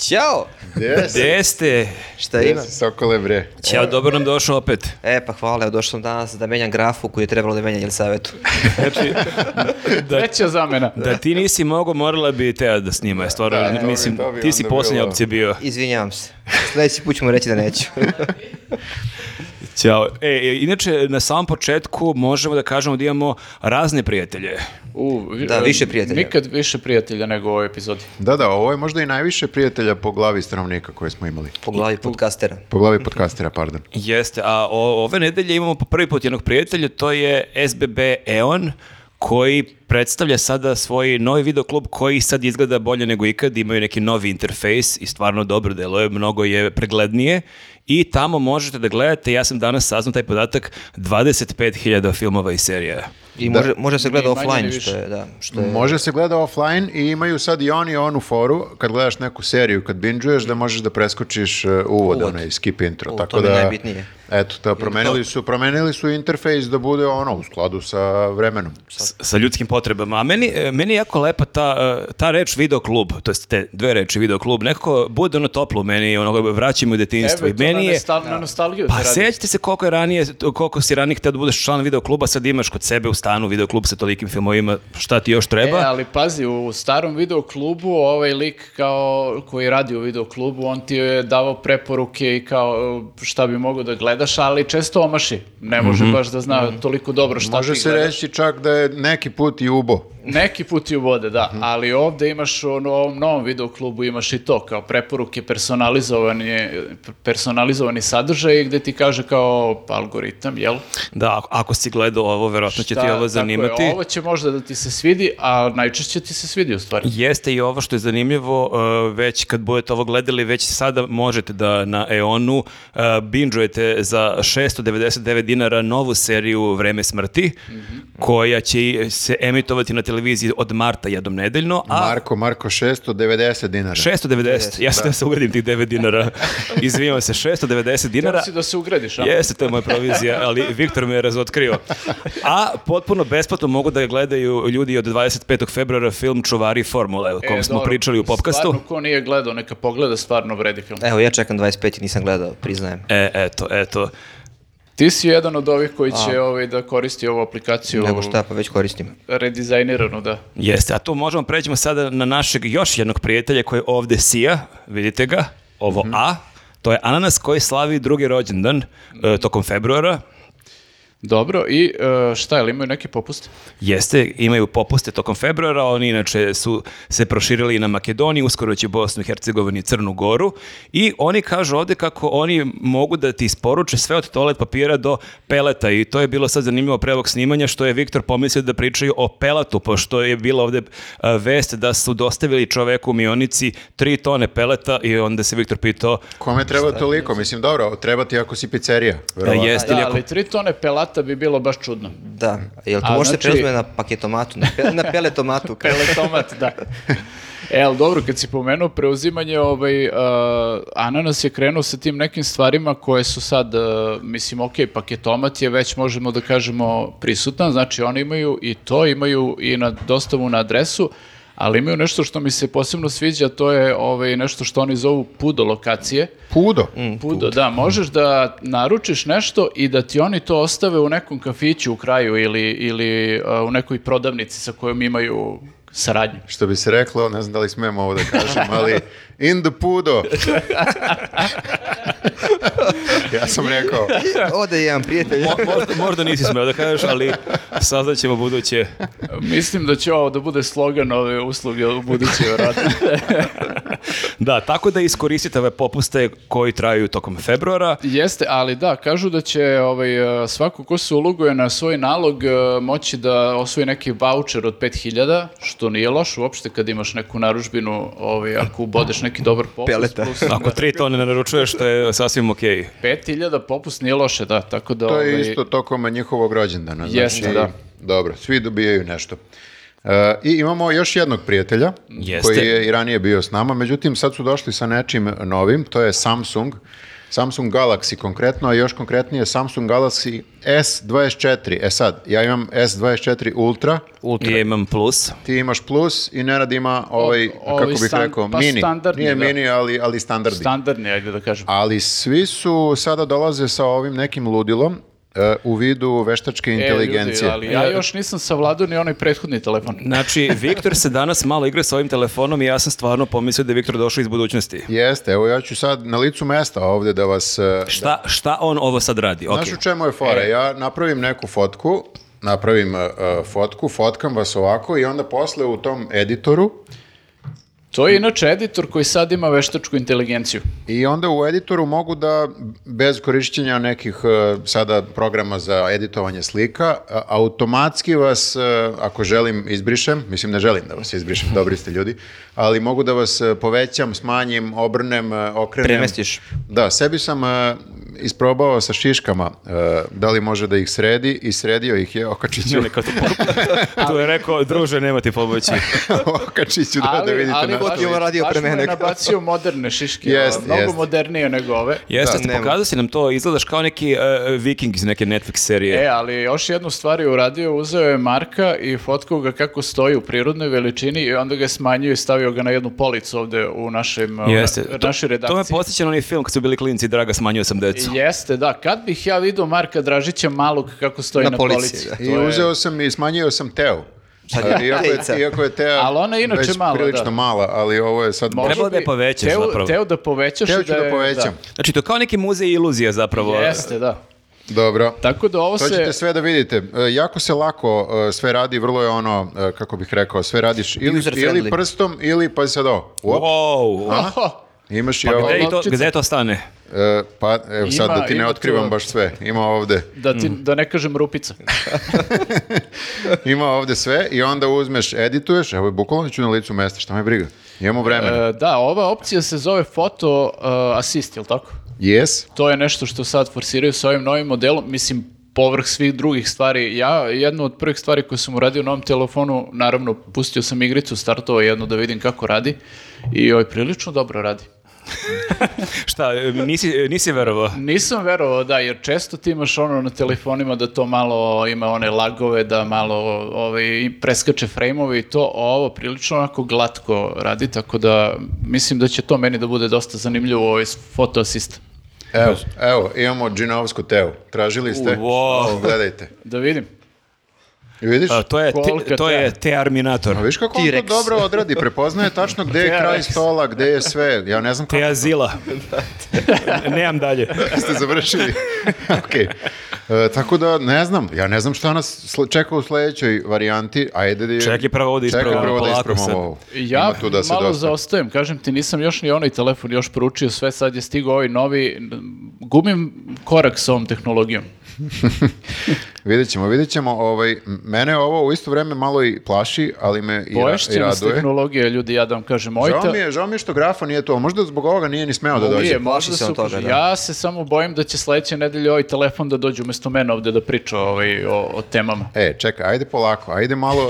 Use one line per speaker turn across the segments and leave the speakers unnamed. Ćao!
Gde si?
Gde ste?
Šta
Gde
ima?
si, Sokole, bre?
Ćao, dobro nam došao opet.
E, pa hvala, evo došao sam danas da menjam grafu koju je trebalo da menja Jelisavetu.
Znači, da,
Treća zamena.
da ti nisi mogao, morala bi Teja da snima. je Stvarno,
Da, to
mislim,
bi- to bi
ti si
onda
posljednja
bilo-
opcija bio.
Izvinjavam se. Sljedeći put ćemo reći da neću.
Ćao. E, e, inače, na samom početku možemo da kažemo da imamo razne prijatelje.
U, vi- e,
Da, više prijatelja.
Nikad više prijatelja nego u ovoj epizodi.
Da, da, ovo je možda i najviše prijatelja po glavi stanovnika koje smo imali.
Po glavi podcastera.
Po glavi podcastera, pardon.
Jeste, a o- ove nedelje imamo po prvi put jednog prijatelja, to je SBB EON, koji predstavlja sada svoj novi videoklub koji sad izgleda bolje nego ikad, imaju neki novi interfejs i stvarno dobro deluje, mnogo je preglednije i tamo možete da gledate, ja sam danas saznao taj podatak, 25.000 filmova i serija.
I može, može se gleda
Ni manje, ni
offline,
više.
što je, da, što je...
Može se gleda offline i imaju sad i oni onu foru, kad gledaš neku seriju, kad bingeuješ, da možeš da preskočiš e, uvod,
Uvod.
onaj skip intro.
O,
tako
to mi je
da,
najbitnije.
Eto, to promenili su, promenili su interfejs da bude ono u skladu sa vremenom.
S- sa ljudskim potrebama. A meni, e, meni je jako lepa ta, e, ta reč videoklub, to jest te dve reči videoklub, nekako bude ono toplo u meni, ono, vraćamo u detinjstvo.
Evo,
I
to
meni
na,
je,
nostal- na nostalgiju
Pa
se radi.
sjećate se koliko je ranije, koliko si ranije htio da budeš član videokluba, sad imaš kod sebe u stanu videoklub sa tolikim filmovima, šta ti još treba?
E, ali pazi, u starom videoklubu ovaj lik kao koji radi u videoklubu, on ti je davao preporuke i kao e, šta bi mogao da gledaš, ali često omaši. Ne može
Mhm.
baš da zna toliko dobro šta
Može
ti
se
gledaš.
reći čak da je neki put i ubo.
Neki put i ubode, da,
Mhm.
ali ovdje imaš u ono- ovom novom videoklubu imaš i to, kao preporuke, personalizovani, personalizovani sadržaj gdje ti kaže kao "Pa, algoritam, jel?
Da, ako, ako si gledao ovo, verovatno će Znači, ti
Šta- tako
ovo
je,
zanimati.
ovo će možda da ti se svidi, a najčešće ti se svidi u stvari.
Jeste i ovo što je zanimljivo, e, već kad budete ovo gledali, već sada možete da na Eonu uh, binžujete za 699 dinara novu seriju Vreme smrti,
Mhm.
koja će i se emitovati na televiziji od marta jednom nedeljno, a
Marko, Marko, 690 dinara.
690, ja sam da se ugradim tih 9 dinara. Izvinjavam se, 690 dinara.
Htio si da se ugradiš, a?
Jeste, to je moja provizija, ali Viktor me je razotkrio. A potpuno besplatno mogu da gledaju ljudi od 25. februara film Čuvari formule, o kom
E,
smo
dobro,
pričali u E. popkastu.
Stvarno, ko nije gledao, neka pogleda, stvarno vredi film.
Evo, ja čekam 25 i nisam gledao, priznajem.
E, eto, eto.
Ti si jedan od ovih koji će ovaj, da koristi ovu aplikaciju
Nego šta, pa već koristim.
redizajniranu, da.
Jeste, a to možemo pređemo sada na našeg još jednog prijatelja koji je ovde sija, vidite ga, ovo
Mhm.
A, to je Ananas koji slavi drugi rođendan e, tokom februara,
Dobro, i e, šta, jel imaju neke popuste?
Jeste, imaju popuste tokom februara, oni inače su se proširili i na Makedoniju, uskoro će u Bosnu i Hercegovini i Crnu Goru i oni kažu ovdje kako oni mogu da ti isporuče sve od toalet papira do peleta i to je bilo sad zanimljivo pre ovog snimanja što je Viktor pomislio da pričaju o pelatu, pošto je bila ovdje a, vest da su dostavili čoveku u mionici tri tone peleta i onda se Viktor pitao e,
Kome treba toliko? Mislim, dobro, treba ti ako si pizzerija. verovatno.
jeste
Da,
li ako...
ali tri tone pelata bi bilo baš čudno.
Da, jel to
A,
može
znači-
se preuzme na paketomatu, na, pe, na peletomatu? kao-
Peletomat, da. E, ali dobro, kad si pomenuo preuzimanje, ovaj, uh, Ananas je krenuo sa tim nekim stvarima koje su sad, uh, mislim, ok, paketomat je već, možemo da kažemo, prisutan, znači oni imaju i to, imaju i na dostavu na adresu, ali imaju nešto što mi se posebno sviđa, to je ovaj, nešto što oni zovu pudo lokacije.
Pudo.
Pudo, da, možeš da naručiš nešto i da ti oni to ostave u nekom kafiću u kraju ili, ili a, u nekoj prodavnici sa kojom imaju saradnju.
Što bi se reklo, ne znam da li smemo ovo da kažem, ali in the pudo. ja sam rekao,
Ode jedan prijatelj.
Mo- možda, možda nisi smeo da kažeš, ali saznaćemo buduće.
Mislim da će ovo da bude slogan ove usluge u buduće, vjerojatno.
Da, tako da iskoristite ove popuste koji traju tokom februara.
Jeste, ali da, kažu da će ovaj, e, svako ko se uloguje na svoj nalog e, moći da osvoji neki voucher od 5000, što nije loš uopšte kad imaš neku naručbinu, ovaj, ako ubodeš neki dobar popust.
Peleta.
plus-
Ako tri tone ne naručuješ, to je sasvim okej.
5000 popust nije loše, da, tako da...
to je
ovaj,
isto tokom njihovog rođendana. Znači,
Jeste, da.
Dobro, svi dobijaju nešto. E, I imamo još jednog prijatelja
Jeste.
koji je i ranije bio s nama, međutim sad su došli sa nečim novim, to je Samsung Samsung Galaxy konkretno, a još konkretnije Samsung Galaxy S24. E sad, ja imam S24 Ultra,
Ultra. Ja imam plus.
ti imaš plus i Nenad ima ovaj,
ovi
kako bih
stan-
rekao,
pa
mini.
standardni,
Nije
da.
mini, ali, ali standardni.
Standardni, ajde da kažem.
ali svi su sada dolaze sa ovim nekim ludilom e, u vidu veštačke
E,
inteligencije.
ljudi, ali ja još nisam savladao ni onaj prethodni telefon.
Znači, Viktor se danas malo igra sa ovim telefonom i ja sam stvarno pomislio da je Viktor došao iz budućnosti.
Jeste, evo ja ću sad na licu mesta ovdje da vas... e,
Šta, šta on ovo sad radi?
Znaš u čemu je fora?
E.
Ja napravim neku fotku, napravim e, e, fotku, fotkam vas ovako i onda posle u tom editoru
To je inače editor koji sad ima veštačku inteligenciju.
i onda u editoru mogu da bez korišćenja nekih e, sada programa za editovanje slika a- automatski vas, e, ako želim, izbrišem, mislim ne želim da vas izbrišem, dobri ste ljudi, ali mogu da vas e, povećam, smanjim, obrnem, e, okrenem.
Premestiš.
Da, sebi sam e, isprobao sa šiškama e, da li može da ih sredi i sredio ih je Okačiću.
Neka to po- Tu je rekao, druže, nema ti pomoći.
Okačiću da, da vidite na
Gotivo je radio
baš
pre
mu je
mene.
nabacio moderne šiške, ono,
Jest,
mnogo
jest.
modernije nego ove.
Jeste,
Da,
da,
nema.
pokazao si nam to, izgledaš kao neki e, viking iz neke Netflix serije.
E, ali još jednu stvar je uradio, uzeo je Marka i fotkao ga kako stoji u prirodnoj veličini i onda ga je smanjio i stavio ga na jednu policu ovde u našem, uh,
Jeste.
na-
To-
našoj
To me
redakciji.
posjeća na onaj film kad su bili klinci, draga, smanjio sam decu.
Jeste, da. Kad bih ja vidio Marka Dražića malog kako stoji na,
Na
polici.
polici,
To
I
je-
uzeo sam i smanjio sam Teo.
Sad
E,
je
Iako je,
Tejica.
iako je Teo
Ali ona je inače
već
mala, da.
prilično mala, ali ovo je sad...
Možda
Trebalo da je
bi
povećaš
teo,
zapravo.
Teo da povećaš.
Teo
i
ću
da
da
je-
povećam.
Znači, to je kao neki muzej iluzija zapravo.
da. Jeste, da.
Dobro.
Tako da ovo
To ćete
se...
sve da vidite. E, Jako se lako e, sve radi, vrlo je ono, e, kako bih rekao, sve radiš ili,
User friendly.
ili prstom, ili pa sad ovo. Op,
Wow.
Oho,
imaš i
Pa
ovo.
gde, i to,
loptica.
gde to stane?
E, pa evo sad
Ima-
da ti
ima
ne
tu-
otkrivam baš sve. Ima ovde.
da, ti, da ne kažem rupica.
Ima ovde sve i onda uzmeš, edituješ, evo je bukvalno ću na licu mesta, šta me briga. Imamo vremena.
E, da, ova opcija se zove foto e, assist, jel tako?
Yes.
To je nešto što sad forsiraju sa ovim novim modelom, mislim, povrh svih drugih stvari. Ja, jednu od prvih stvari koju sam uradio na ovom telefonu, naravno, pustio sam igricu, startovao jednu da vidim kako radi i ovaj prilično dobro radi.
Šta, e, nisi, e, nisi verovao?
Nisam verovao, da, jer često ti imaš ono na telefonima da to malo ima one lagove, da malo ovaj, i preskače frejmove i to, a ovo prilično onako glatko radi, tako da mislim da će to meni da bude dosta zanimljivo ovaj fotoasist.
Evo, evo, imamo džinovsku teo. Tražili ste?
wow.
Gledajte.
Da vidim.
I vidiš?
A, to je,
Kolika
te, to je
treba?
Tearminator.
A vidiš kako on to
T-Rex.
dobro odradi, prepoznaje tačno gde je kraj stola, gde je sve. Ja ne znam kako
Teazila. Nemam dalje.
ste završili. Okej. E, tako da, ne znam, ja ne znam šta nas sl- čeka u sledećoj varijanti. Ajde da
Čekaj prvo ovo da
Čekaj
isprobamo,
prvo da
polako
isprobamo
sad.
ovo.
Ja
Ima tu da se
malo
dosta.
zaostajem, kažem ti, nisam još ni onaj telefon još poručio sve, sad je stigao ovaj novi, gumim korak sa ovom tehnologijom.
Vidjet ćemo, vidjet ćemo. Ovaj, mene ovo u isto vreme malo i plaši, ali me i, ra- i
Poješće nas
raduje.
tehnologija, ljudi, ja da vam kažem, ovaj
Žao
te-
mi, je, žao mi je što grafa nije to. Možda zbog ovoga nije ni smeo da
Nije,
dođe.
možda
Plaši se
su-
on toga, da.
Ja se samo bojim da će sledeće nedelje ovaj telefon da dođe umjesto mene ovde da priča ovaj, o, o temama.
E, čekaj, ajde polako, ajde malo...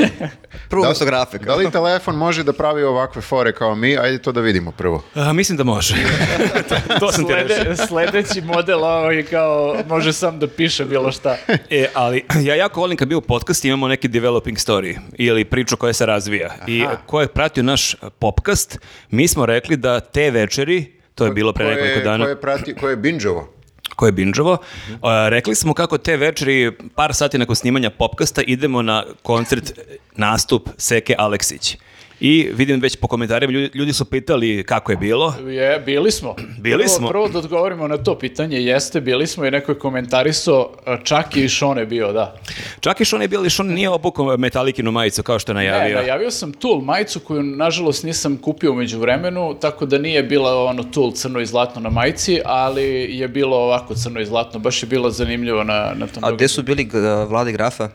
Prvo umjesto grafe,
Da li telefon može da pravi ovakve fore kao mi? Ajde to da vidimo prvo.
A, mislim da može. To- to sam ti rekao.
Slede, sledeći model ovaj kao može sam da piše bilo šta.
E, ali ja jako volim kad bio u podcast imamo neki developing story ili priču koja se razvija. I ko je pratio naš popcast, mi smo rekli da te večeri, to je bilo pre
Ko je-
nekoliko dana,
Ko je, prati, ko je binđovo?
ko je binđovo, a, rekli smo kako te večeri, par sati nakon snimanja popkasta, idemo na koncert, e, nastup Seke Aleksić. I vidim već po komentarima, ljudi, ljudi su pitali kako je bilo.
Je, bili smo.
Bili
prvo,
smo.
Prvo da odgovorimo na to pitanje, jeste, bili smo i neko je komentarisao, a, čak je i Šone bio, da.
Čak i Šone je bio, ali Šone nije obukao metalikinu majicu kao što je
Ne,
najavio.
najavio sam Tool majicu koju nažalost nisam kupio umeđu vremenu, tako da nije bila ono Tool crno i zlatno na majici, ali je bilo ovako crno i zlatno, baš je bilo zanimljivo na,
A
na tom događaju.
gdje su bili uh, vlade grafa?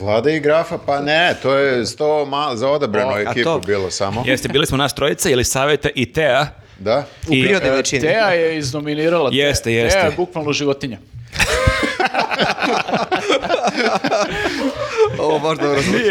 Vlada i grafa, pa ne, to je sto mal, za odabranu
a
ekipu
to-
bilo samo.
Jeste, bili smo nas trojica, ili saveta i Tea.
Da?
U
I-
e,
prirodnoj veličini.
Teja je iznominirala. Te-
Jeste, jeste.
Teja je bukvalno životinja.
Ovo baš dobro zvuči.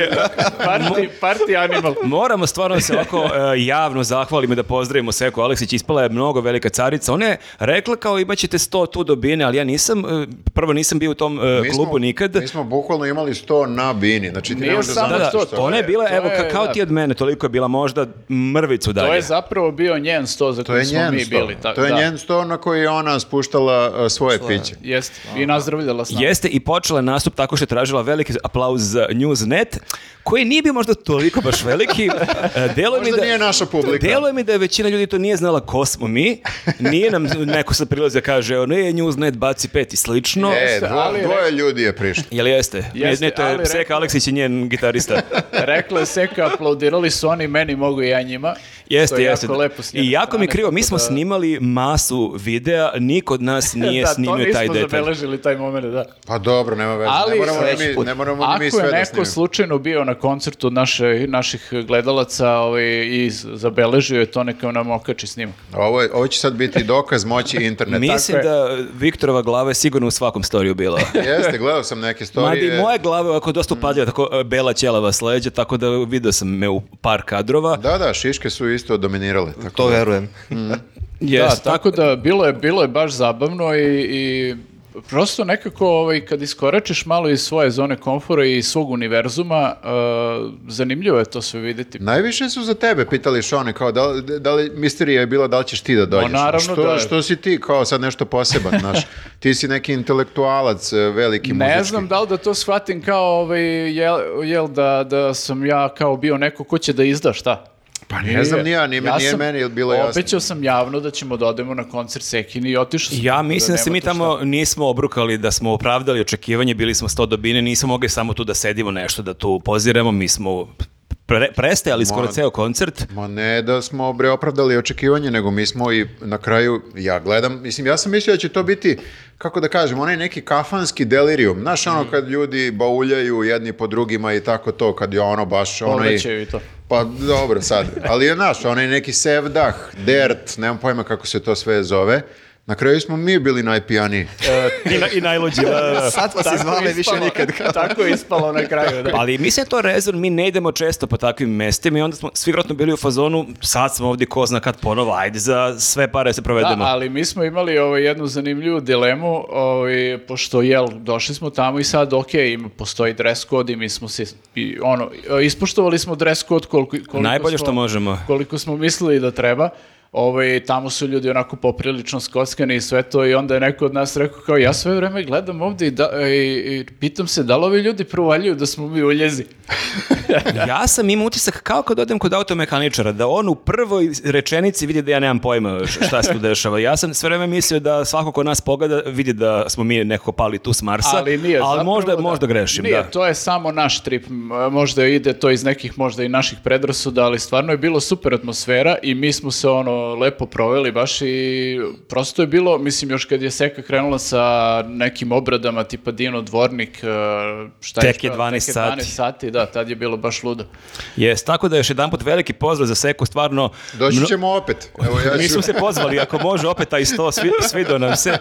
Party, party animal.
Moramo stvarno da se ovako e, javno zahvalimo i da pozdravimo Seko Aleksić, ispala je mnogo velika carica. Ona je rekla kao imaćete 100 tu dobine, ali ja nisam, e, prvo nisam bio u tom e,
Mi smo-
klubu nikad.
Mi smo bukvalno imali 100 na bini. Znači ti
Nije
ne možeš da
samo
Da, da,
zamisliš
sto,
što
ona je
je.
bila,
to
evo, ka-
je,
kao
da.
ti od mene, toliko je bila možda mrvicu dalje.
To je zapravo bio njen sto za
To je
koji smo
njen
mi
sto.
bili. ta-
to je
da.
njen sto na koji je ona spuštala uh, svoje piće.
Jeste. I nazdravljala s nama.
Jeste i počela je nastup tako što je tražila veliki aplauz za Newsnet, koji nije bio možda toliko baš veliki. E, Delo mi
Možda
da,
nije naša publika.
Delo mi da je većina ljudi to nije znala ko smo mi. Nije nam neko sad prilazi da kaže, ono je Newsnet, baci pet i slično.
E,
Jeste,
dvo-
ali re-
dvoje ljudi je prišlo.
Jel jeste?
Jeste,
ne, ne, to je
ali
Seka
rekao-
Aleksić i njen gitarista.
Rekla je Seka, aplaudirali su oni meni, mogu i ja njima.
Jeste,
što je
jeste.
Jako lepo s njene
I jako mi
strane,
krivo, mi
tako
smo
da-
snimali masu videa, niko od nas nije
da,
snimio taj
to nismo
detalj.
zabeležili taj moment, da.
Pa dobro, nema veze.
Ali-
ne moramo ni
Sledeći
mi,
put.
ne moramo ni mi
Ako
sve
je
da
neko
snimimo.
slučajno bio na koncertu naše, naših gledalaca ovaj, i z- zabeležio je to, neka nam okači snimak.
Ovo, je- ovo će sad biti dokaz moći interneta.
Mislim
Tako
da Viktorova glava je sigurno u svakom storiju bila.
Jeste, gledao sam neke
Mada i
storije.
moja glava je ovako dosta upadljiva, tako e, bela ćelava sleđa, tako da vidio sam me u par kadrova.
Da, da, šiške su isto dominirale. Tako.
To verujem.
Jes,
da, tako da bilo je, bilo je baš zabavno i, i prosto nekako ovaj, kad iskoračiš malo iz svoje zone komfora i svog univerzuma, eh, zanimljivo je to sve videti.
Najviše su za tebe pitali Šone, kao da, li- da li misterija je bila da li ćeš ti da dođeš.
naravno
što,
da.
Što si ti kao sad nešto poseban, znaš? Ti si neki intelektualac e, veliki muzički.
Ne znam da li da to shvatim kao, ovaj, jel, jel da, da sam ja kao bio neko ko će da izda šta.
Pa ne znam ni ja, ni, me- nije
sam-
meni bilo jasno.
Obećao sam javno da ćemo da odemo na koncert Sekini i otišao sam.
Ja mislim da, se
nema
mi
tu šta.
tamo nismo obrukali, da smo opravdali očekivanje, bili smo sto dobine, nismo mogli samo tu da sedimo nešto, da tu poziramo, mi smo pre, prestajali skoro
Moram-
ceo koncert.
Ma ne da smo bre opravdali očekivanje, nego mi smo i na kraju, ja gledam, mislim, ja sam mislio da će to biti, kako da kažem, onaj neki kafanski delirium. Znaš, ono kad ljudi bauljaju jedni po drugima i tako to, kad je ono baš ono
Povraćaju i to.
Pa dobro sad, ali je naš, onaj neki sevdah, dert, nemam pojma kako se to sve zove. Na kraju smo mi bili najpijaniji.
I, na, i najluđi. da, da, da.
Sad vas izvale više
Ispalo-
nikad.
Tako je ispalo na kraju, da.
Ali mislim da je to rezon, mi ne idemo često po takvim mestima i onda smo svi vjerojatno bili u fazonu, sad smo ovdje ko zna kad ponovo, ajde za sve pare se
Da,
provedemo.
ali mi smo imali ovaj, jednu zanimljivu dilemu, ovaj, pošto jel, došli smo tamo i sad, ok, ima, postoji dress code i mi smo se, i, ono, ispoštovali smo dress code koliko, koliko
Najbolje
smo-
što možemo.
Koliko smo mislili da treba. Ovaj, tamo su ljudi onako poprilično skockani i sve to i onda je neko od nas rekao kao ja sve vreme gledam ovdje i, da, i, i pitam se da li ovi ljudi provaljuju da smo mi u ljezi.
Ja sam imao utisak kao kad odem kod automehaničara, da on u prvoj rečenici vidi da ja nemam pojma š- šta se tu dešava. Ja sam sve vreme mislio da svako ko nas pogleda vidi da smo mi nekako pali tu s Marsa,
ali nije
ali
zapravo,
možda,
da.
možda grešim.
Nije,
da.
to je samo naš trip. M, Možda ide to iz nekih možda i naših predrasuda, ali stvarno je bilo super atmosfera i mi smo se ono lepo proveli baš i prosto je bilo, mislim još kad je Seka krenula sa nekim obradama tipa Dino Dvornik, e, šta
Tek
što-
je 12
tek je
sati.
sati, da, tad je bilo baš ludo.
Jes, tako da još jedan put veliki pozdrav za Seku, stvarno...
Doći
mno-
ćemo opet. Evo, ja ću-
Mi smo se pozvali, ako može, opet taj sto, svi, svido nam se.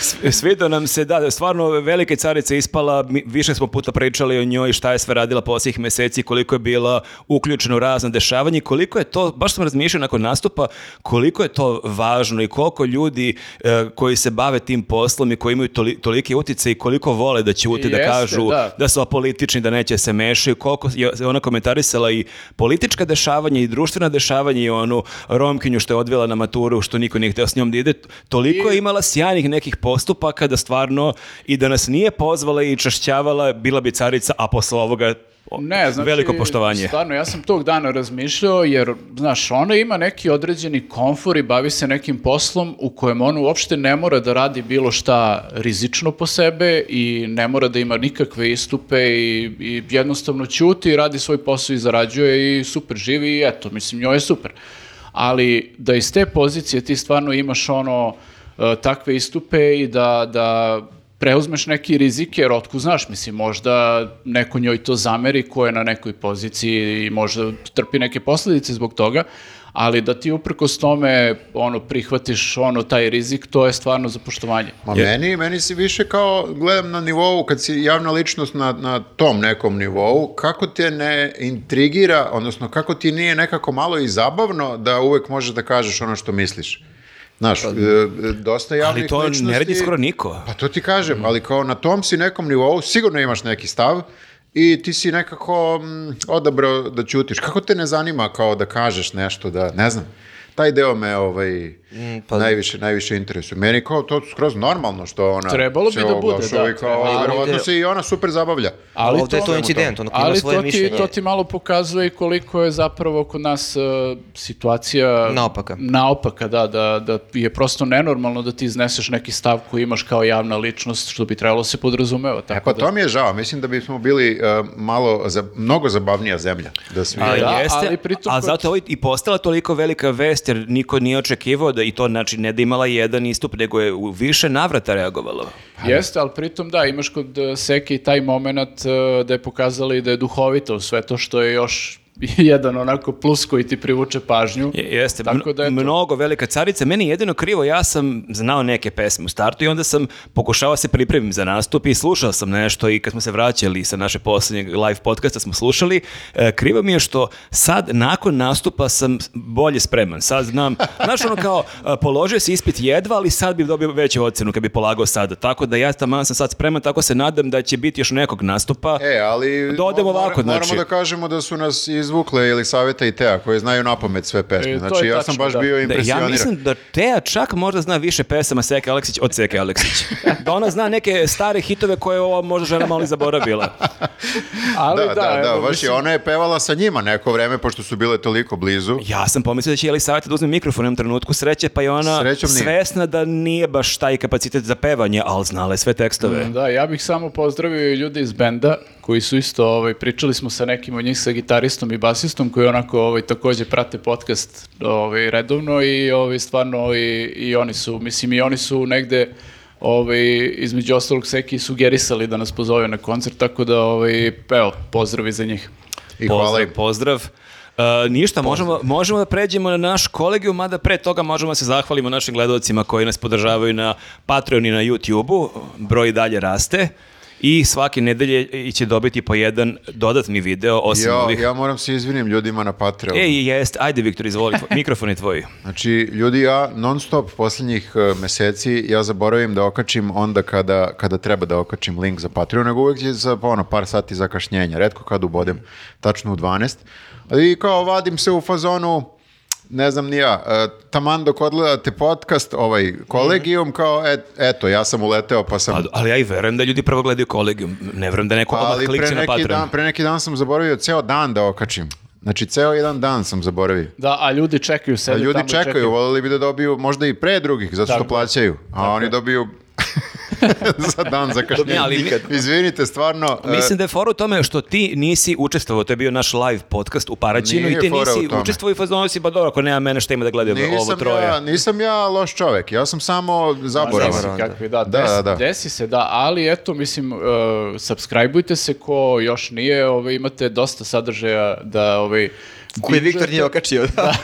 s- Svido nam se, da, stvarno velike carice ispala, mi, više smo puta pričali o njoj, šta je sve radila posljednjih meseci, koliko je bila uključena u razne dešavanje, i koliko je to, baš sam razmišljao nakon nastupa, koliko je to važno i koliko ljudi e, koji se bave tim poslom i koji imaju toli, tolike utice i koliko vole da ćute, da
Jeste,
kažu
da.
da su apolitični, da neće se mešaju, koliko je ona komentarisala i politička dešavanja i društvena dešavanja i onu Romkinju što je odvela na maturu, što niko nije hteo s njom da ide, toliko je imala sjajnih nekih postupaka da stvarno i da nas nije pozvala i čašćavala, bila bi carica, a posle ovoga o,
Ne, znači,
veliko poštovanje.
Stvarno, ja sam tog dana razmišljao, jer, znaš, ona ima neki određeni komfor i bavi se nekim poslom u kojem ona uopšte ne mora da radi bilo šta rizično po sebe i ne mora da ima nikakve istupe i, i jednostavno ćuti i radi svoj posao i zarađuje i super živi i eto, mislim, njoj je super. Ali da iz te pozicije ti stvarno imaš ono, e, takve istupe i da, da preuzmeš neki rizik, jer otku znaš, mislim, možda neko njoj to zameri ko je na nekoj poziciji i možda trpi neke posljedice zbog toga, ali da ti uprkos tome ono, prihvatiš ono, taj rizik, to je stvarno za poštovanje.
Ma meni, meni si više kao, gledam na nivou, kad si javna ličnost na, na tom nekom nivou, kako te ne intrigira, odnosno kako ti nije nekako malo i zabavno da uvek možeš da kažeš ono što misliš. Znaš, e, e, dosta javnih
Pa, Ali to
ličnosti...
ne radi skoro niko.
Pa to ti kažem, ali kao na tom si nekom nivou, sigurno imaš neki stav i ti si nekako mm, odabrao da ćutiš. Kako te ne zanima kao da kažeš nešto, da ne znam, taj deo me ovaj,
Mm,
pa-
najviše, najviše interesuje. Meni kao to skroz normalno što ona
Trebalo bi
se
da bude,
oglašava
da,
i kao,
trebalo
bi.
verovatno
Ali-
se i ona super zabavlja.
Ali ovde je to
to-
incident, ono ko ima
Ali
svoje
to ti,
mišljenje.
to ti malo pokazuje i koliko je zapravo kod nas e, situacija
Naopaka.
naopaka, da, da, da je prosto nenormalno da ti izneseš neki stav koji imaš kao javna ličnost, što bi trebalo se podrazumeva.
E
Tako
pa
da-
to mi je žao, mislim da bismo bili e, malo, za, mnogo zabavnija zemlja. Da svi...
A,
Da,
jeste,
ali pritom
a
kod-
zato je ovo i postala toliko velika vest jer niko nije očekivao da i to znači ne da imala jedan istup nego je u više navrata reagovalo.
Pa
Jeste, ali pritom da, imaš kod e, Seki taj moment e, da je pokazala i da je duhovita u sve to što je još jedan onako plus koji ti privuče pažnju.
Je- Jeste,
Tako
mno-
da eto.
mnogo velika carica. Meni je jedino krivo, ja sam znao neke pesme u startu i onda sam pokušao se pripremim za nastup i slušao sam nešto i kad smo se vraćali sa naše posljednjeg live podcasta smo slušali, e, krivo mi je što sad nakon nastupa sam bolje spreman. Sad znam, znaš ono kao, e, položio si ispit jedva, ali sad bi dobio veću ocenu kad bi polagao sada. Tako da ja tamo sam sad spreman, tako se nadam da će biti još nekog nastupa.
E, ali
Da odemo ovako,
moramo
znači.
da kažemo da su nas izvukle ili saveta i Tea koje znaju napamet sve
E,
pesme.
to
znači
je
ja
tačno,
sam baš
da.
bio
Da,
impresioniran.
ja mislim da Teja čak možda zna više pesama Seke Aleksić od Seke Aleksić. Da ona zna neke stare hitove koje ova možda žena malo i zaboravila.
Ali
da, da, da,
evo,
baš
mislim-
je, ona je pevala sa njima neko vreme, pošto su bile toliko blizu.
Ja sam pomislio da će Jeli Saveta da uzme mikrofon u jednom trenutku sreće, pa je ona
Srećom nije.
svesna da nije baš taj kapacitet za pevanje, ali znala je sve tekstove.
Mm, Da, ja bih samo pozdravio i ljude iz benda koji su isto, ovaj, pričali smo sa nekim od njih, sa gitaristom i basistom koji onako ovaj, takođe prate podcast ovaj, redovno i ovaj, stvarno ovaj, i oni su, mislim i oni su negde ovaj, između ostalog seki sugerisali da nas pozove na koncert, tako da ovaj, evo, pozdravi za njih.
I hvala
pozdrav,
im.
pozdrav. E, ništa, možemo, možemo da pređemo na naš kolegiju, mada pre toga možemo da se zahvalimo našim gledalcima koji nas podržavaju na Patreon i na YouTube-u. Broj dalje raste i svake nedelje će dobiti po jedan dodatni video osim
Ja,
ovih.
ja moram se izvinim ljudima na Patreon.
Ej, jest, ajde Viktor, izvoli, tvo- mikrofon je tvoj.
Znači, ljudi, ja non stop posljednjih e, meseci, ja zaboravim da okačim onda kada, kada treba da okačim link za Patreon, nego uvek je za ono, par sati zakašnjenja, redko kad ubodem, tačno u 12. Ali kao vadim se u fazonu, ne znam ni ja, e, taman dok odgledate podcast, ovaj
Mhm.
kolegijum, kao et, eto, ja sam uleteo pa sam...
A- Ali ja i verujem da ljudi prvo gledaju kolegijum, ne verujem da neko
Pa,
odmah
ali pre
klikće na
neki,
Patreon.
dan, pre neki dan sam zaboravio ceo dan da okačim. Znači, ceo jedan dan sam zaboravio.
Da, a ljudi čekaju
A
sebe
ljudi
tamo i
čekaju, voljeli bi da dobiju možda i pre drugih, zato što
Tako.
plaćaju. A oni dobiju za dan za
Ne, ali mi-
Izvinite, stvarno. e,
Mislim da je fora u tome što ti nisi učestvovao, to je bio naš live podcast u Paraćinu
Nije
i ti
fora u
nisi
tome.
učestvovao i fazonu si, pa dobro, ako nema mene šta ima da gledaju ovo
e, nisam,
troje.
ja, nisam ja loš čovek, ja sam samo
Zaboravan.
zaboravan.
Zaboravan. da.
kakvi, Pa da,
Da,
desi,
da, da.
desi se, da, ali eto, mislim, uh, subscribeujte se ko još nije, ovaj, imate dosta sadržaja da, ovaj,
Koji Viktor nije okačio. Da.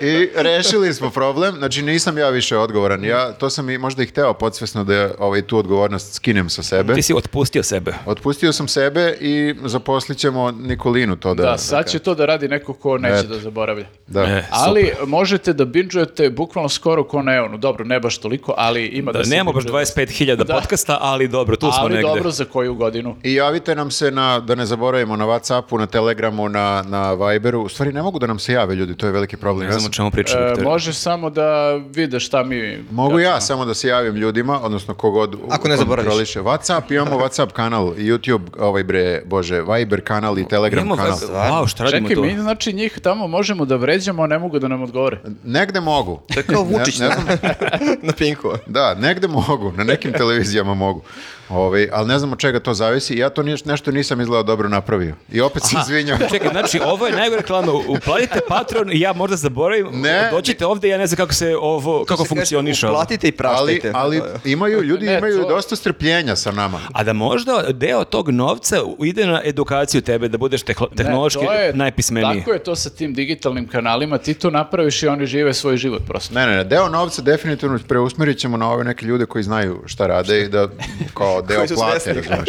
I rešili smo problem, znači nisam ja više odgovoran. Ja, to sam i možda i hteo podsvesno da ovaj, tu odgovornost skinem sa sebe.
Ti si otpustio sebe.
Otpustio sam sebe i zaposlit ćemo Nikolinu to da...
Da, sad će to da radi neko ko neće
Eto.
da zaboravlja.
da.
E,
Ali možete da binđujete bukvalno skoro ko na eonu. Dobro, ne baš toliko, ali ima da,
Da,
se
nemamo baš
binđuje.
25.000
Da.
podcasta, ali dobro, tu smo
Ali
negde.
dobro, za koju godinu?
I javite nam se na, da ne zaboravimo, na Whatsappu, na Telegramu, na, na Viberu. U stvari ne mogu da nam se jave ljudi, to je veliki problem. Ja
Ne znam o
sam-
čemu priča,
E,
Viktor.
može samo da vide šta mi...
Mogu ja samo da se javim ljudima, odnosno kogod
Ako ne zaboraviš.
kontroliše. Whatsapp, imamo Whatsapp kanal, YouTube, ovaj bre, bože, Viber kanal i Telegram
Imamo
kanal.
vas- Wow, šta radimo
Čekaj,
tu?
mi znači njih tamo možemo da vređamo, a ne mogu da nam odgovore.
Negde mogu.
To je kao Vučić
Ne- ne
na, na Pinku.
Da, negde mogu, na nekim televizijama mogu. Ovaj, ali ne znam od čega to zavisi. Ja to niš- nešto nisam izgleda dobro napravio. I opet se izvinjam.
Čekaj, znači ovo je najgore reklama. Uplatite Patron i ja možda zaboravim. E,
Ne.
Dođite ovde i ja ne znam kako se ovo, kako ono? funkcioniše ovo.
Platite i
Ali,
praštajte.
ali imaju, ljudi
Ne,
imaju
to-
dosta strpljenja sa nama.
A da možda deo tog novca u- ide na edukaciju tebe, da budeš tehlo-
Ne,
tehnološki
E, to je-
najpismeniji.
Tako je to sa tim digitalnim kanalima, ti to napraviš i oni žive svoj život prosto.
Ne, ne, ne, deo novca definitivno preusmerit ćemo na ove neke ljude koji znaju šta rade i da kao deo
Koji su
plate,
svesni.
razumeš.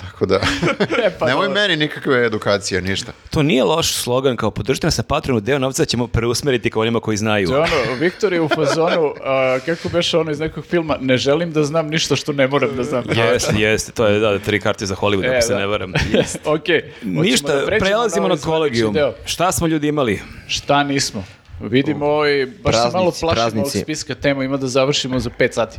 Tako da,
pa
nemoj
dobro.
meni nikakve edukacije, ništa.
To nije loš slogan, kao podržite nas na Patronu, deo novca ćemo preusmeriti ka onima koji znaju.
To je ono, Viktor je u fazonu, a, kako beše ono iz nekog filma, ne želim da znam ništa što ne moram da znam.
Jeste, jeste, to je da, tri karte za Hollywood,
E,
ako se
da.
ne varam.
Ok.
Ništa,
ovaj
prelazimo na kolegijum. Šta smo ljudi imali?
Šta nismo? Vidimo i baš se malo
Praznici,
plašimo
praznici.
ovog spiska tema, ima da završimo za 5 sati.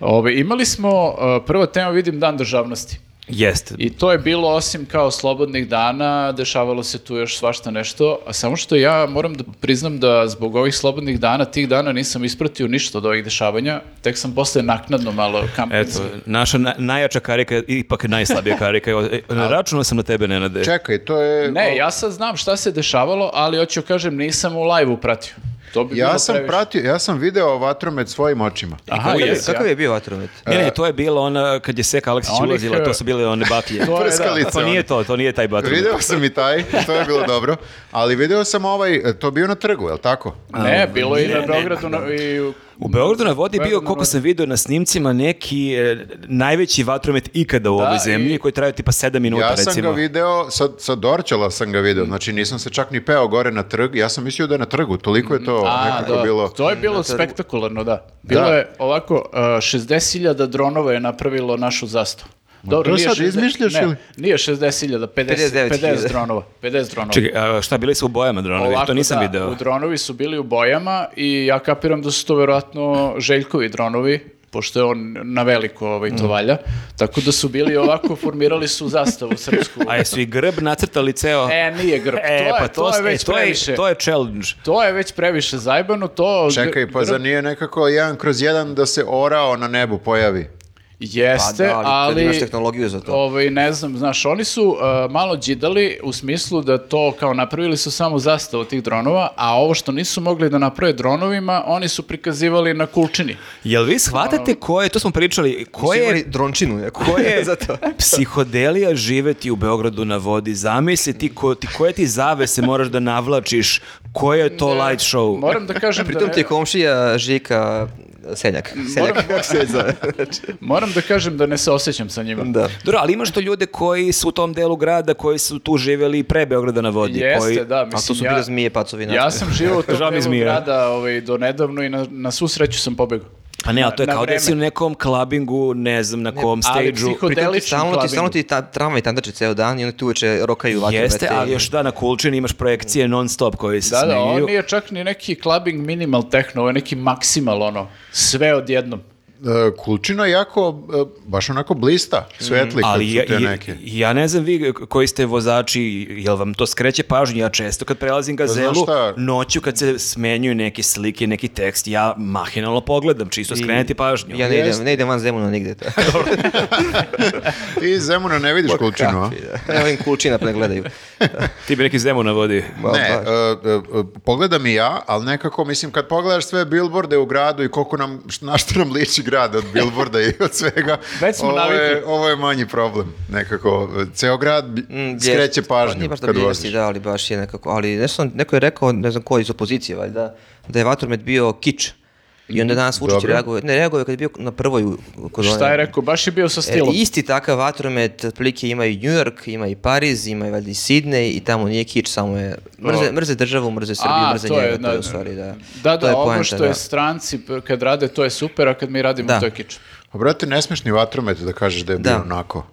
Ove, imali smo, a, prva tema vidim Dan državnosti.
Jeste.
I to je bilo osim kao slobodnih dana, dešavalo se tu još svašta nešto, a samo što ja moram da priznam da zbog ovih slobodnih dana, tih dana nisam ispratio ništa od ovih dešavanja, tek sam posle naknadno malo
Eto,
kampanjski.
naša na- najjača karika je ipak najslabija karika. Evo, e, Računao sam na tebe, Nenade.
Čekaj, to je...
E. Ne, ja sad znam šta se dešavalo, ali hoću kažem nisam u live-u pratio. To bi bilo
Ja sam
previše.
pratio, ja sam video vatromet svojim očima.
Aha,
Kakav je-
jesi,
Kakav
ja.
je bio vatromet?
Ne, ne, to je bila ona kad je Seka Aleksić
e- Onih, e,
ulazila, to su bile one baklje.
To je, da.
Prskalica.
To nije to, to nije taj batromet.
Video sam i taj, to je bilo dobro, ali video sam ovaj, to je bio na trgu, je li tako?
Ne, bilo je i na Beogradu na, i u-
U Beogradu na vodi je bio,
Beogradu na
koliko
vodi.
sam video na snimcima, neki e, najveći vatromet ikada u ovoj
i-
zemlji, koji traju tipa 7 minuta,
Ja sam
recimo.
ga video, sa, sa Dorčela sam ga
Mm.
video, znači nisam se čak ni peo gore na trg, ja sam mislio da je na trgu, toliko je to
Mm. A,
Pa nekako
da.
bilo.
To je bilo spektakularno, da. Bilo
Da.
je ovako, uh, 60.000 dronova je napravilo našu zastavu. Dobro,
to
nije
sad
60
izmišljaš
ne,
ili?
Nije 60.000, 50,
59.000.
50 dronova. 50 dronova.
Čekaj, a šta bili su u bojama dronovi?
Ovako,
to nisam
da,
video.
u dronovi su bili u bojama i ja kapiram da su to verovatno Željkovi dronovi, pošto je on na veliko ovaj,
Mm.
to valja. Tako da su bili ovako, formirali su zastavu srpsku.
A jesu i grb nacrtali ceo?
E, nije grb. to, je, to, je
e,
već
to
previše.
je, to je challenge.
To je već previše zajbano, to...
Čekaj, pa
grb-
zar nije nekako jedan kroz jedan da se orao na nebu pojavi?
Jeste,
Pa da, ali kad
ali...
imaš tehnologiju za to.
Ovaj, ne znam, znaš, oni su uh, malo džidali u smislu da to kao napravili su samo zastavu tih dronova, a ovo što nisu mogli da naprave dronovima, oni su prikazivali na kulčini.
Jel vi shvatate ko je, to smo pričali, ko
Su
je
imali drončinu neku.
Ko je
za to?
psihodelija živeti u Beogradu na vodi? Zamisli ti, ko, ti koje ti zavese moraš da navlačiš, koje je to light show?
Moram da kažem da...
Pritom ti je komšija Žika Seljak. Seljak,
Moram-
kako se zove?
Moram da kažem da ne saosećam sa njima.
da.
Dobro, ali imaš to ljude koji su u tom delu grada, koji su tu živeli pre Beograda na vodi.
Jeste,
koji...
da,
A to
mislim,
su
ja,
bile zmije, pacovi.
ja sam živao u tom
Žao mi
delu
zmija.
grada ovaj, do nedavno i na, na svu sreću sam pobegao.
Pa ne, a to je
Na- na
kao da si u
vreme.
nekom klabingu, ne znam na kom
ali
stage-u.
psiho-
Pritom ti
Podelični
stalno ti,
klabing.
stalno ti ta, trama i tandače ceo dan i onda ti uveče rokaju vatromete.
Jeste, ali
i-
još da, na Kulčini imaš projekcije non stop koji se
Da, da,
smenjuju.
on nije čak ni neki clubbing minimal techno, ovo je neki maksimal ono, sve odjednom.
E, Kulčina je jako, e, baš onako blista,
Mm,
svetli kad
Ali ja,
su te
ja-
neke.
ja ne znam vi koji ste vozači, jel vam to skreće pažnju? Ja često kad prelazim gazelu,
Pa šta?
noću kad se smenjuju neke slike, neki tekst, ja mahinalno pogledam, čisto skrenuti pažnju.
Ja ne idem,
Jeste.
ne idem van Zemuna nigde.
Ti iz Zemuna ne vidiš Kulčinu, a?
Kakvi, da. Ne volim kulčina pa ne gledaju.
Ti bi neki zemu na vodi.
Ba,
ne,
baš.
e, e, e, pogledam i ja, ali nekako, mislim, kad pogledaš sve bilborde u gradu i koliko nam, š- na što nam liči grad od bilborda i od svega,
Već smo
ovo, je,
navikli.
ovo je manji problem, nekako. e, Ceo grad bi-
Mm,
skreće
bljesti. Pa nije
pažnju
baš da
kad
bljesti,
voziš.
Da, ali baš je nekako, ali ne znam, neko je rekao, ne znam ko iz opozicije, valjda, da je Vatromet bio kič. I onda danas Vučić
Dobro.
reaguje, ne reaguje kad je bio na prvoj u- kod
Šta
one-
je rekao, baš je bio sa
E,
stilom.
isti takav vatromet, otprilike ima i New York, ima i Pariz, ima i valjda i Sidney i tamo nije kič, samo je mrze, mrze državu, mrze Srbiju,
A,
mrze
to
njega,
je,
to je
da,
u stvari, da.
Da,
To
da, ovo
poenta,
što
da.
je stranci p- kad rade, to je super, a kad mi radimo,
Da.
to je kič.
Pa, brate, ne smiješ ni vatromet da kažeš da je
Da.
bio onako.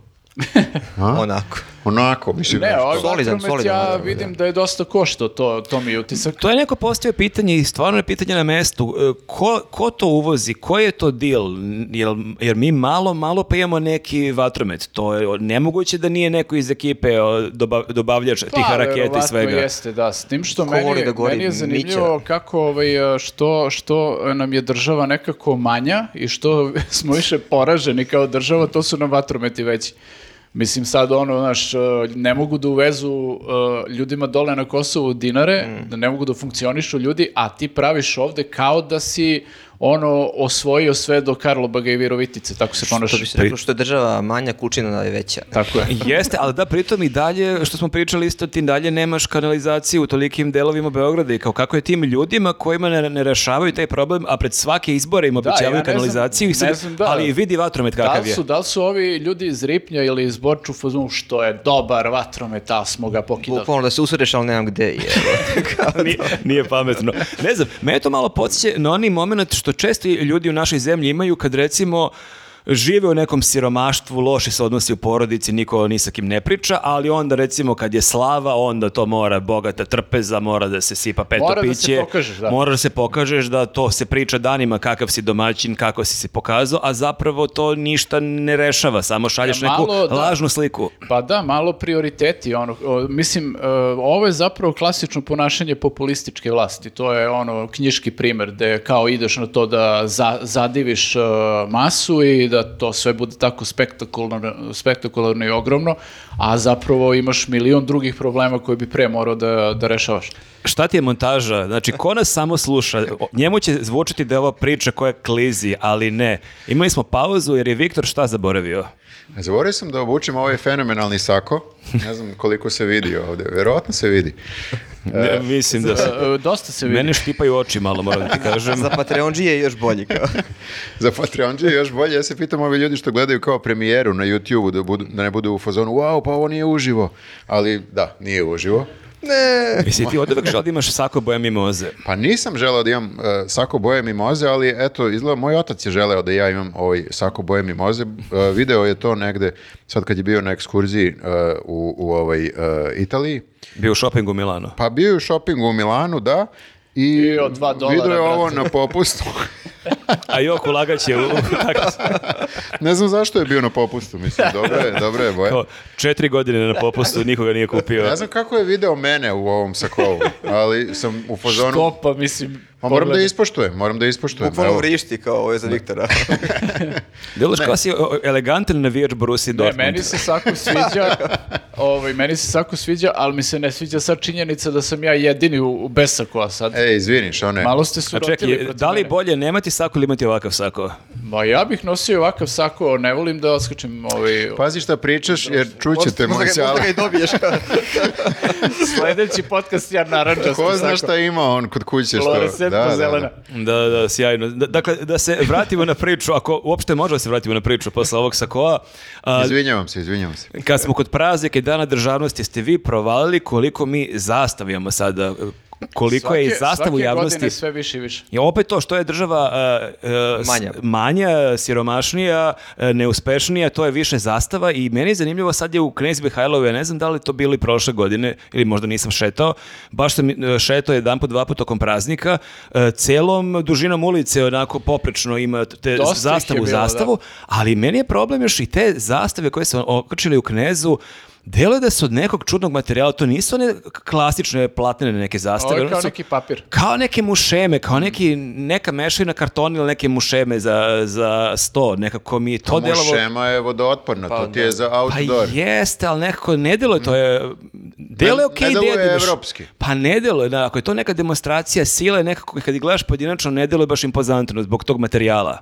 A?
Onako.
Onako, mislim.
Ne, ovaj
Solidan,
vatromet
solidan,
ja
naravno, da.
vidim da je dosta košto to, to mi je utisak.
To je neko postavio pitanje i stvarno je pitanje na mestu. E, Ko, ko to uvozi? Koji je to deal? Jer, jer mi malo, malo pa imamo neki vatromet. To je o, nemoguće da nije neko iz ekipe o, doba- dobavljač tih raketa i
Pa, verovatno
svega.
jeste, da. S tim što
Ko
meni,
voli da gori
meni je zanimljivo
Mića?
kako ovaj, što, što nam je država nekako manja i što smo više poraženi kao država, to su nam vatrometi veći. Mislim sad ono, znaš, ne mogu da uvezu eh, ljudima dole na Kosovu dinare,
Mm.
da ne mogu da funkcionišu ljudi, a ti praviš ovde kao da si ono osvojio sve do Karlobaga i Virovitice, tako se
Što
ponašaš.
bi se reklo, što je država manja, kućina da je veća.
Tako je.
Jeste, ali da, pritom i dalje, što smo pričali isto, ti dalje nemaš kanalizaciju u tolikim delovima Beograda i kao kako je tim ljudima kojima ne, ne rešavaju taj problem, a pred svake izbore im obećavaju
ja ne znam-
kanalizaciju, i
ne
sad-
znam, da.
ali vidi vatromet
Da
kakav
li,
je.
su, da li su ovi ljudi iz Ripnja ili iz Borču u fazonu što je dobar vatromet, ali smo ga pokidali?
Bukvalno da se usureš, ali nemam gde. je.
nije, nije pametno. Ne znam, me to malo podsjeća na onaj moment što često ljudi u našoj zemlji imaju kad recimo žive u nekom siromaštvu, loše se odnosi u porodici, niko ni sa kim ne priča, ali onda recimo kad je slava, onda to mora bogata trpeza, mora da se sipa peto
Mora da se
piće.
pokažeš, da.
Mora da se pokažeš da to se priča danima kakav si domaćin, kako si se pokazao, a zapravo to ništa ne rešava, samo šalješ
Ja, malo,
neku
da.
lažnu sliku.
Pa da, malo prioriteti. Ono, o, mislim, e, ovo je zapravo klasično ponašanje populističke vlasti. To je ono knjiški primer gde kao ideš na to da za- zadiviš e, masu i da to sve bude tako spektakularno, spektakularno i ogromno, a zapravo imaš milion drugih problema koje bi pre morao da, da rešavaš.
Šta ti je montaža? Znači, ko nas samo sluša? O- Njemu će zvučiti da je ova priča koja klizi, ali ne. Imali smo pauzu jer je Viktor šta zaboravio?
Zaboravio sam da obučem ovaj fenomenalni sako. Ne znam koliko se vidi ovde. Verovatno se vidi.
Ne, mislim da se...
E, e, dosta se vidi.
Mene štipaju oči malo, moram da ti kažem.
Za Patreon je još bolji. Kao.
Za Patreonđe još bolje. Ja se pitam ovi ljudi što gledaju kao premijeru na YouTube-u da, budu- da ne budu u fazonu wow, pa ovo nije uživo. Ali da, nije uživo.
Mislim, ti od uvek želeo da imaš sako boja mimoze.
Pa nisam želeo da imam e, sako boje mimoze, ali eto, izgleda moj otac je želeo da ja imam ovaj sako boje mimoze. E, video je to negde, sad kad je bio na ekskurziji e, u, u ovaj, e, Italiji.
Bio u šopingu u Milano.
Pa bio je u šopingu u Milanu, da, i,
I od dva dolara,
video je ovo
brate.
na popustu.
A Joku Lagać je u... u- tako,
ne znam zašto je bio na popustu, mislim, dobro je, dobro je boje.
kao, četiri godine na popustu, nikoga nije
Ne
kupio.
znam kako je video mene u ovom sakovu, ali sam u fazonu...
Što pa, mislim...
Pa moram da
pogledaj.
ispoštujem, moram da ispoštujem.
Bukvalno
evo.
vrišti kao ovo je za Viktora.
Deloš kao si o, o, elegantan navijač Borussia
Ne,
Dortmund.
meni se sako sviđa, ovaj, meni se sako sviđa, ali mi se ne sviđa sad činjenica da sam ja jedini u, u besaku, a sad
E, izvini, što ne?
malo ste
A
surotili
čekaj,
protiv
da li
mene.
bolje nemati sako ili imati ovakav sako?
Ma ja bih nosio ovakav sako, ne volim da odskačem ovaj...
Pazi šta pričaš, jer čućete moj
možda, ga,
sjale.
možda ga i dobiješ. Kao.
Sljedeći podcast ja naranđastom
Ko zna
sako.
šta ima on kod kuće što...
Fluorescentno zelena.
Da, da, sjajno. Da- dakle, da se vratimo na priču, ako uopšte možemo da se vratimo na priču posle ovog sakoa. A, Pa
Izvinjavam se, izvinjavam se.
kad smo kod praznika i dana državnosti, ste vi provalili koliko mi zastavljamo sada, koliko je i
Svake-
zastav u
svake
javnosti.
godine sve više i više.
I opet to što je država e, e, s-
Manja.
manja, siromašnija, e, neuspešnija, to je više zastava i meni je zanimljivo sad je u Knez Mihajlove, ne znam da li je to bilo i prošle godine ili možda nisam šetao, baš sam e, šetao jedan put, dva put tokom praznika, e, celom dužinom ulice onako poprečno ima te
Dosta ih je
zastavu,
bilo, da.
zastavu, ali meni je problem još i te zastave koje su okačili u Knezu, Delo je da su od nekog čudnog materijala, to nisu one klasične platnene neke zastave.
Ovo je
one
kao
su-
neki papir.
kao neke mušeme, kao neki, neka mešavina kartona ili neke mušeme za, za sto, nekako mi je to
Pa Mu
delovo...
šema je vodootporna, to ti je za
Pa
outdoor.
jeste, ali nekako ne deluje, to je... Delo je okej
ne deluje
dediniš.
evropski.
Pa ne deluje, da, ako je to neka demonstracija sile, nekako kad ih gledaš pojedinačno, ne deluje baš impozantno zbog tog materijala.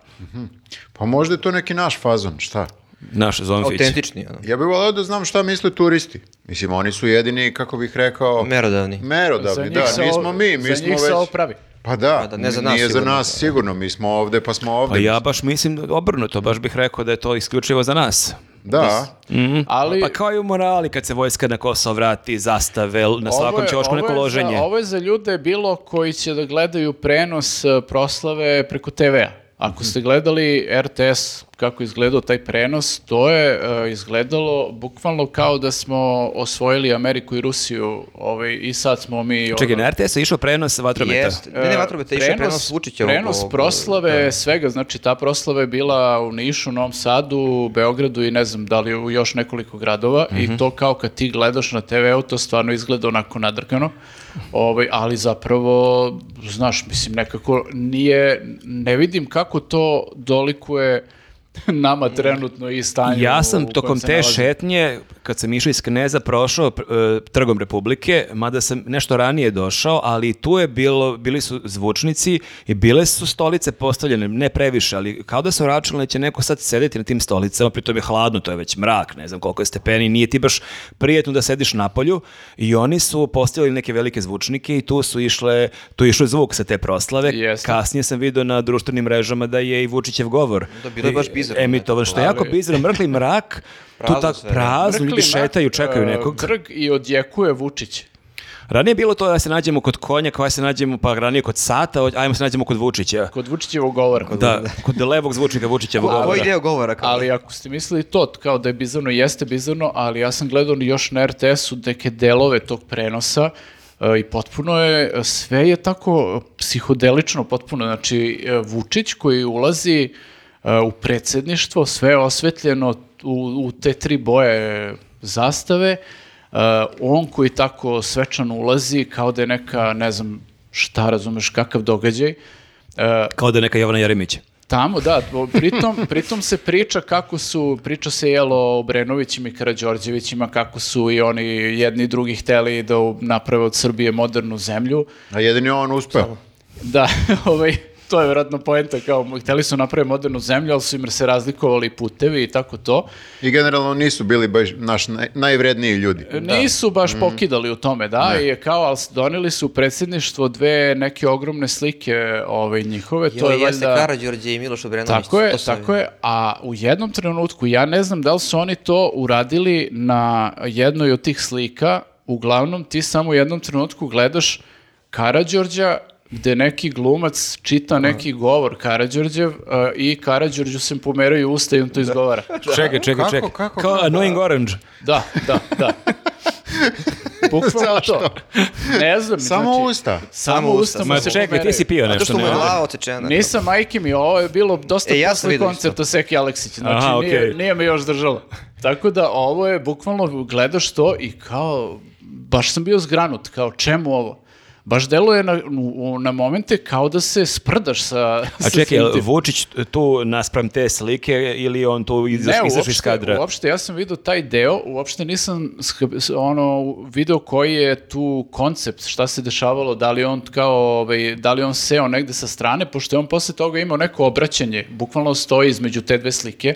Pa možda je to neki naš fazon, šta?
Naš Zonfić.
Autentični. Ono.
Ja bih volao da znam šta misle turisti. Mislim, oni su jedini, kako bih rekao...
Merodavni.
Merodavni, da,
se
nismo
ovo-
mi, mi
za
smo
njih
već...
se ovo pravi.
Pa da,
Pa da, ne za nas
nije
sigurno.
za nas sigurno, mi smo ovde, pa smo ovde.
Pa ja baš mislim da obrnuto, baš bih rekao da je to isključivo za nas.
Da,
Ali...
Pa kao i u morali kad se vojska na Kosovo vrati, zastave, na
Ovo
svakom
je-
čošku
ovo
neko
je za-
loženje.
Ovo je za ljude bilo koji će da gledaju prenos e, proslave preko TV-a.
Mhm.
Ako ste gledali RTS kako je izgledao taj prenos, to je e, izgledalo bukvalno kao da smo osvojili Ameriku i Rusiju ovaj, i sad smo mi...
Čekaj,
ono,
na RTS je išao prenos vatrometa.
Jest. Ne, ne, vatrometa, išao je prenos Vučićevog,
E, Prenos
ovog-
proslave, svega, znači ta proslava je bila u Nišu, Novom Sadu, Beogradu i ne znam da li u još nekoliko gradova
Mhm.
i to kao kad ti gledaš na TV-u, to stvarno izgleda onako nadrkano, ovaj, ali zapravo, znaš, mislim, nekako nije, ne vidim kako to dolikuje nama trenutno i stanju
Ja
u
sam
kojem
tokom
se
te
nalazimo.
šetnje, kad sam išao iz Kneza, prošao pr- e, trgom Republike, mada sam nešto ranije došao, ali tu je bilo, bili su zvučnici i bile su stolice postavljene, ne previše, ali kao da sam računao da će neko sad sedeti na tim stolicama, pritom je hladno, to je već mrak, ne znam koliko je stepeni, nije ti baš prijetno da sediš na polju i oni su postavili neke velike zvučnike i tu su išle, tu je išao zvuk sa te proslave.
Jeste.
Kasnije sam video na društvenim mrežama da je i Vučićev govor E,
Da, bilo je baš bizarno,
emitovan, što je jako
Ali-
bizarno, mrkli mrak, tu
Prazno
tak
sve, da.
prazno, ljudi
Mrkli mrak,
šetaju, čekaju
e,
nekog.
Trg i odjekuje Vučić.
Ranije je bilo to da se nađemo kod konja, koja se nađemo, pa ranije kod sata, o- ajmo se nađemo kod Vučića.
Kod Vučićevog govora.
Da, kod levog zvučnika Vučića.
Koji deo govora? kao?
Ali ako ste mislili to, kao da je bizarno, jeste bizarno, ali ja sam gledao još na RTS-u neke delove tog prenosa e, i potpuno je, sve je tako e, psihodelično potpuno, znači e, Vučić koji ulazi e, u predsjedništvo, sve je osvetljeno u, u te tri boje zastave, E, on koji tako svečano ulazi kao da je neka, ne znam šta razumeš, kakav događaj, E,
Kao da je neka Jovana Jeremić.
Tamo, da. o- Pritom, pritom se priča kako su, priča se jelo o Obrenovićima i Karađorđevićima, kako su i oni jedni i drugi hteli da u- naprave od Srbije modernu zemlju.
A jedini je on uspeo.
Da, ovaj, to je vjerojatno poenta, kao hteli su naprave modernu zemlju, ali su im se razlikovali putevi i tako to.
I generalno nisu bili baš naš naj- najvredniji ljudi.
Nisu baš pokidali u tome, da, i je kao, ali doneli su u predsjedništvo dve neke ogromne slike ovaj, njihove,
Jo,
to je
jeste
valjda...
Karađorđe i Miloš Obrenović.
Tako je,
to sam-
tako je, a u jednom trenutku, ja ne znam da li su oni to uradili na jednoj od tih slika, uglavnom ti samo u jednom trenutku gledaš Karađorđa gde neki glumac čita neki govor Karađorđev uh, i Karađorđu se pomeraju usta i on to izgovara.
Čekaj, čekaj,
Kako,
čekaj.
kako,
Kao
kako?
Annoying Orange.
Da, da, da. Bukvalno
Zašto?
to. Ne znam.
Samo
znači,
usta.
Samo usta mu
Ma
se
čekaj, ti
pomeraju.
si pio
Zato
nešto.
što mu je
ne?
glava odsečena.
Nisam, majke mi, ovo je bilo dosta
E, ja sam
posle
vidio
koncerta Seki Aleksića, znači
Aha,
nije,
okej.
nije me još držalo. Tako da ovo je, bukvalno gledaš to i kao, baš sam bio zgranut, kao čemu ovo? Baš deluje na, u- na momente kao da se sprdaš sa,
A
sa
čekaj,
svim
jel
tim.
Vučić tu naspram te slike ili je on tu izaš,
Ne,
izašao iz kadra?
uopšte, ja sam vidio taj deo, uopšte nisam sh- s- ono, video koji je tu koncept, šta se dešavalo, da li on kao, ovaj, da li on seo negde sa strane, pošto je on posle toga imao neko obraćanje, bukvalno stoji između te dve slike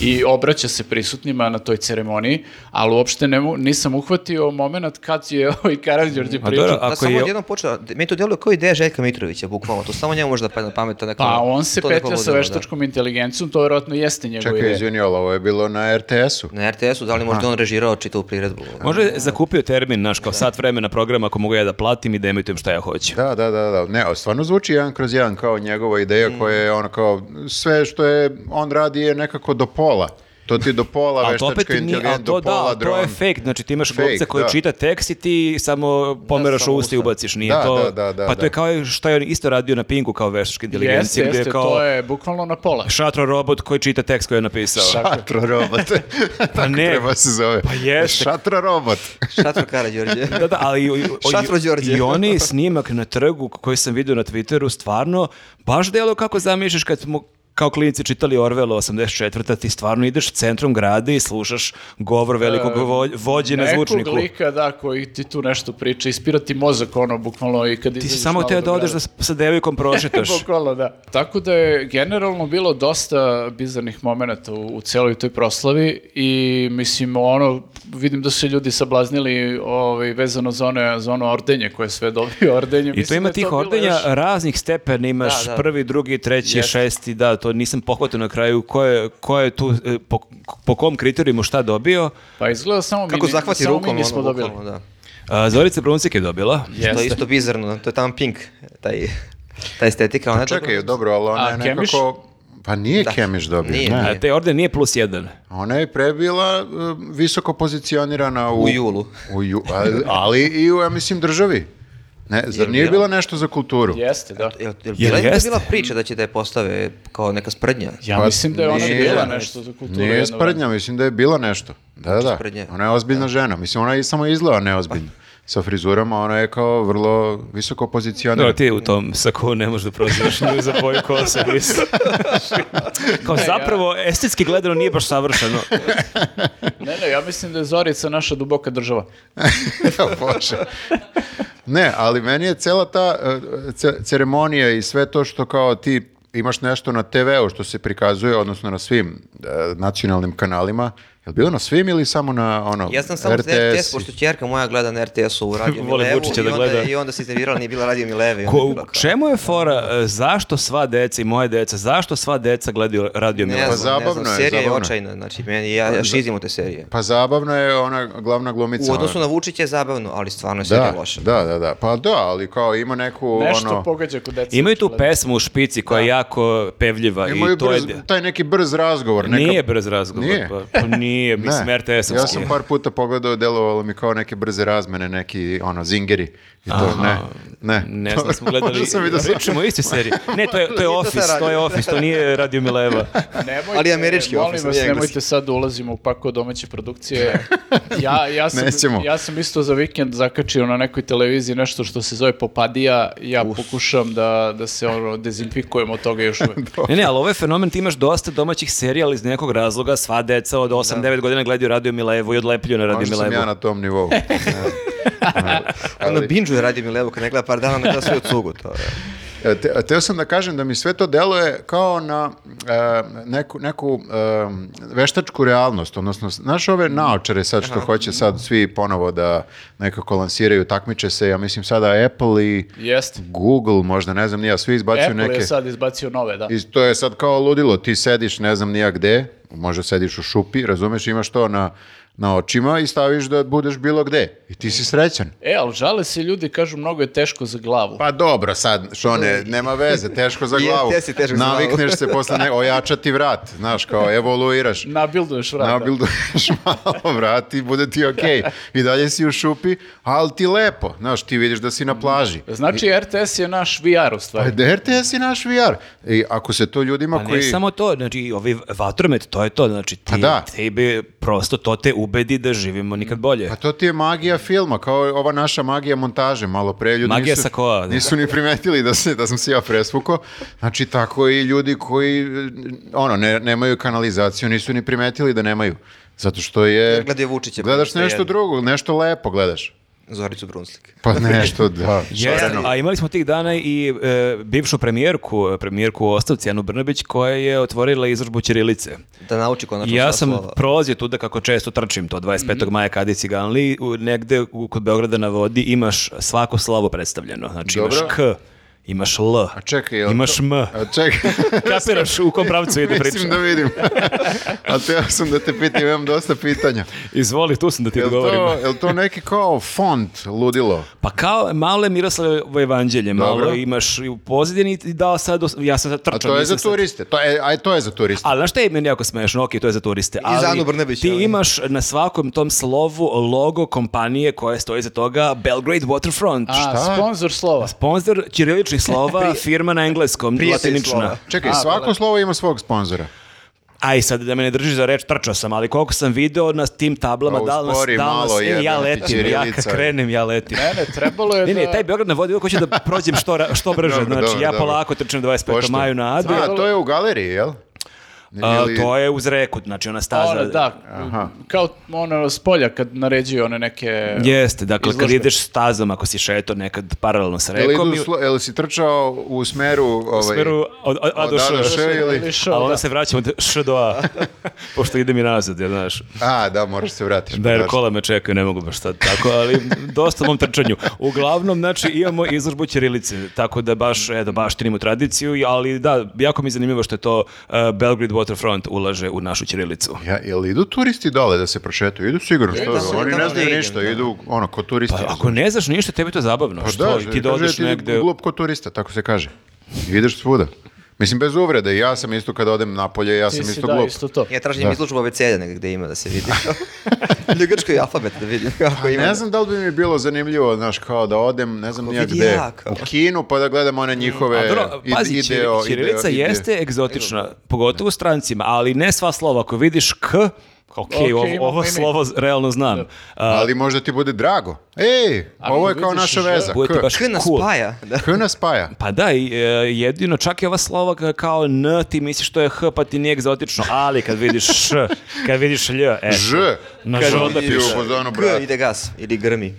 i obraća se prisutnima na toj ceremoniji, ali uopšte ne, mo- nisam uhvatio moment kad je ovaj Karadžorđe
A dobro,
pričao.
Da,
ako
samo
je...
odjednom počela, meni to djeluje kao ideja Željka Mitrovića, bukvalno, to samo njemu možda padne na pamet. to neko-
Pa on se
to neko
petlja sa
ludilo, da.
veštačkom inteligencijom, to vjerojatno jeste njegov
Čekaj, izvini, ali ovo je bilo na RTS-u.
Na RTS-u, da li možda on režirao čitavu priredbu?
Možda je zakupio termin, znaš, kao sat vremena programa ako mogu ja da platim i da emitujem šta ja hoću.
Da, da, da, da. Ne, ali stvarno zvuči jedan kroz jedan kao njegova ideja
Mm.
koja je ono kao sve što je on radi je nekako do pola. To ti je do pola
Ali to opet
veštačka
nije,
inteligencija,
ali
do
to da,
pola
ali to je
dron.
fake, znači ti imaš
Fake,
glumca koji
da.
čita tekst i ti samo pomeraš
samo
usta i
usta.
ubaciš, nije
Da,
to...
da, da, da,
pa to je
da.
kao što je on isto radio na Pinku kao veštačka
Jeste,
inteligencija, gdje
jeste,
je kao
to je bukvalno na pola.
šatro robot koji čita tekst koji je napisao.
Šatro robot. Tako
ne.
treba se zove. Pa
jeste.
Šatro robot.
Šatro Karađorđe.
Da, da, ali i- i-
Šatro Đorđe.
i oni snimak na trgu koji sam vidio na Twitteru stvarno baš delo kako zamišljaš kad smo kao klinici čitali Orvelo 84. ti stvarno ideš centrom grada i slušaš govor velikog
E,
vo- vođe na zvučniku.
Nekog lika, da, koji ti tu nešto priča, ispira ti mozak, ono, bukvalno, i kad
Ti si samo teo da odeš da s- sa devojkom prošetaš.
Bukvalno, da. Tako da je generalno bilo dosta bizarnih momenata u, u celoj toj proslavi i, mislim, ono, vidim da su se ljudi sablaznili ovaj, vezano za, one, za ono ordenje koje sve dobio ordenje.
I to
Mislim
ima
da je
tih
bilo
ordenja e,
još-
raznih stepena, imaš
Da, da.
prvi, drugi, treći,
Jeste.
šesti, da, to nisam pohvatio na kraju, ko je, ko je tu, e, po, po kom kriterijumu šta dobio.
Pa izgleda samo mi,
Kako
ni-
zahvati
samo mi
rukom,
nismo
ono,
dobili.
bukvalno, da.
A, Zorica Bruncik je dobila.
To je
Jeste.
isto bizarno, to je tamo Pink, taj... Ta estetika, ona je dobra.
Pa Čekaj, dobro, ali ona
A
je
Kemiš?
nekako... Pa nije Kemiš dobio,
Nije,
ne.
nije.
A te orden nije plus jedan.
Ona je prebila e, visoko pozicionirana u...
U julu.
U ju- ali, ali i u, ja mislim, državi. Ne, zar nije bila nešto za kulturu?
Jeste, da.
Jel, jel,
Jel
bila, je
jeste?
bila priča da će da je postave kao neka sprdnja?
Ja
Pa
mislim da je ona
nije-
bila nešto za kulturu. Znači
Nije
jedno vreme.
sprdnja, mislim da je bila nešto. Da, da,
sprdnja.
ona je ozbiljna žena. Mislim, ona je samo izgleda neozbiljna.
Pa.
Sa frizurama ona je kao vrlo visoko
Dobro,
pozicionirana.
ti u tom saku ne možeš da prozivaš nju za boju kose. mislim. Kao zapravo, estetski gledano nije baš savršeno.
Ne, ne, ja mislim da je Zorica naša duboka država.
Evo, Bože. Ne, ali meni je cela ta e, ce- ceremonija i sve to što kao ti imaš nešto na TV-u što se prikazuje, odnosno na svim e, nacionalnim kanalima. Je li bilo na svim ili samo na ono,
Ja sam samo RTS, RTS
RTS-u?
pošto ćerka moja gleda na RTS-u u Radio
Voli
Milevu
Vučića
i,
da
onda,
gleda.
i onda se iznervirala, nije bila Radio Mileve. i onda je
Ko,
bila kao-
čemu je fora, e, zašto sva deca i moje deca, zašto sva deca gledaju Radio
Ne
Milan?
znam,
zabavno
ne znam,
je,
serija je,
zabavno je.
očajna, znači meni, ja, ja šizim u te serije.
Pa zabavno je ona glavna glumica.
U odnosu
ona.
na Vučića je zabavno, ali stvarno je serija
da,
loša.
da, da, da. Pa da, ali kao ima neku
Nešto
ono...
pogađa kod deca.
Imaju tu
očigledno.
pesmu u špici koja je jako pevljiva i
Imaju
to je...
brz, taj neki brz razgovor. Neka...
Nije brz razgovor.
Nije?
Pa, pa nije,
Ne.
mislim, RTS-ovski.
Ja sam par puta pogledao, delovalo mi kao neke brze razmene, neki ono zingeri i to ne. Ne,
Ne znam, smo gledali,
Možda sam vidio samo-
pričamo o istoj seriji. Ne, to je, to je
to
Office,
sa
to je
radio.
Office, to nije Radio Mileva.
Nemojte,
Ali američki
molim
office,
vas,
nije engleski.
nemojte sad da ulazimo u pakao domaće produkcije. Ja, ja, sam,
Nećemo.
ja sam isto za vikend zakačio na nekoj televiziji nešto što se zove Popadija. Ja pokušam da, da se ono, dezinfikujem od toga još uvek.
Ne, ne, ali ovo je fenomen, ti imaš dosta domaćih serija, ali iz nekog razloga sva deca od 8-9 godina gledaju Radio Milevu i odlepljuju na Radio
Možda sam
Milevu.
ja na tom nivou. Ne.
Ono
Ali-
binđuje Radio Milevu kad ne gleda par dana, ne gleda sve u cugu. To, je.
E, Te, teo sam da kažem da mi sve to deluje kao na e, neku, neku e, veštačku realnost, odnosno, znaš ove
Mm.
naočare sad što hoće sad svi ponovo da nekako lansiraju, takmiče se, ja mislim sada Apple i
Jeste.
Google, možda, ne znam, nija, svi izbacuju
Apple
neke...
je sad izbacio nove, da.
I to je sad kao ludilo, ti sediš ne znam nija gde, možda sediš u šupi, razumeš, imaš to na, na očima i staviš da budeš bilo gde. I ti si srećan.
E, ali žale se ljudi, kažu, mnogo je teško za glavu.
Pa dobro sad, što ne, nema veze, teško za
Je,
glavu.
tesi teško za glavu.
Navikneš se posle, ne, ojačati vrat, znaš, kao evoluiraš.
Nabilduješ vrata.
Nabilduješ malo vrat i bude ti okej. I dalje si u šupi, ali ti lepo. Znaš, ti vidiš da si na plaži.
Znači, RTS je naš VR u
Pa
stvari.
RTS je naš VR. I ako se to ljudima
Pa ne
koji...
samo to, znači i ovi vatromet, to je to, znači ti,
Pa da.
tebi prosto to te ubedi da živimo nikad bolje.
Pa to ti je magija filma, kao i ova naša magija montaže, malo pre ljudi
Magija
nisu,
sakoa, da.
nisu ni primetili da, se, da sam se ja presvukao. Znači, tako i ljudi koji eh, ono, ne, nemaju kanalizaciju, nisu ni primetili da nemaju. Zato što je...
Gledaju Vučića, pa
Gledaš
sve
nešto
jedno.
drugo, nešto lepo gledaš.
Zoricu Brunslik.
Pa nešto, da.
Jeste,
stvarno.
a imali smo tih dana i e, bivšu premijerku, e, premijerku u ostavci, Anu Brnabić, koja je otvorila izložbu Ćirilice.
Da nauči konačno sva
Ja sam
slova.
prolazio tuda kako često trčim to
Mhm.
25. maja kada je Ciganli, u- negde u- kod Beograda na vodi imaš svako slovo predstavljeno. Znači imaš
Dobro.
K, imaš L,
A čekaj, jel
imaš
to-
M.
A čekaj,
Kapiraš u kom pravcu ide priča.
mislim da vidim. a teo sam da te pitam, imam dosta pitanja.
Izvoli, tu sam da ti
Jel to,
odgovorim.
jel to neki kao font ludilo?
Pa kao malo je Miroslavovo evanđelje, malo
Dobro.
imaš i u pozadini i dao sad, os- ja sam sad trčao.
A to je
Pa
za
nisam sad-
turiste. To je, aj, to je za turiste.
Ali znaš šta je meni jako smešno? Ok, to je za turiste. ali
za Anu Brnabić,
Ti
ali.
imaš na svakom tom slovu logo kompanije koja stoji za toga Belgrade Waterfront.
A, sponsor slova.
Sponzor ćiriličnih slova, firma na engleskom,
prijatelj
latinična.
slova.
Čekaj,
A,
svako
dobro.
slovo ima svog sponzora.
Aj sad da me ne drži za reč, trčao sam, ali koliko sam video na tim tablama,
Pa,
da li nas,
uspori
da li nas-
malo,
e,
jebem
ja
ti,
letim, ja
ćirilica.
kad krenem, ja letim.
Ne, ne, trebalo je
Ne, ne,
da-
taj Beograd na vodi, uvijek hoću da prođem što, ra- što brže,
Dobro,
znači
dobro,
ja
dobro.
polako trčim 25.
Pošto-
maju na Adu,
A, to je u galeriji, jel?
a,
Ili-
to je uz reku, znači ona staza.
Ono, da, kao ono s polja kad naređuju one neke...
Jeste, dakle, kad
Izložbe.
ideš stazom, ako si šetao nekad paralelno sa
Jel,
rekom,
idu slo- jel si trčao u smeru... Ovaj,
smeru od, od, A do
od A do
Š.
Š ili-
Ili Š,
ali onda
da.
se vraćamo od Š do A, pošto idem i nazad, ja znaš.
A, da, moraš se vratiti.
Da, jer kola me čekaju, ne mogu baš sad tako, ali dosta mom trčanju. Uglavnom, znači, imamo izložbu Ćirilice, tako da baš, eto, baš tradiciju, ali da, jako mi je zanimljivo što je to uh, Belgrade Waterfront ulaže u našu ćirilicu.
Ja, jel idu turisti dole da se prošetaju? Idu sigurno, što
tamo-
da, oni
tamo
ne znaju
ne idem,
ništa,
da.
idu ono, ko turisti.
Pa, ako ne znaš ništa, tebi je to zabavno.
Pa
Što?
da,
I ti da
kaže,
odeš
ti
negde...
glup ko turista, tako se kaže. I ideš svuda. Mislim, bez uvrede, ja sam isto kada odem napolje, ja
Ti
sam
si,
isto
da,
glup.
isto to.
Ja tražim izložbu abeceda negdje gdje ima da se vidi. Ili grčkoj alfabet da vidim kako ima.
Ne znam da li bi mi bilo zanimljivo, znaš, kao da odem, ne znam nijak
vidi
gde,
ja, kao.
u Kinu, pa da gledam one njihove
A dobro,
ide-
pazi, ćir-
ideo,
ćirilica
ideo, ide-
jeste egzotična, pogotovo strancima, ali ne sva slova. Ako vidiš k, ok,
Ok,
ovo,
imamo
ovo
i mi.
slovo realno znam. A,
Ali možda ti bude drago. Ej, ovo je
vidiš
kao naša
žel-
veza.
bude ti
K.
baš
K nas
cool.
spaja. Da.
K nas spaja.
Pa da, i, e, jedino, čak i ova slova ka- kao n, ti misliš to je h, pa ti nije egzotično, ali kad vidiš š, kad vidiš lj, e,
Ž.
na
Kad
ž onda
vidi
piše.
u fazonu,
G
brate.
ide gas ili grmi.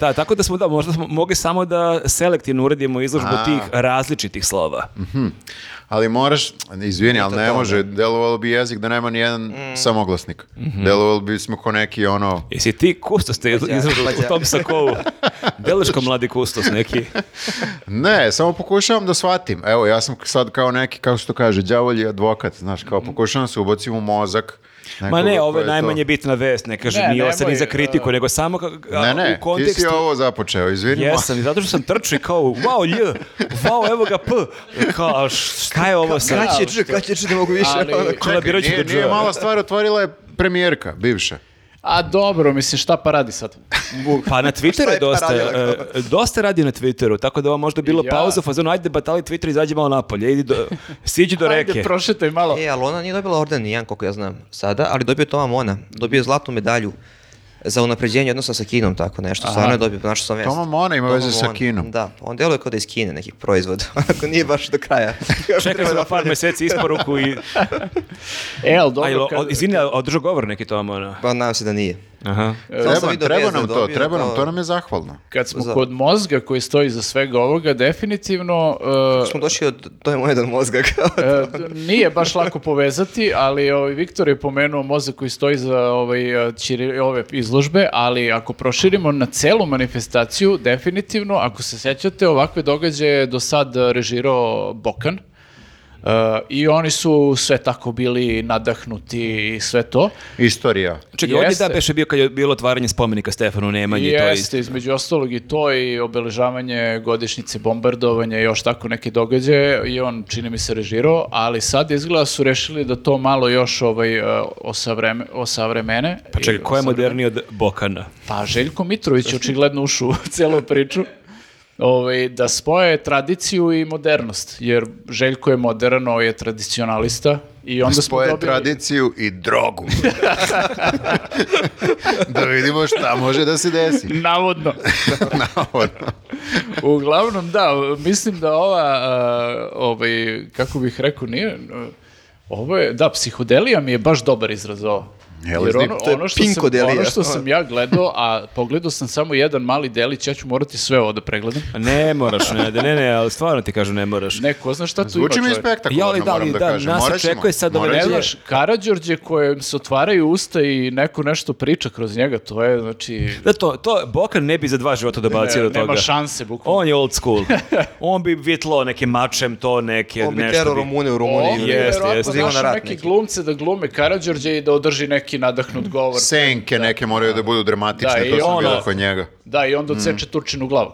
Da, tako da smo, da, možda smo mogli samo da selektivno uredimo izložbu
A. Mhm.
tih različitih slova.
Ali moraš, izvini, ali ne može, delovalo bi jezik da nema ni jedan
Mm.
samoglasnik.
Mhm.
Delovalo bi smo ko neki ono,
Jesi ti kustos te
Pađa-
izložbu u
pađa.
tom sakovu? Deliš ko mladi kustos neki.
ne, samo pokušavam da shvatim. Evo, ja sam sad kao neki, kako se to kaže, đavolji advokat, znaš, kao pokušavam da se ubacim u mozak.
Mhm. Ma
nekoga
ne,
ko
ovo je
to-
najmanje bitna vest, ne kažem,
Ne,
nije ovo sad ni
nemoj,
za kritiku,
e,
nego samo ka- a,
Ne, ne,
u
ti si
kontekstu.
ovo započeo, izvini.
Jesam, i zato što sam trčao i kao, wow, lj, wow, evo ga p, kao, a š- šta je ovo sad?
Kad će G, kad će G, ne mogu više.
Ali-
ono,
Čekaj,
Kolabirat ću
nije,
do G.
nije mala stvar, otvorila je premijerka, bivša.
A dobro, mislim, šta pa radi sad? Vuk.
Pa na Twitteru
Šta
je
je pa
dosta,
radila,
e, dosta radi na Twitteru, tako da ovo možda bilo
Ja.
pauza, fazonu, ajde batali Twitter, izađi malo napolje, idi do, siđi do reke.
Ajde, prošetaj malo.
E, ali ona nije dobila orden nijedan, koliko ja znam sada, ali dobio je Toma Mona. Dobio je zlatnu medalju za unapređenje odnosa sa Kinom, tako nešto. Stvarno je dobio, našao sam vest.
Toma Mona ima
Toma
veze sa
Mona,
Kinom.
Da, on deluje kao da je iz Kine neki proizvod, ako nije baš do kraja.
Čekaj
Treba
sam
da
na par meseci isporuku i...
E, ali
A, jel,
dobro, kad-
od- izvini, a održao govor neki tamo, ono.
Pa nadam se da nije.
Aha.
Samo sam
E, Treba,
vidio
treba
vest da
nam
je
to,
dobio,
treba nam,
kao-
to nam je zahvalno.
Kad smo
Za-
kod mozga koji stoji za svega ovoga, definitivno uh,
Smo došli od, to je moj jedan mozga. kao.
e, nije baš lako povezati, ali ovaj, Viktor je pomenuo mozak koji stoji za ovaj, e, ćiri- ove izložbe, ali ako proširimo na celu manifestaciju, definitivno, ako se sećate, ovakve događaje je do sad e, režirao Bokan, e, I oni su sve tako bili nadahnuti i sve to.
Istorija.
Čekaj, ovdje
Jeste.
da beše bio kad je bilo otvaranje spomenika Stefanu Nemanji, to je isto.
Jeste, između ostalog i to i obeležavanje godišnjice bombardovanja i još tako neke događaje i on čini mi se režirao, ali sad izgleda su rešili da to malo još ovaj, e, osavreme, osavremene.
Pa čekaj,
I
ko je
osavremene-
moderniji od Bokana?
Pa Željko Mitrović je očigledno ušao u celu priču. Ovaj, da spoje tradiciju i modernost, jer Željko je modern, ovo je tradicionalista i onda smo
Spoje
dobili...
tradiciju i drogu. da vidimo šta može da se desi.
Navodno.
Navodno.
Uglavnom, da, mislim da ova, a, ovaj, kako bih rekao, nije, a, ovo je, da, psihodelija mi je baš dobar izraz ovo.
Jel,
Jer ono,
to je
ono, što sam,
pinkodelija.
ono što sam ja gledao, a pogledao sam samo jedan mali delić, ja ću morati sve ovo da pregledam.
Pa Ne moraš, ne, ne, ne, ali stvarno ti kažu ne moraš.
Ne, ko zna šta tu ima
Zvuči mi
čovjek.
spektakularno,
Joj, da li,
moram da,
da,
kažem.
nas
Morat ćemo,
očekuje sad ove
morat
Ne
ćemo.
nedelje.
znaš, Karađorđe kojem se otvaraju usta i neko nešto priča kroz njega, to je, znači...
Da to, to Bokan ne bi za dva života dobacio
ne-
do toga.
nema šanse, bukvalno.
On je old school. On bi vitlo nekim mačem to neke
On bi
nešto.
terao
bi-
Rumune u
Ovdje
Rumuniji.
je
jeste,
verovatno
jeste.
Poziva na
našao
rat
neke
neki.
glumce da glume Karađorđe i da održi neki nadahnut govor.
Senke neke moraju da budu dramatične,
Da, i
to sam
ono-
bilo kod njega.
Da, i onda odseče
Mm.
Turčinu glavu.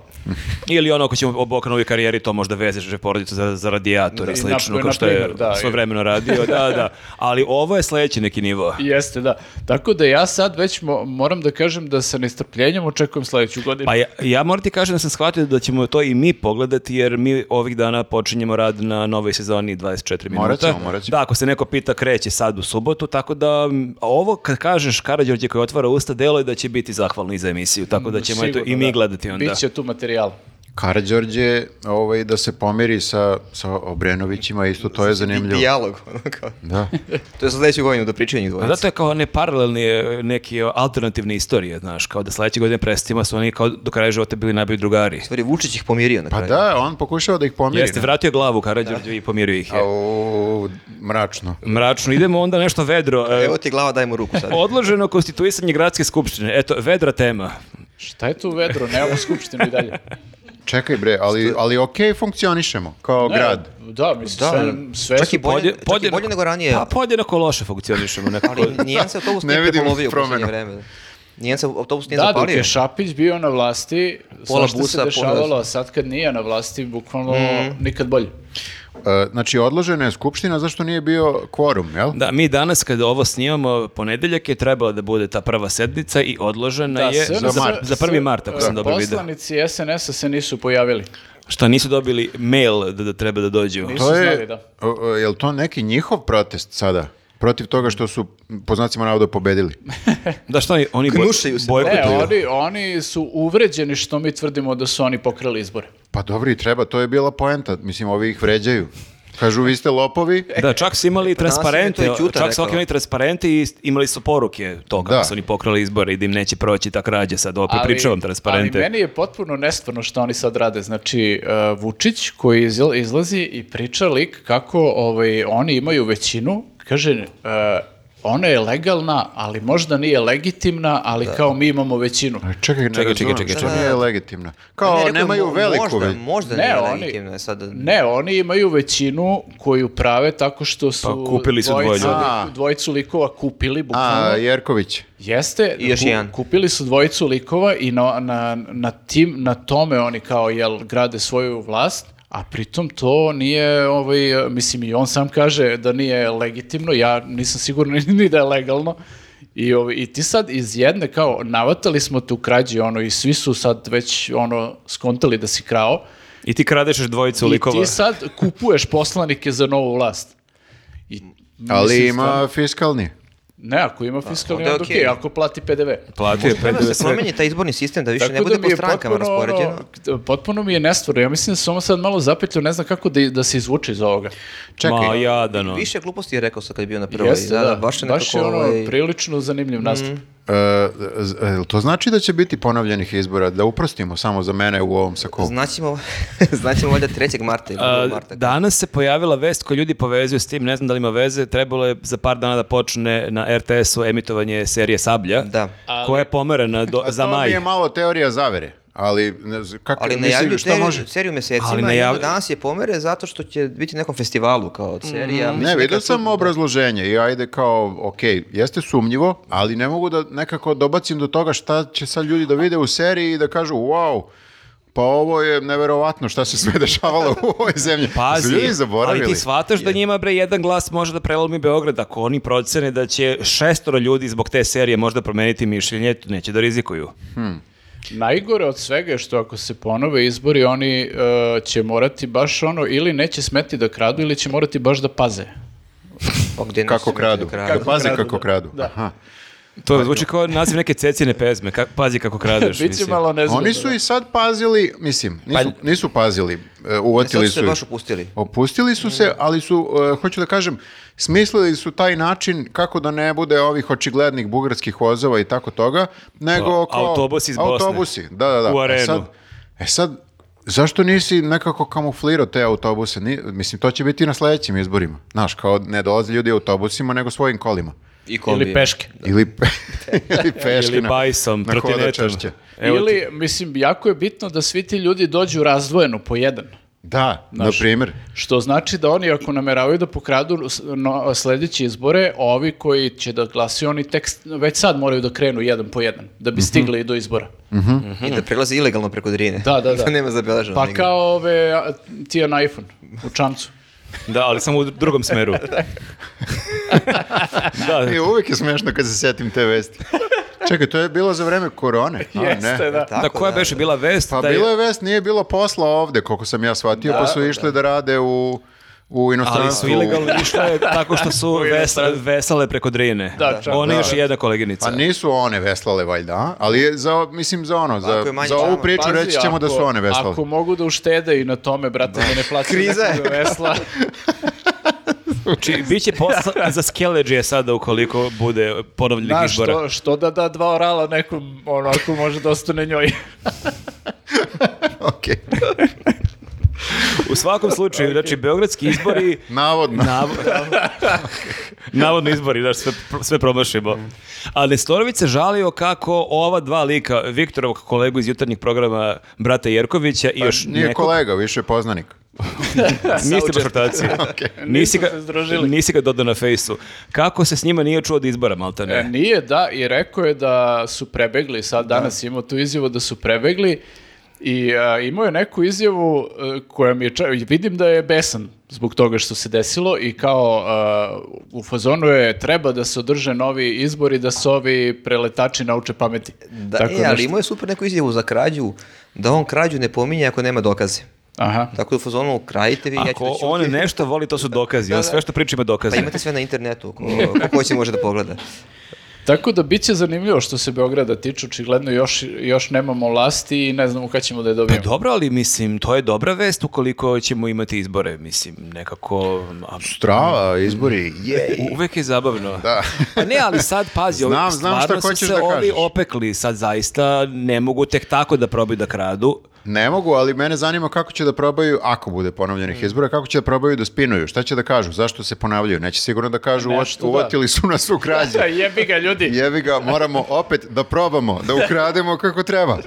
Ili ono ako ćemo o Bokanovi karijeri to možda vezeš že porodicu za, za radijatora,
I
slično
na-
kao
na
što je
primer, da,
svoje vremeno radio. Da, da. Ali ovo je sledeći neki nivo.
Jeste, da. Tako da ja sad već mo- moram da kažem da sa nestrpljenjem očekujem sledeću godinu.
Pa ja, ja moram ti kažem da sam shvatio da ćemo to i mi pogledati jer mi ovih dana počinjemo rad na novoj sezoni 24 minuta.
Morat ćemo, morat ćemo.
Da, ako se neko pita kreće sad u subotu, tako da m, a ovo kad kažeš Karađorđe koji otvara usta, delo je da će biti zahvalni za emisiju, tako
Mm,
da ćemo eto,
Sigurno,
i mi
da.
gledati onda.
Biće tu materijal.
Karađorđe, ovaj, da se pomiri sa, sa Obrenovićima, isto to je zanimljivo.
Dijalog, ono kao.
Da.
To je za sljedeću godinu do pričanja
Pa
njih
A
dvojica.
zato je kao ne paralelni e, neki e, alternativne istorije, znaš, kao da sledeće godine predstavimo su oni kao do kraja života bili najbolji drugari.
Stvari, Vučić ih pomirio na
Pa
kraju.
da, on pokušava da ih pomiri.
Jeste, vratio glavu Karađorđe i pomirio ih je.
Au, mračno.
Mračno, idemo onda nešto vedro. e,
Evo ti glava, daj mu ruku sad.
Odloženo konstituisanje gradske skupštine. Eto, vedra tema.
Šta je tu vedro? Nemamo skupštinu i dalje.
Čekaj bre, ali, ali ok, funkcionišemo kao grad.
Da,
Da.
mislim, sve, sve
Čak i
su-
bolje, čak i bolje
podjednako-
nego ranije.
Pa podjednako loše funkcionišemo. Nekako.
Ali nijedan se autobus
Ne
nije
vidim
prepolovio u posljednje
promenu.
vreme. Nijedan se autobus nije
Da, dok
zapalio.
je Šapić bio na vlasti,
Pola
pola što
busa,
se
pola-
dešavalo, a sad kad nije na vlasti, bukvalno
Mm.
nikad bolje.
E, znači, odložena je skupština zašto nije bio kvorum, jel?
Da, mi danas kada ovo snimamo ponedeljak je trebala da bude ta prva sednica i odložena je
SNS
za,
mart.
za 1. mart, ako sam
e,
dobro vidio.
Poslanici SNS-a se nisu pojavili.
Šta, nisu dobili mail da, da treba da dođu?
Nisu.
To je,
znali, da.
o, o, jel to neki njihov protest sada? Protiv toga što su, m, po znacima navoda, pobedili.
Da, šta oni, oni boj-
Gnušaju se.
bojkotuju?
Ne, E, oni, oni su uvređeni što mi tvrdimo da su oni pokrali izbore.
Pa dobro i treba, to je bila poenta. Mislim, ovi ih vređaju. Kažu, vi ste lopovi.
Da, čak su imali
danas je
transparente,
to i Ćuta
čak su
rekao.
imali transparente i imali su poruke toga
Da.
da. su oni pokrali izbore i da im neće proći ta krađa sad, opet pričam vam transparente.
Ali meni je potpuno nestvarno što oni sad rade. Znači, e, Vučić koji izla- izlazi i priča lik kako ovaj, oni imaju većinu, kaže, e, ona je legalna, ali možda nije legitimna, ali kao mi imamo većinu.
A Čekaj, ne čekaj,
Čekaj, čekaj,
čekaj,
čekaj,
Što
čekaj.
nije legitimna? Kao,
Ne, rekao je
nemaju
mo-
veliku
Možda,
već.
možda
Ne,
nije
oni-
legitimno je sad.
Ne, oni imaju većinu koju prave tako što su
Pa kupili su dvoje
dvojicu,
ljudi.
li- dvojicu likova kupili bukvalno.
A, Jerković.
Jeste,
I još
ku-
jedan.
kupili su dvojicu likova i na, na, na, tim, na tome oni kao jel grade svoju vlast, a pritom to nije, ovaj, mislim i on sam kaže da nije legitimno, ja nisam siguran ni da je legalno. I, ovaj, I ti sad iz jedne kao navatali smo tu krađi ono i svi su sad već ono skontali da si krao
I ti kradeš još dvojicu likova.
i ti sad kupuješ poslanike za novu vlast. I,
Ali
mislim,
ima
stvarno-
fiskalni.
Ne, ako ima fiskalni,
Pa, onda je
onda okej,
okej.
ako plati PDV.
Platio je
Treba da
PDV
se
sve.
promeni taj izborni sistem, da više
Tako
ne bude
da mi
po
je
strankama
potpuno, ono,
raspoređeno.
t- potpuno mi je nestvarno. Ja mislim da sam ovo sad malo zapetljao, ne znam kako da, da se izvuče iz ovoga.
Čekaj.
Ma, jadan on.
Više gluposti je rekao sad kad je bio na prvoj.
Jeste,
da, da, baš je nekako...
ono
ovaj,
prilično zanimljiv nastup.
E, z- jel to znači da će biti ponovljenih izbora? Da uprostimo samo za mene u ovom sakovu.
Znaćemo, znaćemo valjda 3. marta ili 2.
A,
marta.
danas se pojavila vest koju ljudi povezuju s tim, ne znam da li ima veze, trebalo je za par dana da počne na RTS-u emitovanje serije Sablja,
Da.
koja je pomerena do,
A
za
to mi
maj.
je malo teorija zavere, ali ne znam, kako
Ali
mislim,
najavljuju
šta
seriju,
može?
seriju mesecima
Ali
ali
najavlju-
i danas je pomere zato što će biti na nekom festivalu kao od
Mm.
serija. Mislim,
Ne, vidio
nekad su-
sam obrazloženje i ajde kao, ok, jeste sumnjivo, ali ne mogu da nekako dobacim do toga šta će sad ljudi da vide u seriji i da kažu, wow, pa ovo je neverovatno šta se sve dešavalo u ovoj zemlji. Su
Pazi,
ljudi
ali
zaboravili.
ti shvataš da njima bre jedan glas može da prelomi Beograd ako oni procene da će šestoro ljudi zbog te serije možda promeniti mišljenje, to neće da rizikuju.
Najgore od svega je što ako se ponove izbori, oni e, će morati baš ono, ili neće smeti da kradu, ili će morati baš da paze.
Pa gde ne
Kako
smete
kradu.
da
Da paze
kradu,
kako
da.
kradu.
Da.
Aha.
Pa
To zvuči kao naziv neke cecine pesme, ka- pazi kako kradeš.
Biće
mislim.
malo ono, nezgodno.
Oni su i sad pazili, mislim, nisu, nisu pazili, e,
Pa Sad
uvotili
su
su
se
ih.
baš upustili.
Opustili su
Mm.
se, ali su, e, hoću da kažem, smislili su taj način kako da ne bude ovih očiglednih bugarskih vozova i tako toga, nego
Pa,
kao...
autobusi iz Bosne.
Autobusi, da, da, da.
U arenu.
E sad, e sad, zašto nisi nekako kamuflirao te autobuse? Ni- mislim, to će biti i na sledećim izborima. Znaš, kao ne dolaze ljudi autobusima, nego svojim kolima.
I
Ili peške.
Ili, pe- ili peški
Ili
na-
bajsom,
na hoda
trotinetom.
češće.
Evo ti.
ili, mislim, jako je bitno da svi ti ljudi dođu razdvojeno po jedan.
Da, na primjer.
Što znači da oni ako nameravaju da pokradu s- no, sledeće izbore, ovi koji će da glasuju, oni tekst već sad moraju da krenu jedan po jedan, da bi stigli do izbora.
I da prelazi ilegalno preko Drine.
Mhm. Da, da, da.
nema zabeleženo.
Pa
nigde.
kao ove, a, ti na iPhone, u čamcu.
Da, ali samo u drugom smeru. da,
I E, uvijek je smešno kad se sjetim te vesti. Čekaj, to je bilo za vreme korone. a ne?
Jeste, da.
Tako,
da koja
da,
beše bila vest?
Pa
da
bilo je vest, nije bilo posla ovde, koliko sam ja shvatio, pa su išle da rade u, u
Ali
inostranstvu.
su ilegalno išle tako što su vesale, vesale preko drine.
Da, čak,
Ona
da.
još i jedna koleginica.
Pa nisu one veslale valjda, a? ali je za, mislim za ono, za,
Ako je manje
za ovu
drama.
priču
Pazi,
reći ćemo da su
ako-
one veslale.
Ako mogu da uštede i na tome, brate, da ne plaćaju
Kriza je.
nekog vesla.
Či, biće Znači, posla za Skeleđije sada ukoliko bude ponovljenih
Znaš,
izbora.
što, što da da dva orala nekom, ono, ako može da ostane njoj.
Ok,
U svakom slučaju, znači, beogradski izbori...
navodno.
Nav... Navodno izbori, znaš, sve, sve promašimo. A Nestorović se žalio kako ova dva lika, Viktorovog kolegu iz jutarnjih programa Brata Jerkovića
Pa
i još
Pa Nije
nekog,
kolega, više je poznanik.
niste baš ortaci. nisi, ga,
Nismo se združili.
nisi ga dodao na fejsu. Kako se s njima nije čuo od izbora, malta
E,
ne?
Nije, da, i rekao je da su prebegli, sad danas imao tu izjavu da su prebegli i a, imao je neku izjavu e, koja mi je, ča- vidim da je besan zbog toga što se desilo i kao a, u fazonu je treba da se održe novi izbori da se ovi preletači nauče pameti.
Da, e, ali
nešto.
imao je super neku izjavu za krađu, da on krađu ne pominje ako nema dokaze.
Aha.
Tako da u fazonu krajite vi, ja ću da
Ako on
ćutim.
nešto voli, to su dokazi. On sve što priča ima
Pa
dokaze.
imate sve na internetu, ko, ko hoće može da pogleda.
Tako da bit će zanimljivo što se Beograda tiče, očigledno još, još nemamo lasti i ne znamo kada ćemo da je
Pa
dobijemo.
dobro, ali mislim, to je dobra vest ukoliko ćemo imati izbore, mislim, nekako... a,
Strava, izbori, jej.
u- Uvek je zabavno.
Da.
Pa ne, ali sad pazi, ovi,
Znam, znam šta
stvarno su
hoćeš
se
da
ovi
kažeš.
opekli, sad zaista ne mogu tek tako da probaju da kradu.
Ne mogu, ali mene zanima kako će da probaju, ako bude ponovljenih
Mm.
izbora, kako će da probaju da spinuju, šta će da kažu, zašto se ponavljaju, neće sigurno da kažu
Nešto da.
"Uvo- uvatili su nas u
Pa
krađi.
Jebi ga ljudi,
Jevi ga, moramo opet da probamo, da ukrademo kako treba.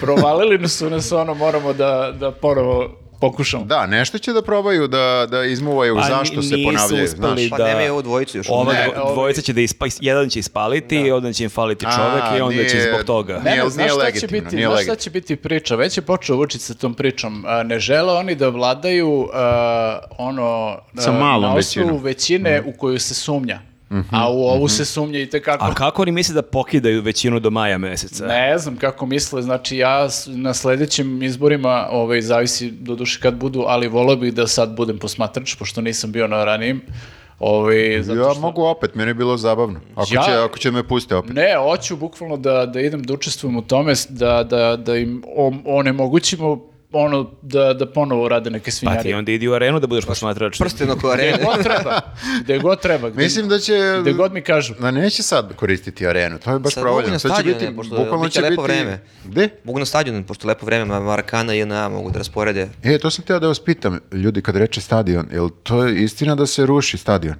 provalili su nas ono, moramo da, da ponovo pokušamo.
Da, nešto će da probaju da, da izmuvaju
Pa
zašto
ni-
se
nisu
ponavljaju. Znaš.
uspeli
Pa
da-
nemaju ovu dvojicu još. ono,
Ova
Ne,
dvo-
ovi-
dvojica će da ispa, jedan će ispaliti, i onda će im faliti čovek
A,
i onda će
nije-
zbog toga.
Ne,
Ne,
Nije-
ne,
nije
znaš šta će
legitimno,
biti,
nije
znaš šta
legitimno.
će biti priča, već je počeo Vučić sa tom pričom, A, ne žele oni da vladaju a, ono a,
Sa malom
na osnovu
većinom. Mm.
većine u koju se sumnja,
Mhm,
a u ovu se sumnja i tekako.
A kako oni misle da pokidaju većinu do maja meseca?
Ne znam kako misle, znači ja s- na sledećim izborima, ovaj, zavisi do duše kad budu, ali volio bih da sad budem posmatrač, pošto nisam bio na ranijim. Ovaj, zato
Ja
što-
mogu opet, meni je bilo zabavno. Ako,
Ja-
će, ako će me puste opet.
Ne, hoću bukvalno da, da idem da učestvujem u tome, s- da, da, da im om- onemogućimo ono da, da ponovo rade neke
Pa ti
svinjarije.
onda idi u arenu da budeš posmatrač.
Prsten oko arene.
Gde god treba, gde god treba, gde,
Mislim da će...
gde god mi kažu.
Da neće sad koristiti arenu, to je baš
Sad mogu i
provoljeno.
na
Sad će
stadione,
biti,
pošto
bukvalno
bit će
će biti...
lepo vreme.
Gde?
Mogu na stadion, pošto je lepo vreme, Marakana i JNA mogu da rasporede.
E, to sam teo da vas pitam, ljudi, kad reče stadion, jel to je istina da se ruši stadion?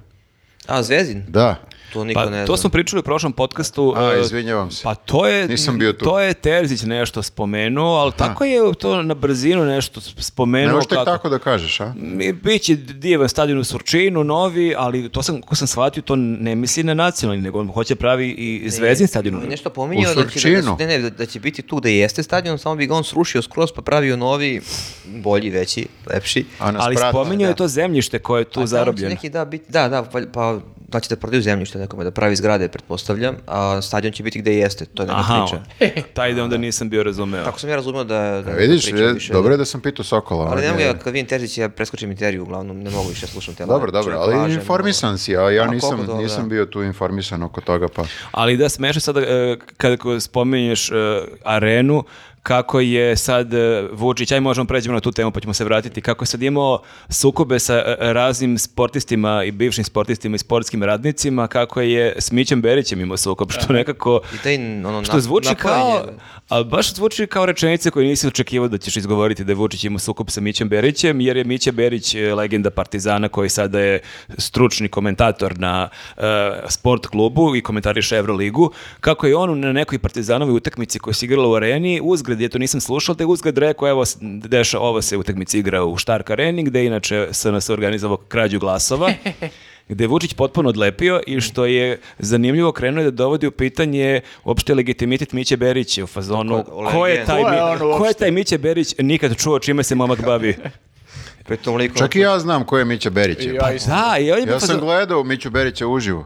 A, Zvezdin?
Da.
To niko
Pa,
ne zna.
to smo pričali u prošlom podcastu.
A,
e,
izvinjavam se.
Pa to je,
Nisam bio tu.
to je Terzić nešto spomenuo, ali tako je to na brzinu nešto spomenuo.
Ne možeš tek
kako-
tako da kažeš, a?
Mi- Biće divan stadion u Surčinu, novi, ali to sam, ko sam shvatio, to ne misli na nacionalni, nego on hoće pravi i zvezdin stadion.
On je Nešto pominjao
U
da će, da,
Surčinu.
ne, ne, da- da će biti tu da jeste stadion, samo bi ga on srušio skroz pa pravio novi, bolji, veći, lepši.
a nas
Ali
prate.
spominjao je to zemljište koje je tu
A tamo će
zarobljeno.
Neki, da, biti, da, da, pa, pa da će da prodaju zemljište nekome, da pravi zgrade, pretpostavljam, a stadion će biti gde jeste, to je neka
Aha,
priča.
taj da onda nisam bio razumeo.
Tako sam ja razumio da... da
E, Vidiš,
priča
e,
više,
dobro je
da-
da sam pitao Sokola.
Ali
on
ne mogu
je-
ja, kad vidim Terzić, ja preskočim intervju, uglavnom ne mogu više slušam te ono.
Dobro, dobro, ali informisan si, a ja
A,
nisam,
koliko dobro,
nisam
da.
bio tu informisan oko toga, pa...
Ali da smešno sada e, kada ko- spominješ e, arenu, kako je sad e, Vučić, aj možemo pređemo na tu temu pa ćemo se vratiti, kako je sad imao sukobe sa e, raznim sportistima i bivšim sportistima i sportskim radnicima, kako je s Mićem Berićem imao sukob, što nekako...
I taj, ono,
Što
nap-
zvuči kao,
napajanje.
a baš zvuči kao rečenice koje nisi očekivao da ćeš izgovoriti da je Vučić imao sukob sa Mićem Berićem, jer je Miće Berić e, legenda Partizana koji sada je stručni komentator na e, sport klubu i komentariše Euroligu, kako je on na nekoj Partizanovoj utakmici koja se igrala u areni, uzgled, ja to nisam slušao, da je uzgled rekao, evo, s- deša, ova se utakmica igra u Štark areni, gde je inače SNS organizovao krađu glasova. gde je Vučić potpuno odlepio i što je zanimljivo krenuo je da dovodi u pitanje uopšte legitimitet Miće Berića u fazonu
Tako,
ko je
legenda.
taj,
Ko je
Mi-
on
ko je
uopšte?
taj Miće Berić nikad čuo čime se momak bavi.
Pritom likom...
Čak i ja znam ko je Mića Berić.
I
Pa,
ja isto.
Da, i on je bio u
Ja sam
fazonu-
gledao Miću Berića uživo.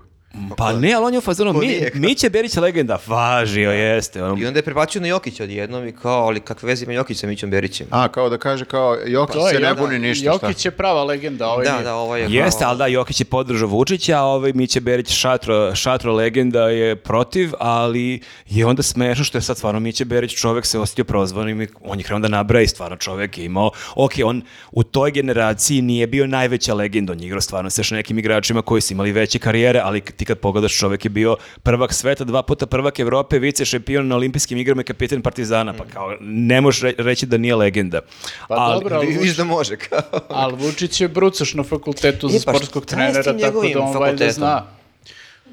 pa ne, ali on je u fazonu,
Ko
mi,
nije?
Miće Berić je legenda, važio jeste. ono.
I onda je prebacio na Jokića odjednom i kao, ali kakve veze ima Jokić sa Mićom Berićem?
A, kao da kaže, kao, Jokić
To je
se ne
jedan-
buni ništa, šta?
Pa Jokić je prava legenda, ovaj
Da,
nije.
da, ovo je... kao-
Jeste, ali da, Jokić je podržao Vučića, a ovaj Miće Berić šatro, šatro legenda je protiv, ali je onda smešno što je sad stvarno Miće Berić čovek se osjetio prozvanim i on je krenuo da nabraja i stvarno čovek je imao, ok, on u toj generaciji nije bio najveća legenda, on je igrao stvarno sa još nekim igračima koji su imali veće karijere, ali k- ti kad pogledaš čovek je bio prvak sveta, dva puta prvak Evrope, vice šampion na olimpijskim igrama i kapiten Partizana,
Mm.
pa kao ne možeš re- reći da nije legenda.
Pa dobro, ali
Viš da može, kao.
Ali Vučić je brucaš na fakultetu za
E, pa
sportskog
šta je s tim
trenera, tako
njegovim
da on valjda
fakultetom?
zna.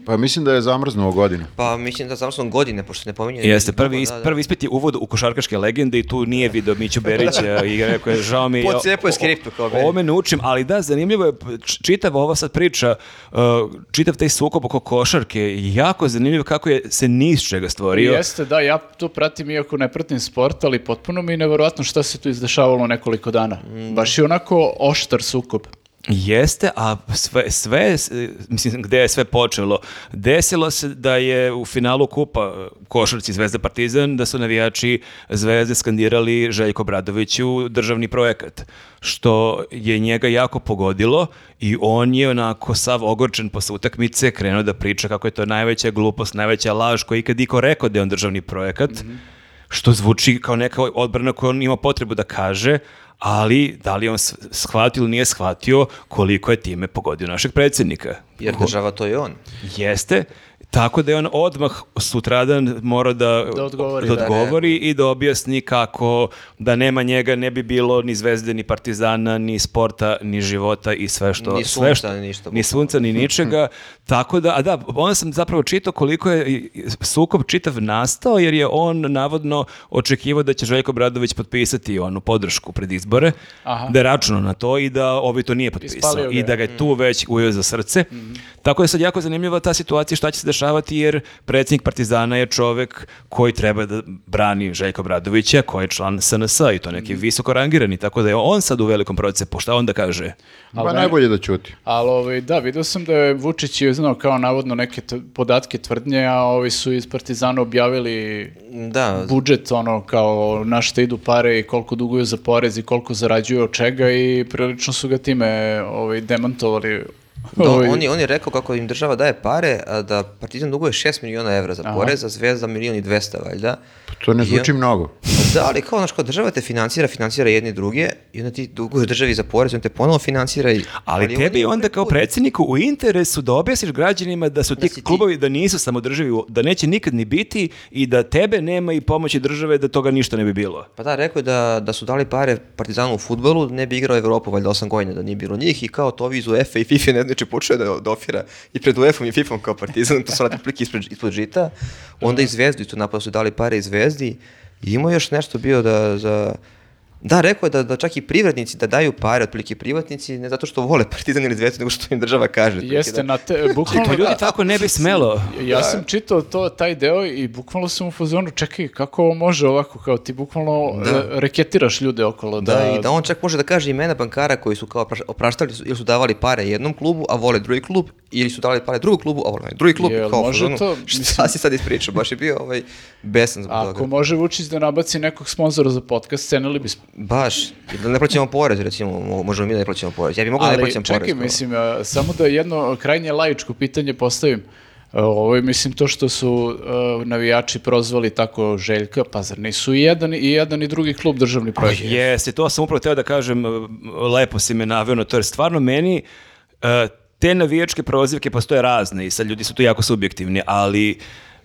Pa mislim da je zamrznuo godinu.
Pa mislim da samo sam godine, pošto ne pominjem.
Jeste, prvi, is,
Da, da.
prvi ispit je uvod u košarkaške legende i tu nije video Miću Berića i rekao je, žao mi.
Pocepao je
o- o-
skriptu kao
o Ovome naučim, ali da, zanimljivo je, č- čitava ova sad priča, uh, čitav taj sukob oko košarke, jako zanimljivo kako je se ni iz čega stvorio.
Jeste, da, ja to pratim iako ne pratim sport, ali potpuno mi je nevjerojatno šta se tu izdešavalo nekoliko dana.
Mm.
Baš je onako oštar sukob.
Jeste, a sve, sve je s- mislim, gde je sve počelo? Desilo se da je u finalu kupa e, košarci Zvezda Partizan, da su navijači Zvezde skandirali Željko Bradoviću državni projekat, što je njega jako pogodilo i on je onako sav ogorčen posle utakmice krenuo da priča kako je to najveća glupost, najveća laž koja je ikad iko rekao da je on državni projekat što zvuči kao neka odbrana koju on ima potrebu da kaže, ali da li je on s- shvatio ili nije shvatio koliko je time pogodio našeg predsjednika.
Jer država to je on.
Jeste, tako da je on odmah sutradan morao da,
Da odgovori,
da
da.
odgovori i da objasni kako da nema njega ne bi bilo ni zvezde, ni partizana, ni sporta, ni života i sve što...
Ni
sve što-
sunca, ni ništa.
Ni sunca, ni ničega. tako da, a da, onda sam zapravo čitao koliko je i- i sukob čitav nastao, jer je on navodno očekivao da će Željko Bradović potpisati onu podršku pred izbore,
Aha.
da je računao na to i da ovi to nije
Ispalio
potpisao.
ga
I
je. Mm. Mm-hmm.
da ga je tu već ujeo za srce. Tako da je sad jako zanimljiva ta situacija šta će se dešavati jer predsjednik Partizana je čovek koji treba da brani Željko Bradovića, koji je član SNS i to
Mm-hmm.
neki visoko rangirani, tako da je on sad u velikom procepu. Šta on da kaže?
Pa najbolje da ćuti.
Ali ovaj, da, vidio sam da je Vučić je znao kao navodno neke t- podatke tvrdnje, a ovi su iz Partizana objavili
Da,
budžet, ono kao na šta idu pare i koliko duguju za porez i koliko zarađuju od čega i prilično su ga time ovaj, demantovali.
da,
Ovaj,
on, je, on je rekao kako im država daje pare, a da Partizan duguje 6 miliona evra za porez, a Zvezda milion i 200, valjda.
To ne zvuči
Ja.
mnogo.
Da, ali kao, znaš, kao država te financira, financira jedni druge i onda ti duguješ državi za porez, on te ponovo financira. I,
Ali, tebi
oni
je onda
prvi
kao
put-
predsjedniku u interesu da objasniš građanima da su ti
si ti-
klubovi da nisu samodrživi, da neće nikad ni biti i da tebe nema i pomoći države da toga ništa ne bi bilo.
Pa da, rekao je da, da su dali pare Partizanu u futbolu, ne bi igrao Evropu, valjda 8 godina da nije bilo njih i kao to ovi iz UEFA i FIFA ne znači počeo da, da ofira i pred UEFA-om i FIFA-om kao Partizan, to su radili plike ispred, ispod žita, onda i Zvezdi tu napada su dali pare i Zvezdi i imao je još nešto bio da za... Da, rekao je da, da čak i privrednici da daju pare, otprilike privatnici, ne zato što vole Partizan ili Zvezdu, nego što im država kaže. otprilike,
Jeste,
da.
na te, bukvalno...
Pa ljudi
da.
tako ne bi smelo.
Ja sam čitao to, taj deo i bukvalno sam u fazonu, čekaj, kako ovo može ovako, kao ti bukvalno e, reketiraš ljude okolo. Da,
Da, i da on čak može da kaže imena bankara koji su kao opraš- opraštali su- ili su davali pare jednom klubu, a vole drugi klub, ili su davali pare drugom klubu, a vole onaj drugi klub.
Jel
kao u
može
fazonu,
to?
Šta
Mislim-
si sad ispričao? Baš je bio ovaj, besan zbog
Ako
toga.
može Vučić da nabaci nekog sponzora za podcast, cenili bismo.
Baš, jer da ne plaćamo porez, recimo, mo- možemo mi da ne plaćamo porez. Ja bi mogao da ne
Ali
plaćam
čekaj,
porez. kao.
mislim, e, samo da jedno krajnje laičko pitanje postavim. E, Ovo je, mislim, to što su e, navijači prozvali tako Željka, pa zar nisu i jedan i, jedan i drugi klub državni projekt?
Jeste, to sam upravo teo da kažem, e, lepo si me naveo na to, jer stvarno meni e, te navijačke prozivke postoje razne i sad ljudi su tu jako subjektivni, ali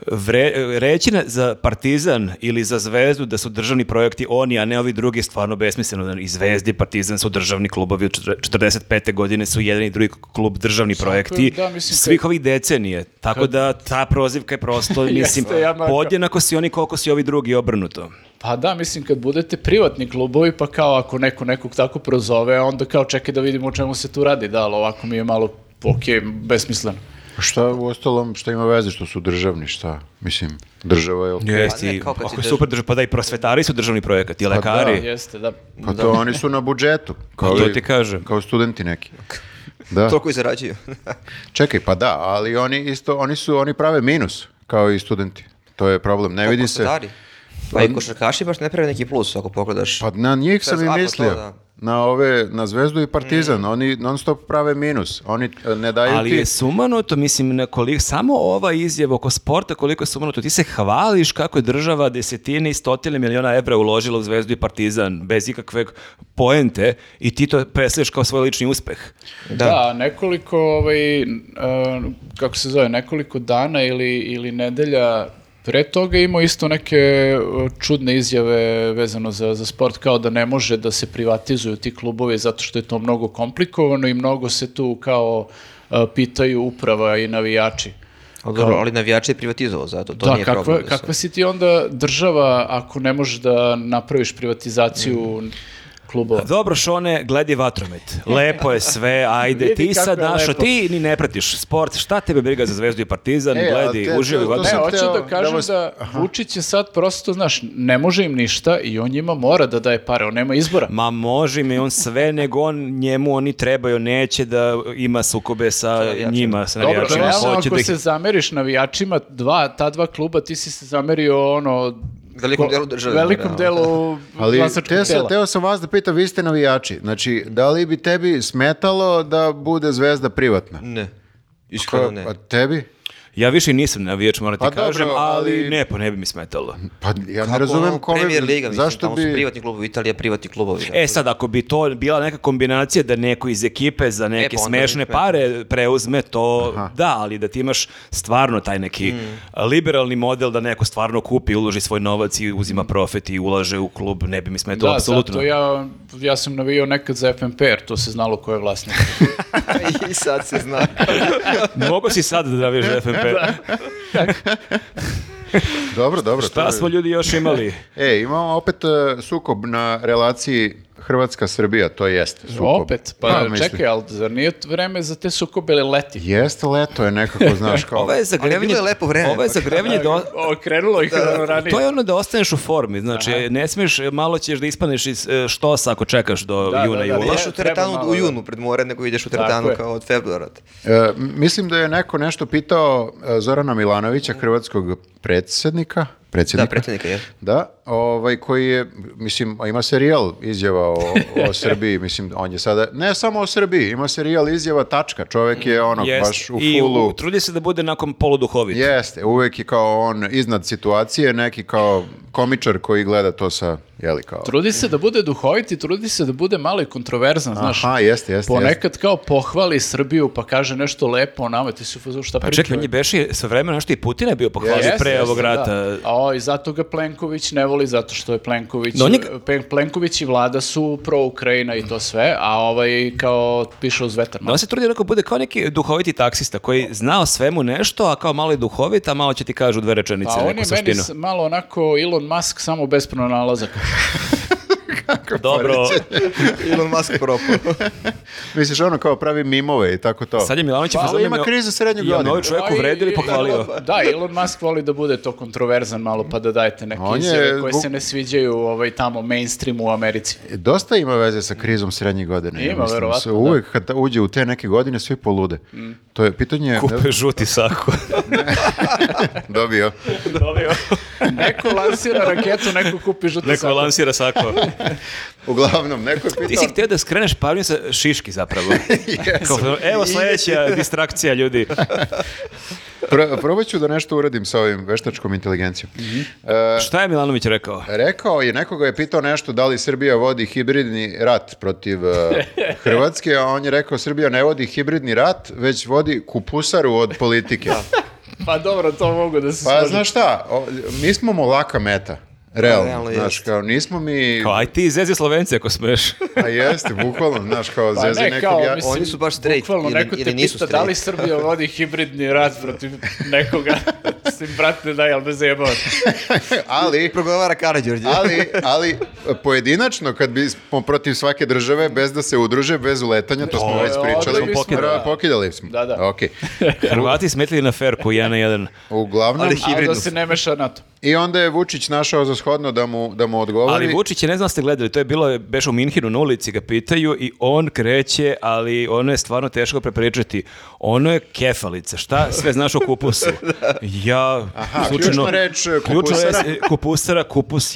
vre- reći na- za Partizan ili za Zvezdu da su državni projekti oni, a ne ovi drugi, je stvarno besmisleno. I Zvezdi i Partizan su državni klubovi od četre- 45. godine su jedan i drugi klub državni projekti
da, mislim,
svih
kad-
ovih decenije. Tako da ta prozivka je prosto, mislim,
Jeste, ja, Marko.
podjednako si oni koliko si ovi drugi obrnuto.
Pa da, mislim, kad budete privatni klubovi, pa kao ako neko nekog tako prozove, onda kao čekaj da vidimo o čemu se tu radi, da, ali ovako mi je malo, ok, besmisleno.
Šta u ostalom, šta ima veze što su državni, šta? Mislim, država je... okej.
Jeste,
Pa ne,
i
kao kad
ako
si
je super
drž-
država, pa da i prosvetari su državni projekat i lekari.
Jeste, da.
Pa to oni su na budžetu. Kao
To
i-
ti kažem.
Kao studenti neki. Da.
Toliko i zarađuju.
Čekaj, pa da,
Pa
ali oni isto, oni su, oni prave minus, kao i studenti. To je problem, ne vidi se.
prosvetari? Pa i košarkaši baš ne prave neki plus ako pogledaš.
Pa na njih sam
Bez
i
apa
mislio.
to, da.
Na ove, na Zvezdu i Partizan. Oni non stop prave minus. Oni e, ne daju
Ali
ti...
je sumanuto, mislim, na koliko, samo ova izjava oko sporta, koliko je sumanuto, ti se hvališ kako je država desetine i stotine miliona evra uložila u Zvezdu i Partizan, bez ikakve poente, i ti to presliješ kao svoj lični uspeh.
Da.
Da, nekoliko, ovaj, n- a, kako se zove, nekoliko dana ili, ili nedelja pre toga je imao isto neke e, čudne izjave vezano za, za sport, kao da ne može da se privatizuju ti klubovi zato što je to mnogo komplikovano i mnogo se tu kao e, pitaju uprava i navijači.
Ali, dobro, ali navijač je privatizovao zato, to
da,
nije
kakva,
problem. da se-
kakva si ti onda država ako ne možeš da napraviš privatizaciju
Mm.
klubova?
Dobro, Šone, gledi vatromet. Lepo je sve, ajde,
Vidi
ti sad
kako je
našo,
lepo.
ti ni ne pratiš sport, šta tebe briga za Zvezdu i Partizan,
E, a
gledi,
te-
uživi
to- to
vatromet.
Ne,
sam
hoću
hteo
da
da
kažem
vas-
da Vučić je sad prosto, znaš, ne može im ništa i on njima mora da daje pare, on nema izbora.
Ma može mi on sve, nego on, njemu oni trebaju, neće da ima sukobe sa
navijačima.
njima, sa
Dobro,
navijačima.
realno,
hoće
ako
da ih-
se zameriš navijačima, dva, ta dva kluba, ti si se zamerio ono...
Velikom
ko-
delu države,
Velikom
naravno.
delu
Ali
glasačkog
teo sam,
tela.
teo sam vas da pitam, vi ste navijači. Znači, da li bi tebi smetalo da bude zvezda privatna?
Ne, iskreno ne.
Pa tebi?
Ja više nisam navijač, moram ti
Pa dobro,
kažem, ali...
ali-
ne, pa ne bi mi smetalo.
Pa ja ne
Kako ono,
razumem kome...
Premier Liga, mislim,
zašto
tamo su
bi...
privatni klubovi, Italija privatni klubovi.
E sad, ako bi to bila neka kombinacija da neko iz ekipe za neke
E, pa onda bi
smešne
smetalo.
pare preuzme, to da, ali da ti imaš stvarno taj neki liberalni model da neko stvarno kupi, uloži svoj novac i uzima profit i ulaže u klub, ne bi mi smetalo,
Da,
apsolutno.
zato ja, ja sam navijao nekad za FNP, jer to se znalo ko je vlasnik. E,
I sad se zna.
Mogu si sad da navijaš za FNP.
Dobro, dobro. to
Šta
je-
smo ljudi još imali?
E, imamo opet e, sukob na relaciji Hrvatska-Srbija, to jest sukob.
Opet, pa
mislim.
čekaj, ali zar nije vreme za te sukobe ili leti?
Jeste leto je nekako, znaš, kao...
Ovo je
Ali bilo
zagrevanje,
je lepo vreme,
ovo je
pa-
zagrevanje do,
O, krenulo ih ono ranije.
To je ono da ostaneš u formi, znači ne smiješ, malo ćeš da ispaneš iz e, štosa ako čekaš do
Da,
juna
da,
i
da,
jula.
Ideš u
treba
teretanu
malo,
u
da.
junu pred more, nego ideš u
Tako
teretanu
je.
kao od februara.
E, mislim da je neko nešto pitao e, Zorana Milanovića, hrvatskog predsjednika,
Da,
predsjednika,
predsjednika je.
da, ovaj, koji je, mislim, a ima serijal izjava o, o Srbiji, mislim, on je sada, ne samo o Srbiji, ima serijal izjava tačka, čovek je ono,
Jest,
baš u
I
fulu.
u- trudi se da bude nakon poluduhovit.
Jeste, uvek je kao on iznad situacije, neki kao komičar koji gleda to sa, jeli kao...
Trudi se da bude duhovit i trudi se da bude malo i kontroverzan, znaš.
Aha, jeste, jeste, jeste.
Ponekad kao pohvali Srbiju pa kaže nešto lepo o nama, ti si u fazonu šta
Pa
priča.
čekaj, on je beše sve vremena nešto i Putina je bio pohvalio
Jeste,
pre
jeste,
ovog
da.
rata.
A o, i zato ga Plenković ne voli, zato što je Plenković,
No, on je-
Pe- Plenković i vlada su pro-Ukrajina i to sve, a ovaj kao piše uz vetar.
Da on se trudi da bude kao neki duhoviti taksista koji zna o svemu nešto, a kao malo je duhovit, a malo će ti kažu dve rečenice
Pa on je
neku
meni
suštinu.
s- malo onako Elon Musk samo bez pronalazaka.
Dobro,
Elon Musk propao.
Misliš ono kao pravi mimove i tako to.
sad je Milanović...
Ali ima krizu srednjeg
I on
godina.
ovaj čovjek uvredio i pohvalio.
Da, Elon Musk voli da bude to kontroverzan malo pa da dajete neke
On je
izjave koje
bu-
se ne sviđaju ovaj, tamo mainstreamu u Americi.
E, Dosta ima veze sa krizom srednjih godina. ja
Ima,
mislim.
verovatno,
Se
da.
Uvek kad uđe u te neke godine, svi polude. To je pitanje...
Mm. Kupe žuti sako.
Dobio.
Neko lansira raketu, neko kupi žuti
Neko
sako.
lansira sako.
Uglavnom, neko je
Ti si
pitao...
htio da skreneš pažnju sa šiški zapravo. Kao, evo sledeća distrakcija ljudi.
Pro- probat ću da nešto uradim sa ovim veštačkom inteligencijom.
Mhm.
E,
Šta je Milanović rekao?
Pa Rekao je, nekoga je pitao nešto da li Srbija vodi hibridni rat protiv e, Hrvatske, a on je rekao Srbija ne vodi hibridni rat, već vodi kupusaru od politike.
Pa dobro, to mogu da se
Pa
složim.
znaš šta, o, mi smo mu laka meta, realno.
realno
znaš,
jest.
kao nismo mi...
Kao, aj ti zezi Slovence ako smeš.
A jeste, bukvalno, znaš, kao
Pa
zezi
ne,
nekog...
kao,
ja-
mislim,
Oni su baš straight
Bukvalno,
ili-
neko te
ili nisu
pita da li
straight.
Srbija vodi hibridni rat protiv nekoga. Mislim, brat ne daj, ali ne zajebavate.
Ali,
Progovara Karadjordje.
ali, ali, pojedinačno, kad bismo protiv svake države, bez da se udruže, bez uletanja, to smo
O,
već pričali.
odbili smo,
Pokidali.
da.
Pokidali smo.
Da, da.
Okej.
Hrvati smetili na ferku, jedan na jedan.
Uglavnom,
Ali-
A
Hibridno.
da se ne meša NATO.
i onda je Vučić našao za shodno da mu, da mu odgovori.
Ali Vučić je, ne znam da ste gledali, to je bilo, beš u Minhinu na ulici, ga pitaju i on kreće, ali ono je stvarno teško prepričati. Ono je kefalica, šta sve znaš o kupusu? Ja,
Aha,
slučajno-
ključna reč,
eh,
e,
ključna reč,
kupusara.
e, kupusara, kupus,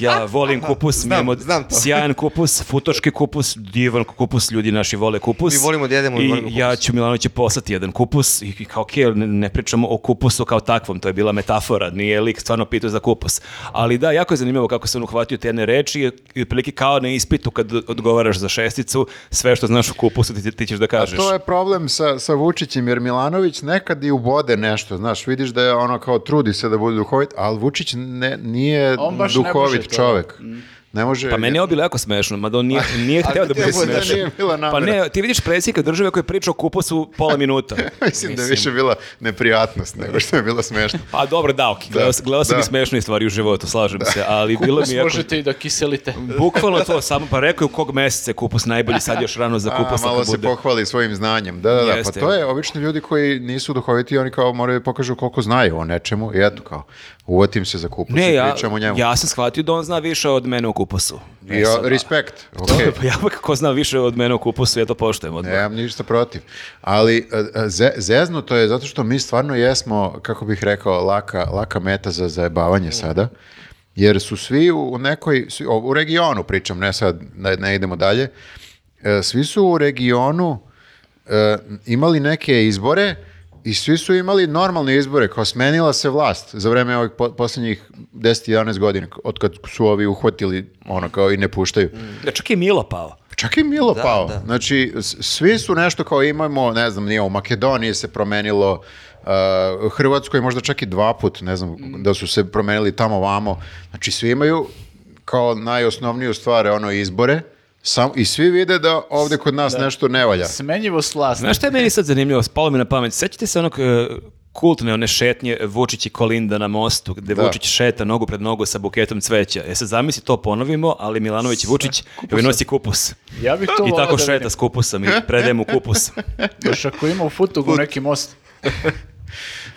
ja volim kupus,
znam,
mimo-
znam to.
sjajan kupus, futoški kupus, divan kupus, ljudi naši vole kupus.
Mi volimo da jedemo i
i
volimo kupus.
ja ću Milanoviću poslati jedan kupus i i kao ok, ne, ne pričamo o kupusu kao takvom, to je bila metafora, nije lik stvarno pitao za kupus. Ali da, jako je zanimljivo kako se on uhvatio te jedne reči i otprilike kao na ispitu kad odgovaraš za šesticu, sve što znaš o kupusu ti, ti ćeš da kažeš.
To je problem sa, sa Vučićem, jer Milanović nekad i ubode nešto, znaš, vidiš da je ono kao trudi se da bude duhovit, ali Vučić ne, nije
On baš ne može
duhovit
to. Mm.
čovek. Ne može...
Pa meni je ovo bilo jako smešno, mada on nije, nije hteo da bude
htio bude,
smešan.
nije bila
Pa
namera.
ne, ti vidiš predsjednika države koji priča o kupusu pola minuta.
Mislim, da je više bila neprijatnost nego što je bilo smešno.
Pa dobro, da, ok. Gledao, gledao sam
da.
i smešnije stvari u životu, slažem se, ali bilo mi je jako...
Možete i da kiselite.
Bukvalno to, samo pa rekao je u kog meseca je kupus najbolji, sad još rano za kupus.
A, malo
ako
se
bude.
pohvali svojim znanjem. Da, da, da.
Jeste.
pa to je obično ljudi koji nisu duhoviti, oni kao moraju da pokažu koliko znaju o nečemu i eto kao, uvotim se za kupus
Ne,
i
ja,
pričam o njemu.
ja E sam shvatio da on zna više od mene u kupusu.
I, o, respekt. okej.
Okay. ja pa kako zna više od mene u kupusu, ja to poštujem odmah.
Nemam ništa protiv. Ali e, e, ze, zezno to je zato što mi stvarno jesmo, kako bih rekao, laka, laka meta za zajebavanje sada. Jer su svi u u nekoj, svi- o, u regionu pričam, ne sad, ne, ne idemo dalje, E, svi su u regionu e, imali neke izbore i svi su imali normalne izbore, kao smenila se vlast za vreme ovih po, posljednjih 10-11 godina, od kad su ovi uhvatili ono kao i ne puštaju.
Da, čak je Milo pao.
Pa Čak i Milo
Da,
pao.
da.
Znači, s- svi su nešto kao imamo, ne znam, nije u Makedoniji se promenilo, uh, Hrvatskoj možda čak i dva put, ne znam,
Mm.
da su se promenili tamo vamo. Znači, svi imaju kao najosnovniju stvar, ono, izbore, sam, i svi vide da ovde kod nas nešto ne valja.
Smenjivo slast.
Znaš šta je meni sad zanimljivo, spalo mi na pamet, sećate se onog e, kultne one šetnje Vučić i Kolinda na mostu, gde
Da.
Vučić šeta nogu pred nogu sa buketom cveća. E sad zamisli to ponovimo, ali Milanović i Vučić joj nosi kupus.
Ja bih to
I
volao
tako
da
šeta
vidim.
s kupusom i predaje mu kupus.
Još ako ima u Futogu neki most.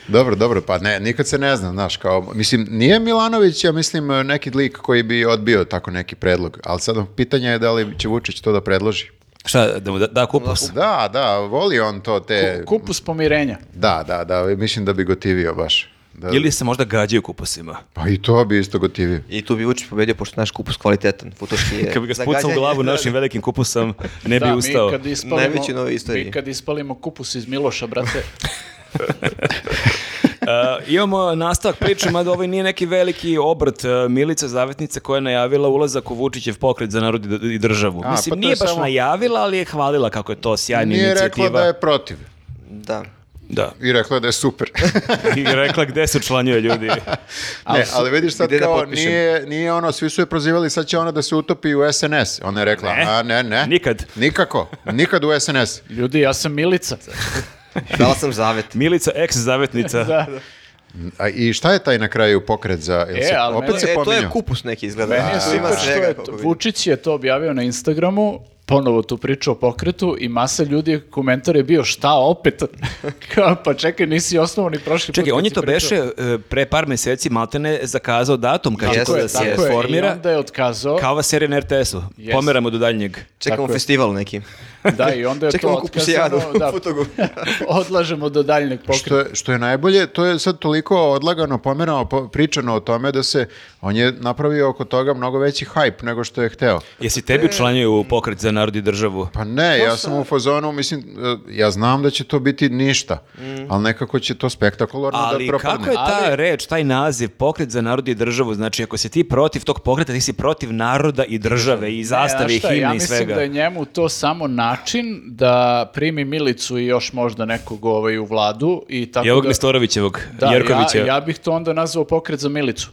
Dobro, dobro, pa ne, nikad se ne zna, znaš, kao, mislim, nije Milanović, ja mislim, uh, neki lik koji bi odbio tako neki predlog, ali sad pitanje je da li će Vučić to da predloži.
Šta, da mu da, da kupus?
Da, da, voli on to
E,
te...
Kupus pomirenja.
Da, da, da, mislim da bi gotivio baš. Da.
Ili se možda gađaju kupusima?
Pa i to bi isto gotivio.
I tu bi Vučić pobedio, pošto je naš kupus kvalitetan. Futoški je...
Kad bi ga
E, za
spucao u
gađanje.
glavu našim velikim kupusom, ne bi
da,
ustao.
mi kad ispalimo,
Najveći novi istoriji.
mi kad ispalimo kupus iz Miloša, brate,
E, imamo nastavak priče, mada ovaj nije neki veliki obrt. E, Milica Zavetnica koja je najavila ulazak u Vučićev pokret za narod i d- i državu.
A,
Mislim,
pa to
nije
je
baš
samo-
najavila, ali je hvalila kako je to sjajna
Nije
inicijativa.
rekla da je protiv.
Da.
Da.
I rekla je da je super.
I rekla gde se učlanjuje ljudi.
ne, ali vidiš sad
Gde da
kao,
potpišem?
nije, nije ono, svi su je prozivali, sad će ona da se utopi u SNS. Ona je rekla,
Ne.
a ne, ne.
Nikad.
Nikako, nikad u SNS.
ljudi, ja sam Milica.
Dala sam zavet.
Milica, ex-zavetnica.
Da.
A, I šta je taj na kraju pokret za... jel
E,
se-
ali
opet
meni-
se
E, to je
pominjao.
kupus neki izgleda.
Meni je
Tu ima
super što
svega,
je
koliko
to,
vidim.
Vučić je to objavio na Instagramu, ponovo tu priču o pokretu i masa ljudi, komentar je bio šta opet? Kao, pa čekaj, nisi osnovan ni prošli put
Čekaj,
kad
on je
si
to
pričao.
beše e, pre par meseci maltene zakazao datum kad će
Tako
to
je,
da se
tako
je, I
formira.
onda je otkazao.
Kao ova serija na RTS-u.
Jeste.
Pomeramo do daljnjeg.
Čekamo
Tako je.
festival neki.
Da, i onda je to
Čekamo kupusijadu
otkazano.
u
Da,
Futogu.
odlažemo do daljnjeg pokreta.
Što je, što je najbolje, to je sad toliko odlagano, pomerano, po- pričano o tome da se, on je napravio oko toga mnogo veći hype nego što je hteo.
Jesi
E.
tebi učlanjuje u pokret za narod i državu?
Pa ne, ja sam u fazonu, mislim, e, ja znam da će to biti ništa, ali nekako će to spektakularno
Ali
da propadne.
kako je ta
Ali-
reč, taj naziv, pokret za narod i državu, znači ako si ti protiv tog pokreta, ti si protiv naroda i države i zastave
Ne,
i
znaš E, šta,
himne
ja
i
mislim
svega.
da je njemu to samo način da primi Milicu i još možda nekog ovaj u vladu i tako
I ovog
da...
Nestorovićevog,
Da,
Jerkovića
ja, ja bih to onda nazvao pokret za Milicu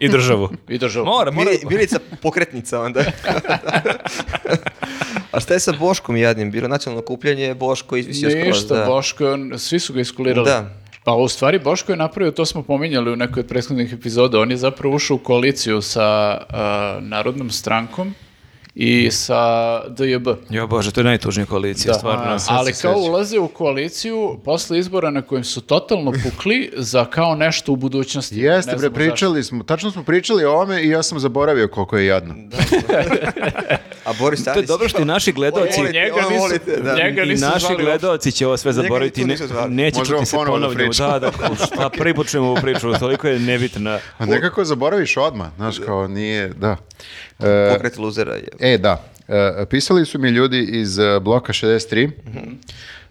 i državu.
i državu.
Mora, mora.
Bili- Bilica pokretnica onda. A šta je sa Boškom jadnim? Bilo je nacionalno kupljanje, Boško izvisio skroz.
Ništa,
da.
Boško, je on- svi su ga iskulirali.
Da.
Pa u stvari Boško je napravio, to smo pominjali u nekoj od prethodnih epizoda, on je zapravo ušao u koaliciju sa e, Narodnom strankom i sa DJB.
Jo bože, to je najtužnija koalicija,
Da.
stvarno.
sad
Ali
se
kao
sećam.
ulaze u koaliciju posle izbora na kojem su totalno pukli za kao nešto u budućnosti.
Jeste,
Ne
bre,
znamo zašto.
pričali smo, tačno smo pričali o ovome i ja sam zaboravio koliko je jadno.
A Boris
To je
Tadić...
dobro što i naši gledaoci
Volite,
njega
ono
nisu-
volite, da.
njega-
i
nisu
naši
zvali
gledaoci će ovo sve zaboraviti,
tu
ne,
nisu zvali.
neće
Možemo
čuti se
ponovo da
ponavljamo. Da,
pričamo.
da, šta prvi put čujemo ovu priču, toliko je nebitna.
A Pa nekako zaboraviš odmah, znaš, kao nije, da. E,
Pokret luzera je.
E, da. E, pisali su mi ljudi iz e, bloka 63.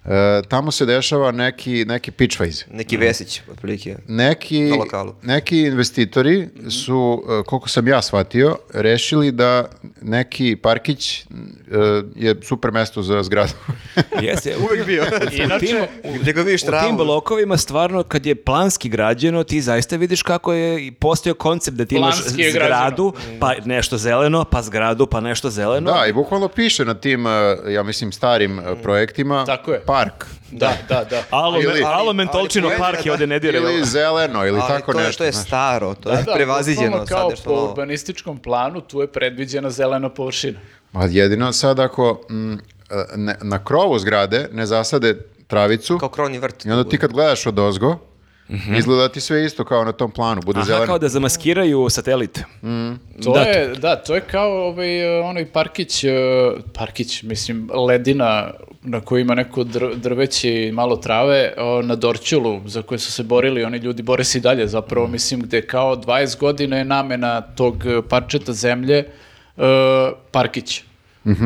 E, tamo se dešava neki, neki pitchface.
Neki Vesić, otprilike.
Neki,
Na lokalu.
neki investitori su, e, koliko sam ja shvatio, rešili da neki parkić e, je super mesto za zgradu.
Jeste,
Uvijek bio.
Inače,
Gdje ga vidiš
U tim
travu.
blokovima stvarno kad je planski građeno ti zaista vidiš kako je i postojao koncept da ti imaš
Planski je Mm.
zgradu, pa nešto zeleno, pa zgradu, pa nešto zeleno.
da, i bukvalno piše na tim, e, ja mislim, starim e, projektima
Tako je.
park.
da, da, da.
Alo,
Ili-
me- alo
ali-
mentolčino
ali
park
poenta da-
je ovde ne diraj.
Ili zeleno, ili
Ali
tako
to je,
nešto.
to je
znaš.
staro, to je
Da, da,
prevaziđeno.
bukvalno
Sad
kao
je
po
što...
urbanističkom planu, tu je predviđena zelena površina.
Ma jedino sad ako mm, e, ne- na krovu zgrade ne zasade travicu,
Kao krovni vrt.
I onda ti kad gledaš od ozgo,
Mhm.
izgleda ti sve isto kao na tom planu, bude
Aha,
zeleno. Mm.
kao da zamaskiraju satelit.
To
Da,
je, da, to je kao ovaj, e, onaj parkić, e, parkić, mislim, ledina na kojoj ima neko dr- drveće i malo trave o, na Dorćulu, za koje su se borili, oni ljudi bore se i dalje zapravo, mislim, gde kao 20 godina je namena tog e, parčeta zemlje e, parkić.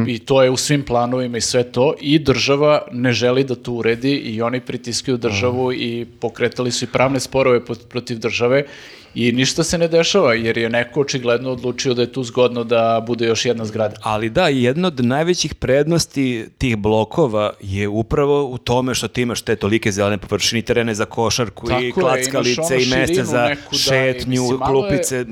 I to je u svim planovima i sve to i država ne želi da to uredi i oni pritiskaju državu i pokretali su i pravne sporove pot- protiv države i ništa se ne dešava jer je neko očigledno odlučio da je tu zgodno da bude još jedna zgrada.
Ali da, jedna od najvećih prednosti tih blokova je upravo u tome što ti imaš te tolike zelene površine, i terene za košarku
Tako
i
je, imaš ono
klackalice i mesta
širinu
za
neku, da, i
šetnju,
mislim, malo je-
klupice.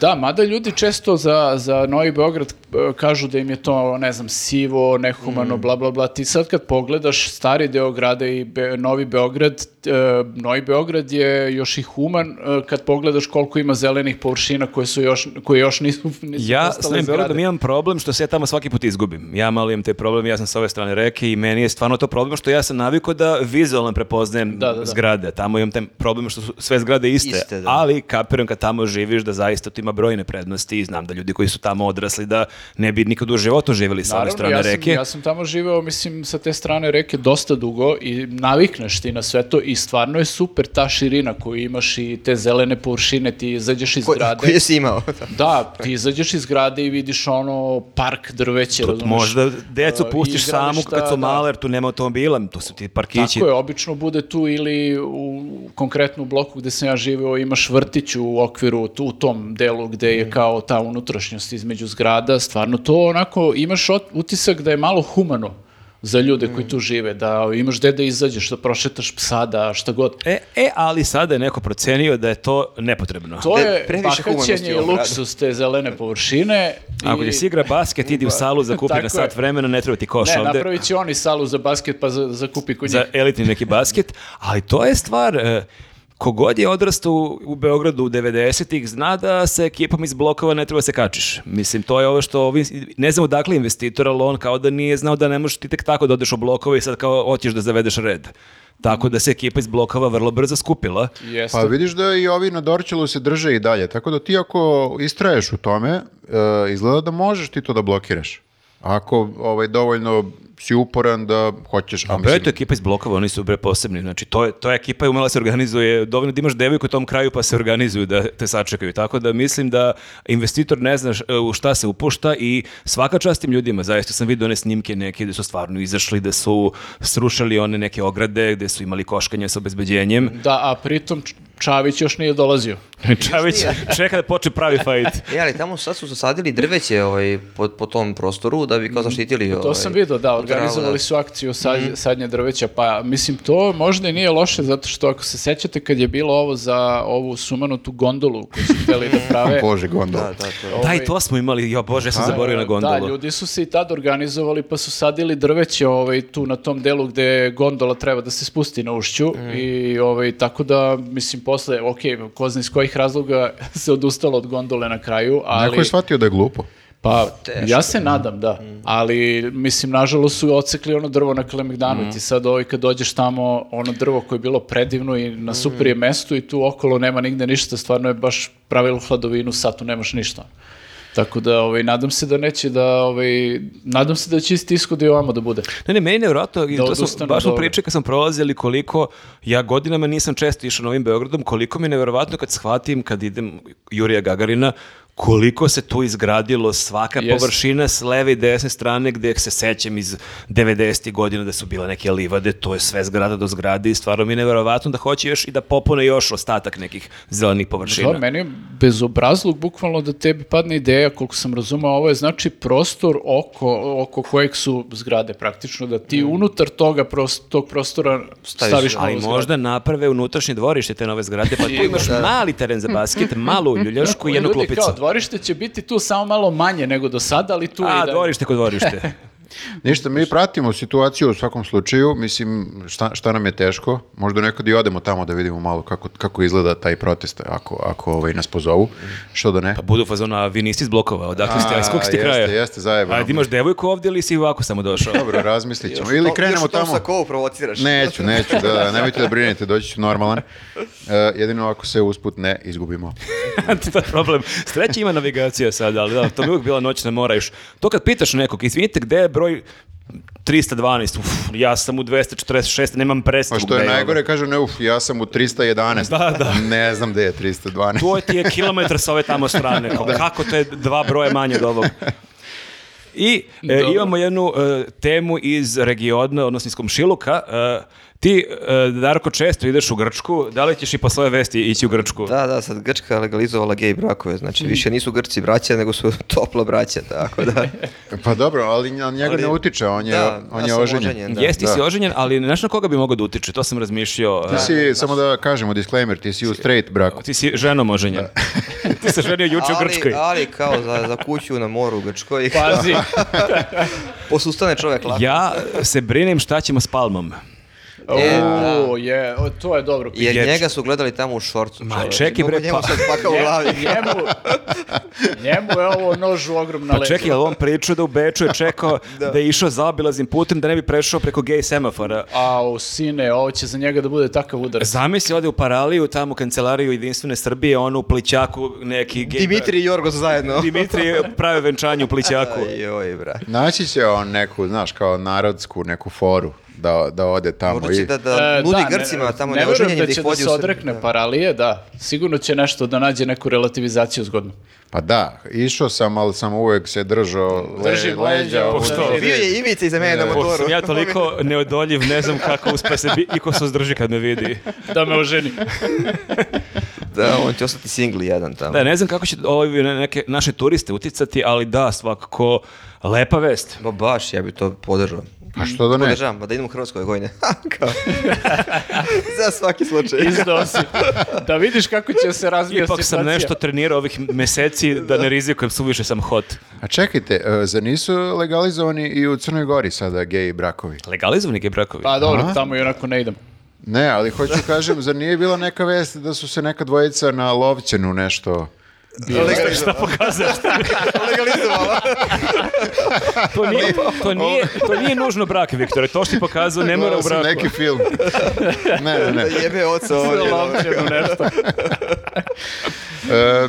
Da, mada ljudi često za, za Novi Beograd e, kažu da im je to, ne znam, sivo, nehumano,
Mm.
bla, bla, bla. Ti sad kad pogledaš stari deo grada i Be- Novi Beograd, e, Novi Beograd je još i human e, kad pogledaš koliko ima zelenih površina koje, su još, koje još nisu, nisu
Ja s
postale
Novim Beogradom
zgrade.
imam problem što se ja tamo svaki put izgubim. Ja malo imam te problem, ja sam sa ove strane reke i meni je stvarno to problem što ja sam navikao da vizualno prepoznajem
Da, da, da.
zgrade. Tamo imam taj problem što su sve zgrade iste,
Iste, da.
ali kapiram kad tamo živiš da zaista to ima brojne prednosti i znam da ljudi koji su tamo odrasli da ne bi nikad u životu živjeli sa ove
Naravno,
strane
ja sam,
reke.
Ja sam tamo živeo, mislim, sa te strane reke dosta dugo i navikneš ti na sve to i stvarno je super ta širina koju imaš i te zelene površine, ti izađeš iz
Ko-
grade.
Koji si imao?
Da, ti izađeš iz grade i vidiš ono park drveće, razumeš?
Možda decu
E,
pustiš samu
igrališta,
kad su
da.
male, jer tu nema automobila, tu su ti parkići.
Tako je, obično bude tu ili u konkretnu bloku gde sam ja živeo imaš vrtić u okviru, tu, u tom delu gde je kao ta unutrašnjost između zgrada, stvarno to onako imaš ot- utisak da je malo humano za ljude koji tu žive, da imaš gde da izađeš, da prošetaš psa, da šta god.
E, e, ali sada je neko procenio da je to nepotrebno.
To
Ne,
je
previše humanosti
bakaćenje
u
i
ovom gradu.
luksus te zelene površine.
Ako
i-
ti si igra basket, idi u salu, zakupi
Tako
na
je.
sat vremena, ne treba ti koš
Ne,
ovde.
napravit će oni salu za basket pa za- zakupi kod njih.
za elitni neki basket, ali to je stvar... e, Kogod je odrastao u- u Beogradu u 90-ih, zna da sa ekipom iz blokova ne treba se kačiš. Mislim, to je ovo što, ovi, ne znam odakle investitor, ali on kao da nije znao da ne možeš ti tek tako da odeš u blokove i sad kao hoćeš da zavedeš red. Tako da se ekipa iz blokova vrlo brzo skupila.
Jeste.
Pa vidiš da i ovi na Dorčelu se drže i dalje, tako da ti ako istraješ u tome, e, izgleda da možeš ti to da blokiraš. Ako ovaj, dovoljno si uporan da hoćeš, a
Bre, Pa to je
mislim,
ekipa iz blokova, oni su bre posebni. Znači, to je, to je ekipa je umela da se organizuje, dovoljno da imaš devojku u tom kraju pa se organizuju da te sačekaju. Tako da mislim da investitor ne zna š- e, u šta se upušta i svaka čast tim ljudima. Zaista sam vidio one snimke neke gde su stvarno izašli, da su srušali one neke ograde, gde su imali koškanje sa obezbeđenjem.
Da, a pritom Č- Čavić još nije dolazio.
Čavić čeka da počne pravi fajt.
E, ali tamo sad su zasadili drveće ovaj, po, po tom prostoru da bi kao zaštitili...
Mm. E, To sam vidio, da, organizovali su akciju sad, sadnje drveća, pa mislim to možda i nije loše, zato što ako se sećate kad je bilo ovo za ovu sumanutu gondolu koju su hteli da prave,
Bože, gondola.
Da, da, to je.
Da,
ovaj,
i to smo imali, jo bože, ja sam zaboravio na gondolu.
Da, ljudi su se i tad organizovali pa su sadili drveće ovaj, tu na tom delu gde gondola treba da se spusti na ušću i ovaj, tako da, mislim, posle, ok, ko zna iz kojih razloga se odustalo od gondole na kraju, ali...
Neko je shvatio da je glupo.
Pa, ja se nadam, da. Ali, mislim, nažalost su ocekli ono drvo na Kalemegdanu. Ti sad ovaj, kad dođeš tamo, ono drvo koje je bilo predivno i na super je mestu i tu okolo nema nigde ništa. Stvarno je baš pravilo hladovinu, sad tu nemaš ništa. Tako da, ovaj, nadam se da neće da, ovaj, nadam se da će isti ishod i ovamo da bude.
Ne, ne, meni je nevjerojatno, i
Da
to sam,
odustanu
baš
od
smo
ovoga.
pričali kad sam prolazili koliko, ja godinama nisam često išao novim Beogradom, koliko mi je nevjerojatno kad shvatim, kad idem Jurija Gagarina, koliko se tu izgradilo svaka
Jest.
površina s leve i desne strane gdje se sećam iz 90. godina da su bile neke livade, to je sve zgrada do zgrade i stvarno mi je nevjerojatno da hoće još i da popune još ostatak nekih zelenih površina.
Da, meni je bezobrazluk bukvalno da tebi padne ideja, koliko sam razumeo, ovo je znači prostor oko, oko kojeg su zgrade praktično, da ti
Mm.
unutar toga pros- tog prostora staviš, novu
Ali
zgradu.
možda naprave unutrašnje dvorište te nove zgrade, pa tu imaš mali teren za basket, malu ljuljašku i jednu
Ljudi,
klupicu.
Kao, dvorište će biti tu samo malo manje nego do sada, ali tu
A,
i da...
dvorište kod dvorište.
Ništa, mi pratimo situaciju u svakom slučaju, mislim, šta, šta nam je teško, možda nekad i odemo tamo da vidimo malo kako, kako izgleda taj protest, ako, ako ovaj, nas pozovu, što da ne.
Pa budu fazona, vi niste iz blokova, odakle ste, a iz kog ste
jeste,
kraja?
jeste, zajebano.
Ajde, imaš devojku ovdje ili si ovako samo došao?
Dobro, razmislit ćemo. Ili krenemo tamo.
Još sa kovo provociraš.
Neću, neću, da, da, nemojte da brinete, doći ću normalan. E, jedino ako se usput ne izgubimo.
to je problem. Sreće ima navigacija sad, ali da, to bi uvijek bila noćna mora još. To kad pitaš nekog, izvinite, gde je broj 312, uf, ja sam u 246, nemam
Pa
predstavu
što je
gde ovo.
najgore, kažu, ne, uf, ja sam u 311.
Da, da.
Ne znam gde je 312.
To ti je kilometar sa ove tamo strane. Kao, Kako to je dva broja manje od ovog? I e,
Dobro.
imamo jednu e, temu iz regiona, odnosno iz Komšiluka. E, ti, e, Darko, često ideš u Grčku. Da li ćeš i posle ove vesti ići u Grčku?
Da, da, sad Grčka legalizovala gej brakove, znači više nisu Grci braća, nego su topla braća, tako da.
Pa dobro, ali na njega
Ali-
ne utiče, on je,
Da,
on
ja
je
sam
oženjen.
oženjen, da.
Jesti
Da.
si oženjen, ali ne znaš na koga bi mogao da utiče, to sam razmišljao.
Ti si, samo da kažemo, disclaimer, ti si u straight braku.
E, Ti si ženom oženjen. ti se ženio juče u
ali,
Grčkoj.
ali kao za, za kuću na moru u Grčkoj,
Pazi,
posustane čovjek lako.
Ja se brinem šta ćemo s Palmom.
E, da.
o, je, o, to je dobro pitanje.
Jer
Ječ.
njega su gledali tamo u šorcu.
Ma,
čoveče.
čekaj,
Mnogo
bre,
njemu
pa-
sad pakao u glavi.
Njemu, njemu je ovo nož u ogromna
Pa
leđa.
čekaj, jel on pričao da u Beču je čekao da. je išao zaobilaznim putem da ne bi prešao preko gej semafora.
Au, sine, ovo će za njega da bude takav udar.
Zamisli ode u Paraliju, tamo u kancelariju Jedinstvene Srbije, on u plićaku neki gej...
Dimitri i Jorgos zajedno.
Dimitri pravi venčanje u plićaku.
Joj, bra.
Naći će on neku, znaš, kao narodsku neku foru da, da ode tamo.
Možda će
i...
da, da
E,
nudi
da, ne-
Grcima tamo
ne verujem
neoženjenim
da
da
će
ih
da
vodi u
se
Srbiju.
odrekne pa- paralije, da. Sigurno će nešto da nađe neku relativizaciju zgodnu.
Pa da, išao sam, ali sam uvek se držao le-
Držim leđa,
leđa. ovo-
pošto-
Da. Bio je Ivica iza mene na
Pošto
motoru.
sam ja toliko neodoljiv, ne znam kako uspe se bi, i ko se uzdrži kad me vidi.
Da me oženi.
Da, on će ostati singli jedan tamo.
Da, ne znam kako će ovi na neke naše turiste uticati, ali da, svakako, lepa vest.
Ba baš, ja bi to podržao.
Pa što da ne?
Podržavam, pa da idem u Hrvatskoj godine. Kao. Za svaki slučaj.
Izdao si. Da vidiš kako će se razvija
Ipak sam
situacija.
nešto trenirao ovih meseci da ne rizikujem, suviše sam hot.
A čekajte, e, zar nisu legalizovani i u Crnoj Gori sada geji brakovi?
Legalizovani gej brakovi?
Pa dobro, tamo i onako ne idem.
Ne, ali hoću kažem, zar nije bila neka vest da su se neka dvojica na Lovćenu nešto...
Šta pokazuješ?
Legalizovala.
To nije, to nije, to nije nužno brak, Viktore. To što ti pokazao ne mora
Gledao
u
sam
braku.
neki film. Ne, ne, ne.
Jebe oca ovdje.
Lovčanu nešto.
E,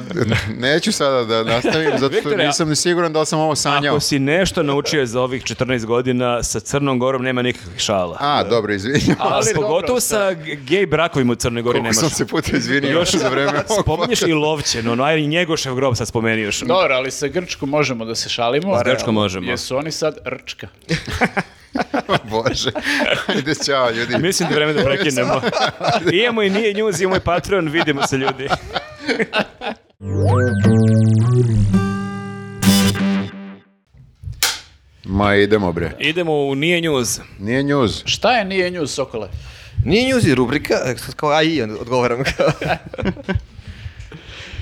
neću sada da nastavim, zato što
Viktore, a-
nisam ni siguran da li sam ovo sanjao.
Ako si nešto naučio za ovih 14 godina, sa Crnom Gorom nema nikakvih šala.
A, dobro, izvinjam.
A
Ali dobro,
pogotovo sa gej brakovima u Crnoj Gori
Koliko
nemaš.
sam se puta izvinio još za vreme ovog
Spominješ i Lovćen, ono, aj i Njegošev grob sad spomenio još.
Dobro, ali sa Grčkom možemo da se šalimo.
S Grčkom možemo.
Jesu oni sad Rčka.
Bože. Ajde, ćao ljudi.
Mislim da je vreme da prekinemo. Imamo i nije njuz, imamo i Patreon, vidimo se ljudi.
Ma idemo bre.
Idemo u Nije News.
Nije njuz.
Šta je nije nju, Sokole?
Nije njuzi rubrika, e, sad kao AI onda odgovaram. kao.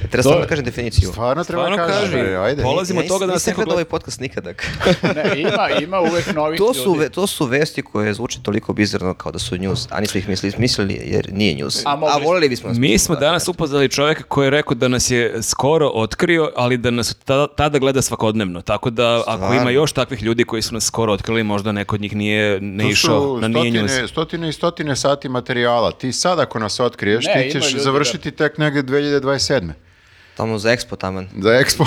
E, Treba samo da kažem definiciju.
Stvarno treba
Stvarno
da kažeš,
kaži.
bre, ajde.
Pola- Polazimo
Ja
od toga da nas
nisam
neko
gledao
gleda.
ovaj podcast nikada.
Ne, ima, ima uvek novih
to, su,
ljudi.
ve- to su vesti koje zvuče toliko bizarno kao da su news, a nismo ih mislili, mislili jer nije news.
A
A,
mogli-
voleli bismo. nas-
Mi smo danas upoznali čovjeka koji je rekao da nas je skoro otkrio, ali da nas tada, tada gleda svakodnevno. Tako da ako
Stvarno.
ima još takvih ljudi koji su nas skoro otkrili, možda neko od njih nije ne
Tu
išao
su
na Nije News.
stotine, stotine i stotine sati materijala. Ti sad ako nas otkriješ,
Ne,
ti
ima
ćeš
ljudi,
završiti tek negde 2027.
Tamo za Expo taman.
Znači,
Za Expo.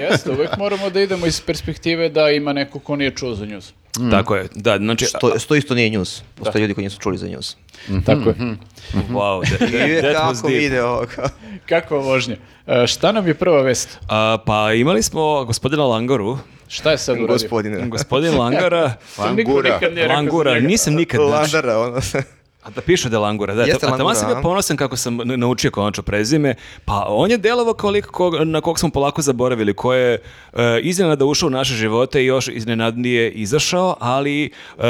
Jeste, uvek moramo da idemo iz perspektive da ima neko ko nije čuo za njuz.
Tako je. Da, znači,
Što, što isto nije news. Postoje ljudi koji nisu čuli za news.
Mhm.
Tako je.
wow, that, that,
I je
that was
kako
deep.
video. Kao.
Kako vožnje? E, šta nam je prva vest?
A, pa imali smo gospodina Langoru.
Šta je sad uradio?
Gospodine.
Gospodin Langara,
To niko
Langura.
nikad nije rekao za
Langura,
njega.
nisam nikad znači,
Landara, ono.
A da piše da je Langura, da.
Jeste
Jeste a tamo
Langura,
sam bio
a?
ponosan kako sam n- naučio konačno prezime. Pa on je delovao kao lik kog, na kog smo polako zaboravili, ko je e, iznenada ušao u naše živote i još iznenadnije izašao, ali e,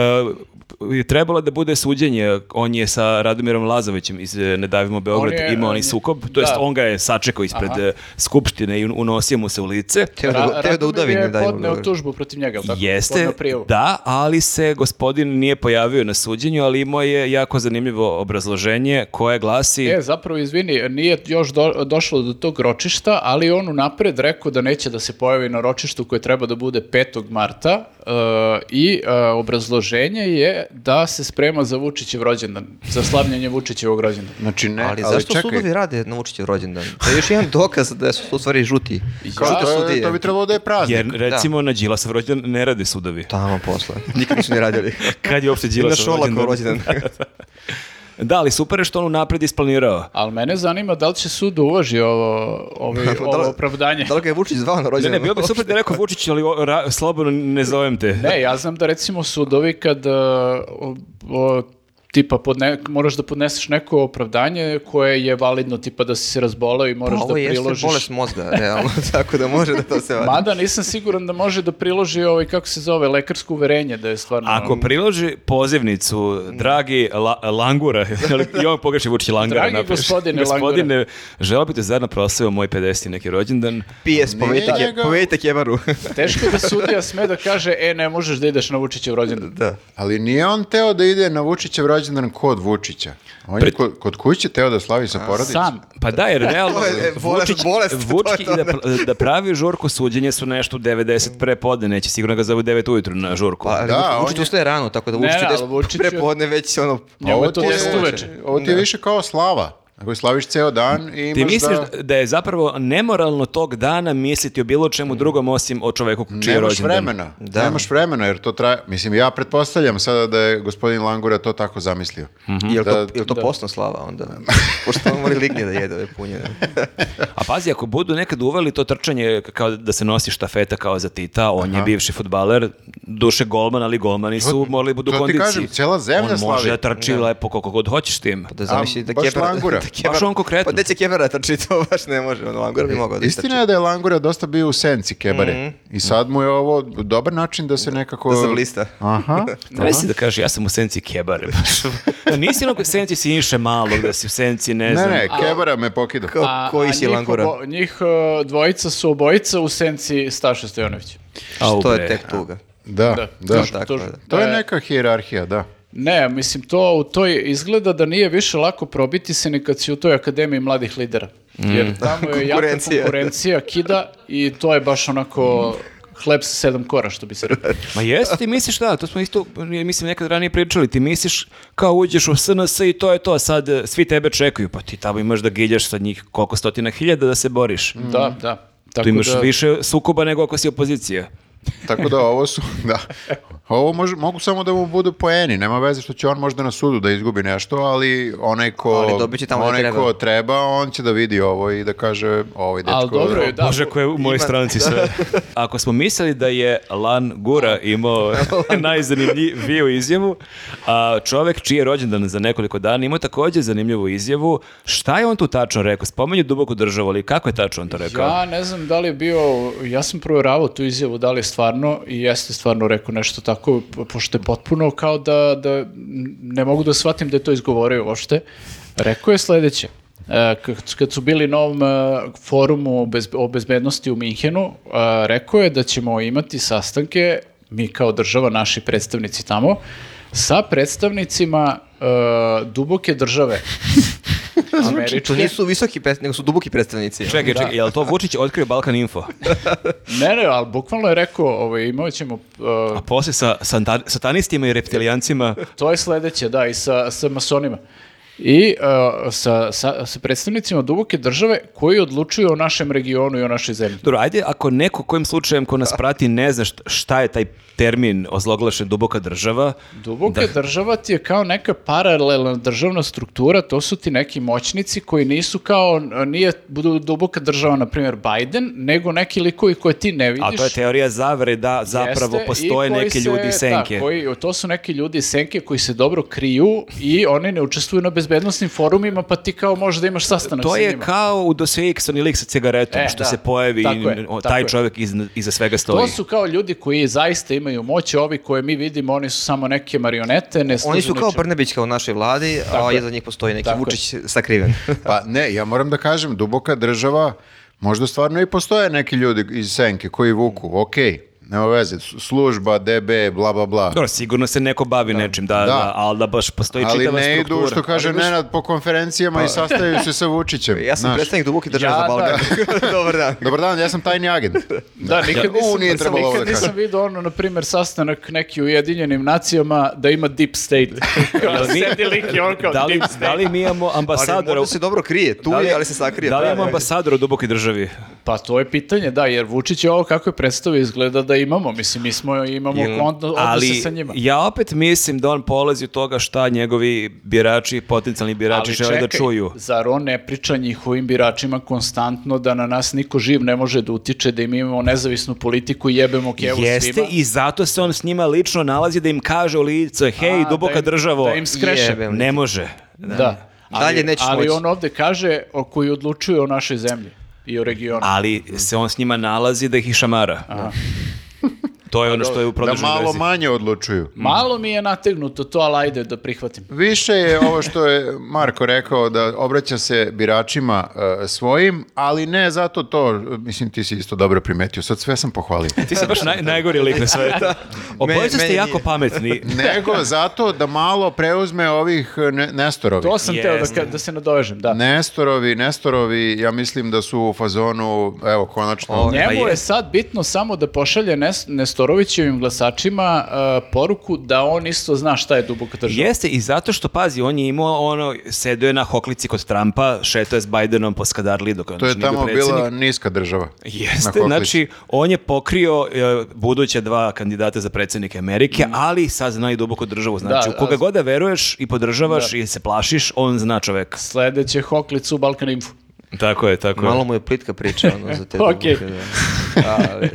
je trebalo da bude suđenje. On je sa Radomirom Lazovićem iz e, Ne davimo Beograd
On je,
imao onaj
on je-
sukob, to jest
da.
on ga je sačekao ispred e, skupštine i un- unosio mu se u lice.
Teo da,
Ra-
teo da
Radomir
udavi ne
je
daj mu
podneo
Beograd.
tužbu protiv njega, jel tako?
Jeste,
Podneo prijavu.
da, ali se gospodin nije pojavio na suđenju, ali imao je jako zanimljivo obrazloženje koje glasi...
E, zapravo, izvini, nije još do- došlo do tog ročišta, ali je on unapred rekao da neće da se pojavi na ročištu koje treba da bude 5. marta e, i e, obrazloženje je da se sprema za Vučićev rođendan, za slavljanje Vučićevog rođendana.
Znači ne, ali,
Ali, zašto
čekaj.
sudovi rade na učitelju rođendan? To je još jedan dokaz da su u stvari žuti.
Kao
Žute
to, je,
sudije.
to bi trebalo da je praznik.
Jer recimo na Đilasov rođendan ne rade sudovi.
Tamo posle. Nikad nisu ne radili.
Kad je uopšte
I na
Đilasov
Šolakov
rođendan?
rođendan.
Da, ali super je što on unapred isplanirao.
Ali mene zanima da li će sud da uvaži ovo, ovaj-
Da li-
ovo opravdanje.
Da li ga je Vučić zvao na
Ne,
rođendan?
ne, bilo bi super da je rekao Vučić, ali o, ra- slobodno ne zovem te.
Ne, ja znam da recimo sudovi kad e, o- o, tipa podne, moraš da podneseš neko opravdanje koje je validno, tipa da si se razbolao i moraš da
Pa Ovo jeste
priložiš.
bolest mozga, realno, tako da može da to se vadi.
Mada nisam siguran da može da priloži ovaj, kako se zove, lekarsko uverenje da je stvarno...
Ako priloži pozivnicu, dragi La- Langura, ali i on pogreši Vučić Langura.
Dragi
napiše.
gospodine Langura.
Gospodine, želeo bi te zajedno proslavio moj 50. neki rođendan.
PS, povedite,
Nije
ke,
njega-
povedite kebaru.
Teško je da sudija sme da kaže, e, ne možeš da ideš na Vučićev rođendan.
da.
Ali nije on teo da ide na Vučićev rođendan kod Vučića. On je
Pred-
kod, kod kuće teo da slavi sa porodicom.
Sam.
Pa da, jer realno,
To je, e, bolest,
Vučić,
bolest, to
Vučki
je to,
da,
ne.
pra- da pravi žurku suđenje su nešto u 90 pre podne, neće sigurno ga zovu 9 ujutru na žurku.
Pa, ali
Da,
da,
on
Vučić
je-
ustaje rano, tako da
Ne,
Vučić
ne,
ide
ali Vučić je-
prepodne već ono...
Njemu je to
ti je-
deset uveče.
Ovo ti je više kao slava. Ako slaviš ceo dan i imaš
Ti misliš
da...
da... je zapravo nemoralno tog dana misliti o bilo čemu drugom osim o čoveku čiji je
Nemaš
rođendan.
vremena.
Da.
Nemaš vremena jer to traje... Mislim, ja pretpostavljam sada da je gospodin Langura to tako zamislio.
Jel to,
Da-
jel to posna slava onda? Pošto on mora lignje da jede ove punjene.
A pazi, ako budu nekad uveli to trčanje kao da se nosi štafeta kao za Tita, on je bivši futbaler, duše golman, ali golmani su morali budu
to
u
ti
kondiciji.
kažem, cijela zemlja
On može
slavi.
da trči lepo koliko god hoćeš tim.
Da zamisli da
baš
kebara...
langura.
Da kebara,
Baš on konkretno.
Pa gde će kebara trči, to baš ne može. Ono, langura bi mogao da
E, Istina je da je Langura dosta bio u senci kebare. I sad mu je ovo dobar način da se nekako...
Mhm. Da zablista.
Aha.
Ne si da kaže, ja sam u senci kebare. Nisi onog u senci Siniše malog, da si u senci, ne,
Ne,
znam.
ne, kebara me pokida.
Kao koji si
njih
langura?
obo- njih e, dvojica su obojica u senci Staša Stojanovića.
Au,
Što je
bre.
tek tuga.
Da, da.
Da, tako,
tuž-
da.
To je neka hijerarhija, da.
Ne, mislim, to u toj izgleda da nije više lako probiti se ni kad si u toj akademiji mladih lidera.
Mm.
Jer tamo je jaka
Konkurencija.
konkurencija kida i to je baš onako hleb sa sedam kora, što bi se rekao.
Ma jesi, ti misliš da, to smo isto, nije, mislim, nekad ranije pričali, ti misliš kao uđeš u SNS i to je to, sad e, svi tebe čekaju, pa ti tamo imaš da giljaš sa njih koliko stotina hiljada da se boriš.
Da, da. Tako
Tu imaš
da-
više sukoba nego ako si opozicija.
Tako da ovo su, da, Ovo može, mogu samo da mu budu poeni, nema veze što će on možda na sudu da izgubi nešto, ali onaj ko,
Ali dobit će tamo gde
onaj
treba.
ko treba, on će da vidi ovo i da kaže ovaj dečko.
Ali dobro je, da.
Bože, ko je u mojoj stranci sve. Ako smo mislili da je Lan Gura imao najzanimljiviju izjavu, a čovek čiji je rođendan za nekoliko dana imao takođe zanimljivu izjavu, šta je on tu tačno rekao? Spomenju duboku državu, ali kako je tačno on to rekao?
Ja ne znam da li je bio, ja sam provjeravao tu izjavu da li je stvarno i jeste stvarno rekao nešto tako, po- pošto je potpuno kao da, da m, ne mogu da shvatim da je to izgovorio uopšte. Rekao je sledeće. E, Kad, kad su bili na ovom e, forumu o bez- o bezbednosti u Minhenu, e, rekao je da ćemo imati sastanke, mi kao država, naši predstavnici tamo, sa predstavnicima e, duboke države.
Znači, To
Američke.
nisu visoki predstavnici, nego su duboki predstavnici.
Čekaj, čekaj, je li to Vučić otkrio Balkan Info?
Ne, ne, ali bukvalno je rekao, ovaj, imat ćemo, uh,
A Pa poslije sa santa- satanistima i reptilijancima,
to je sledeće, da, i sa, sa masonima. I uh, sa, sa, sa predstavnicima duboke države koji odlučuju o našem regionu i o našoj zemlji.
Dobro, ajde, ako neko kojim slučajem ko nas prati ne zna št- šta je taj termin ozloglašen duboka država,
Duboka država ti je kao neka paralelna državna struktura, to su ti neki moćnici koji nisu kao, nije budu duboka država, na primjer, Biden, nego neki likovi koje ti ne vidiš.
a to je teorija zavere da zapravo
Jeste, i
postoje
koji
neki
se-
ljudi iz senke.
Da, koji, to su neki ljudi iz senke koji se dobro kriju i oni ne učestvuju na bezbednostnim forumima, pa ti kao možeš da imaš sastanak
To
sa
je
njima.
kao u dosije X, onih lik sa cigaretom,
E,
što
da.
se pojavi i
Tako je,
n- o,
tako
taj
je.
čovjek iz- iza svega stoji.
To su kao ljudi koji zaista imaju moć, a ovi koje mi vidimo, oni su samo neke marionete, ne
Oni
služe
su kao
ničemu.
Brnebić kao u našoj vladi, a
je.
iza njih postoji neki
Tako je.
Vučić sakriven.
Pa ne, ja moram da kažem, duboka država, možda stvarno i postoje neki ljudi iz Senke koji vuku, okej, nema veze, s- služba, DB, bla, bla, bla.
Dobro, sigurno se neko bavi nečim, da, da. ali da baš postoji
Ali
čitava
ne
struktura.
idu, što kaže
Ali baš-
Nenad, po konferencijama i sastaju se sa Vučićem.
Ja sam
znaš.
predstavnik duboki države
Ja,
za Balkan. Dobar dan.
Dobar dan, ja sam tajni agent.
Da, nikad
Da. U, nije
nisam,
trebalo ovo
nikad
da kažem.
nisam vidio ono, na primjer, sastanak neki u Ujedinjenim nacijama da ima deep state. Kao
mi-
sedi lik i on kao
Da li,
deep
da
state.
li mi imamo
Ali
ambasadora...
Pa možda se dobro krije, tu
da li-
je, ali se sakrije.
Da li
Pa,
imamo
da, da.
ambasadora u dubokoj državi?
Pa to je pitanje, da, jer Vučić je ovo kako je predstavio izgleda da imamo. Mislim, mi smo imamo
Ili-
kont- odnose
Ali
sa njima.
ja opet mislim da on polazi od toga šta njegovi birači, potencijalni birači žele da čuju.
zar on ne priča njihovim biračima konstantno da na nas niko živ ne može da utiče, da im imamo nezavisnu politiku i jebemo kevu
Jeste
svima?
i zato se on s njima lično nalazi da im kaže u lice, hej,
A,
duboka
da im-
državo.
da im skreše.
Jebem.
Ne može.
Da.
Dalje nećeš
ali
moći.
on ovde kaže o koji odlučuje o našoj zemlji i o regionu.
Ali se on s njima nalazi da ih i šamara. To je ono što je u
Da
produžnoj
malo
verziji.
manje odlučuju.
mm.
Malo mi je nategnuto to, ali ajde da prihvatim.
Više je ovo što je Marko rekao da obraća se biračima e, svojim, ali ne zato to, mislim ti si isto dobro primetio, sad sve sam pohvalio.
Ti si baš naj, najgori lik na svetu. Obojica
meni
ste jako
nije.
pametni.
Nego zato da malo preuzme ovih e, ne, Nestorovi.
To sam teo da,
Jeste.
ka- da se nadovežem, da.
Nestorovi, Nestorovi, ja mislim da su u fazonu, evo, konačno...
O,
Pa
Njemu
je.
je sad bitno samo da pošalje Nes- Nestorovićevim glasačima uh, poruku da on isto zna šta je duboka država.
Jeste i zato što, pazi, on je imao ono, sedeo je na hoklici kod Trumpa, šetao je s Bidenom po Skadarli dok on
To
još
je
znači,
nije bio
tamo bila
predsjednik.
niska država. Na
Jeste,
Kokliću.
znači on je pokrio e, buduće dva kandidata za predsjednike Amerike, ali sad zna i duboku državu. Znači,
Da,
u koga
a-
god da veruješ i podržavaš i se plašiš, on zna čoveka.
Sledeće hoklicu Balkan Info.
Tako je, tako je.
Malo mu je plitka priča ono, za te
Okej.
duboke. Da. Ali,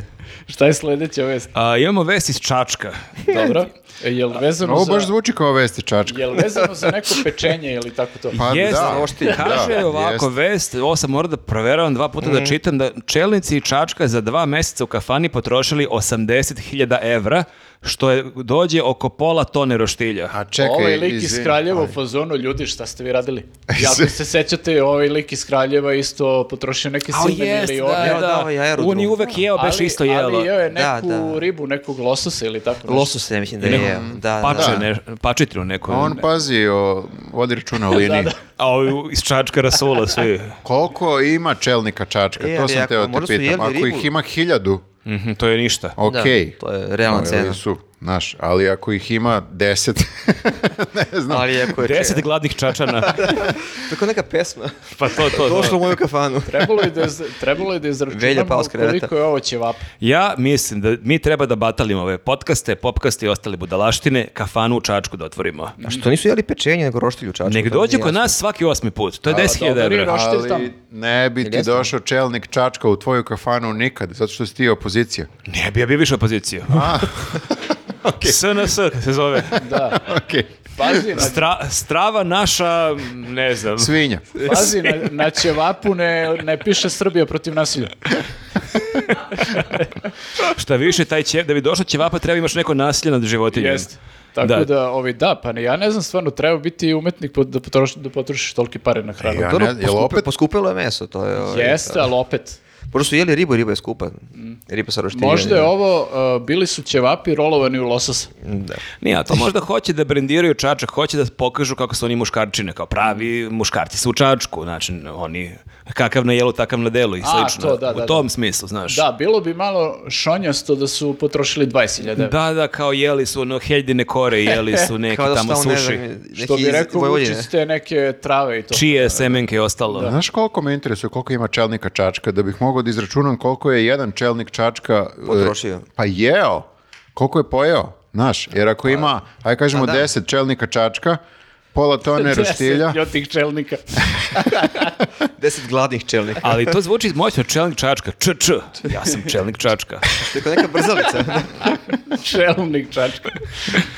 Šta je sledeća vest?
A, imamo vest iz Čačka.
Dobro. E, Jel vezano
Ovo
za...
baš zvuči kao vesti Čačka.
Jel vezano za neko pečenje ili tako to?
Pa
Jeste,
da,
ošti,
Kaže
da,
ovako
jeste.
vest, ovo sam morao da proveravam dva puta da čitam, da čelnici Čačka za dva meseca u kafani potrošili 80.000 evra, što je, dođe oko pola tone roštilja.
A čekaj,
ovaj lik iz
izvini.
Kraljeva u fazonu, ljudi, šta ste vi radili? Ja ako se sećate, ovaj lik iz Kraljeva isto potrošio neke
A,
silne
jest,
milione.
da, Evo, da, ovaj aerodrom.
On je uvek jeo, baš
ali,
isto jelo.
ali jeo je
Da,
neku
da.
ribu, nekog lososa ili tako nešto.
Losu se, mislim da je. jeo. Da,
Pače,
da.
ne, pačetinu neku.
On
pa-
pazi, o, vodi računa o liniji.
da.
A ovi iz Čačka rasula svi.
Koliko ima čelnika Čačka?
E,
to
ali
sam
ako-
teo te
možda su
pitam.
jeli
Ako
ribu.
ih ima hiljadu,
Mhm, to je ništa.
Da,
okej.
to je realna
Ovi
cena.
su Znaš, ali ako ih ima deset, ne znam.
Ali ako je...
Deset gladnih čačana,
Tako neka pesma.
pa to, to, to.
Došlo u moju kafanu.
Trebalo je da, iz, trebalo je da
Velja
izračunamo
pao s kreveta.
koliko je ovo ćevapa.
Ja mislim da mi treba da batalimo ove podcaste, popkaste i ostale budalaštine, kafanu u Čačku da otvorimo.
A što nisu jeli pečenje, nego roštilju čačku? to
Nek
mi
dođe
nije
kod
jasno.
nas svaki osmi put. To je
A,
10.000
dobar je
evra.
roštilj. Šta ćete tamo?
Ali ne bi ti
Jeste.
došao čelnik Čačka u tvoju kafanu nikad, zato što si ti opozicija.
Ne bi ja bio više opozicija. SNS se zove.
Da.
Okej.
Pazi na,
Stra- strava naša, ne znam.
Svinja.
pazi na, na ćevapu ne, ne piše Srbija protiv nasilja.
Šta više, taj će, da bi došao ćevapa treba imaš neko nasilje nad životinjom.
Jeste. Tako
Da.
da, ovaj, da, pa ne, ja ne znam stvarno, treba biti umetnik po- da, potroš, da potrošiš tolike pare na hranu.
Ja
Pa Dobro,
Pa ne, jel
poskupe-
opet?
Poskupilo je meso, to je... ovaj,
Jeste, ali opet.
Možda su jeli ribu, riba je skupa. Riba sa roštiljem.
Možda je ovo, uh, bili su ćevapi rolovani u losos.
Da.
Nije, a to možda hoće da brendiraju Čačak, hoće da pokažu kako su oni muškarčine, kao pravi muškarci su u Čačku, znači oni kakav na jelu, takav na delu i
A,
slično.
to, da, da,
u tom smislu, znaš.
Da, bilo bi malo šonjasto da su potrošili 20.000 evra.
Da, da, kao jeli su ono heljine kore, jeli su neke
Kao da su
tamo
tamo, ne
suši.
znam, neki
Što bi
iz
rekao,
Vojvodine.
vuči se te neke trave i to.
Čije semenke je ostalo.
Znaš koliko me interesuje koliko ima čelnika Čačka, da bih mogao da izračunam koliko je jedan čelnik Čačka... e,
Potrošio.
Pa jeo. Koliko je pojeo, znaš. Jer ako ima, ajde kažemo,
Pa da.
deset čelnika Čačka, pola tone roštilja...
Deset od tih čelnika.
Deset gladnih čelnika.
Ali to zvuči moćno, čelnik Čačka, č, č. Ja sam čelnik Čačka.
Tako neka brzalica.
Čelnik čačka.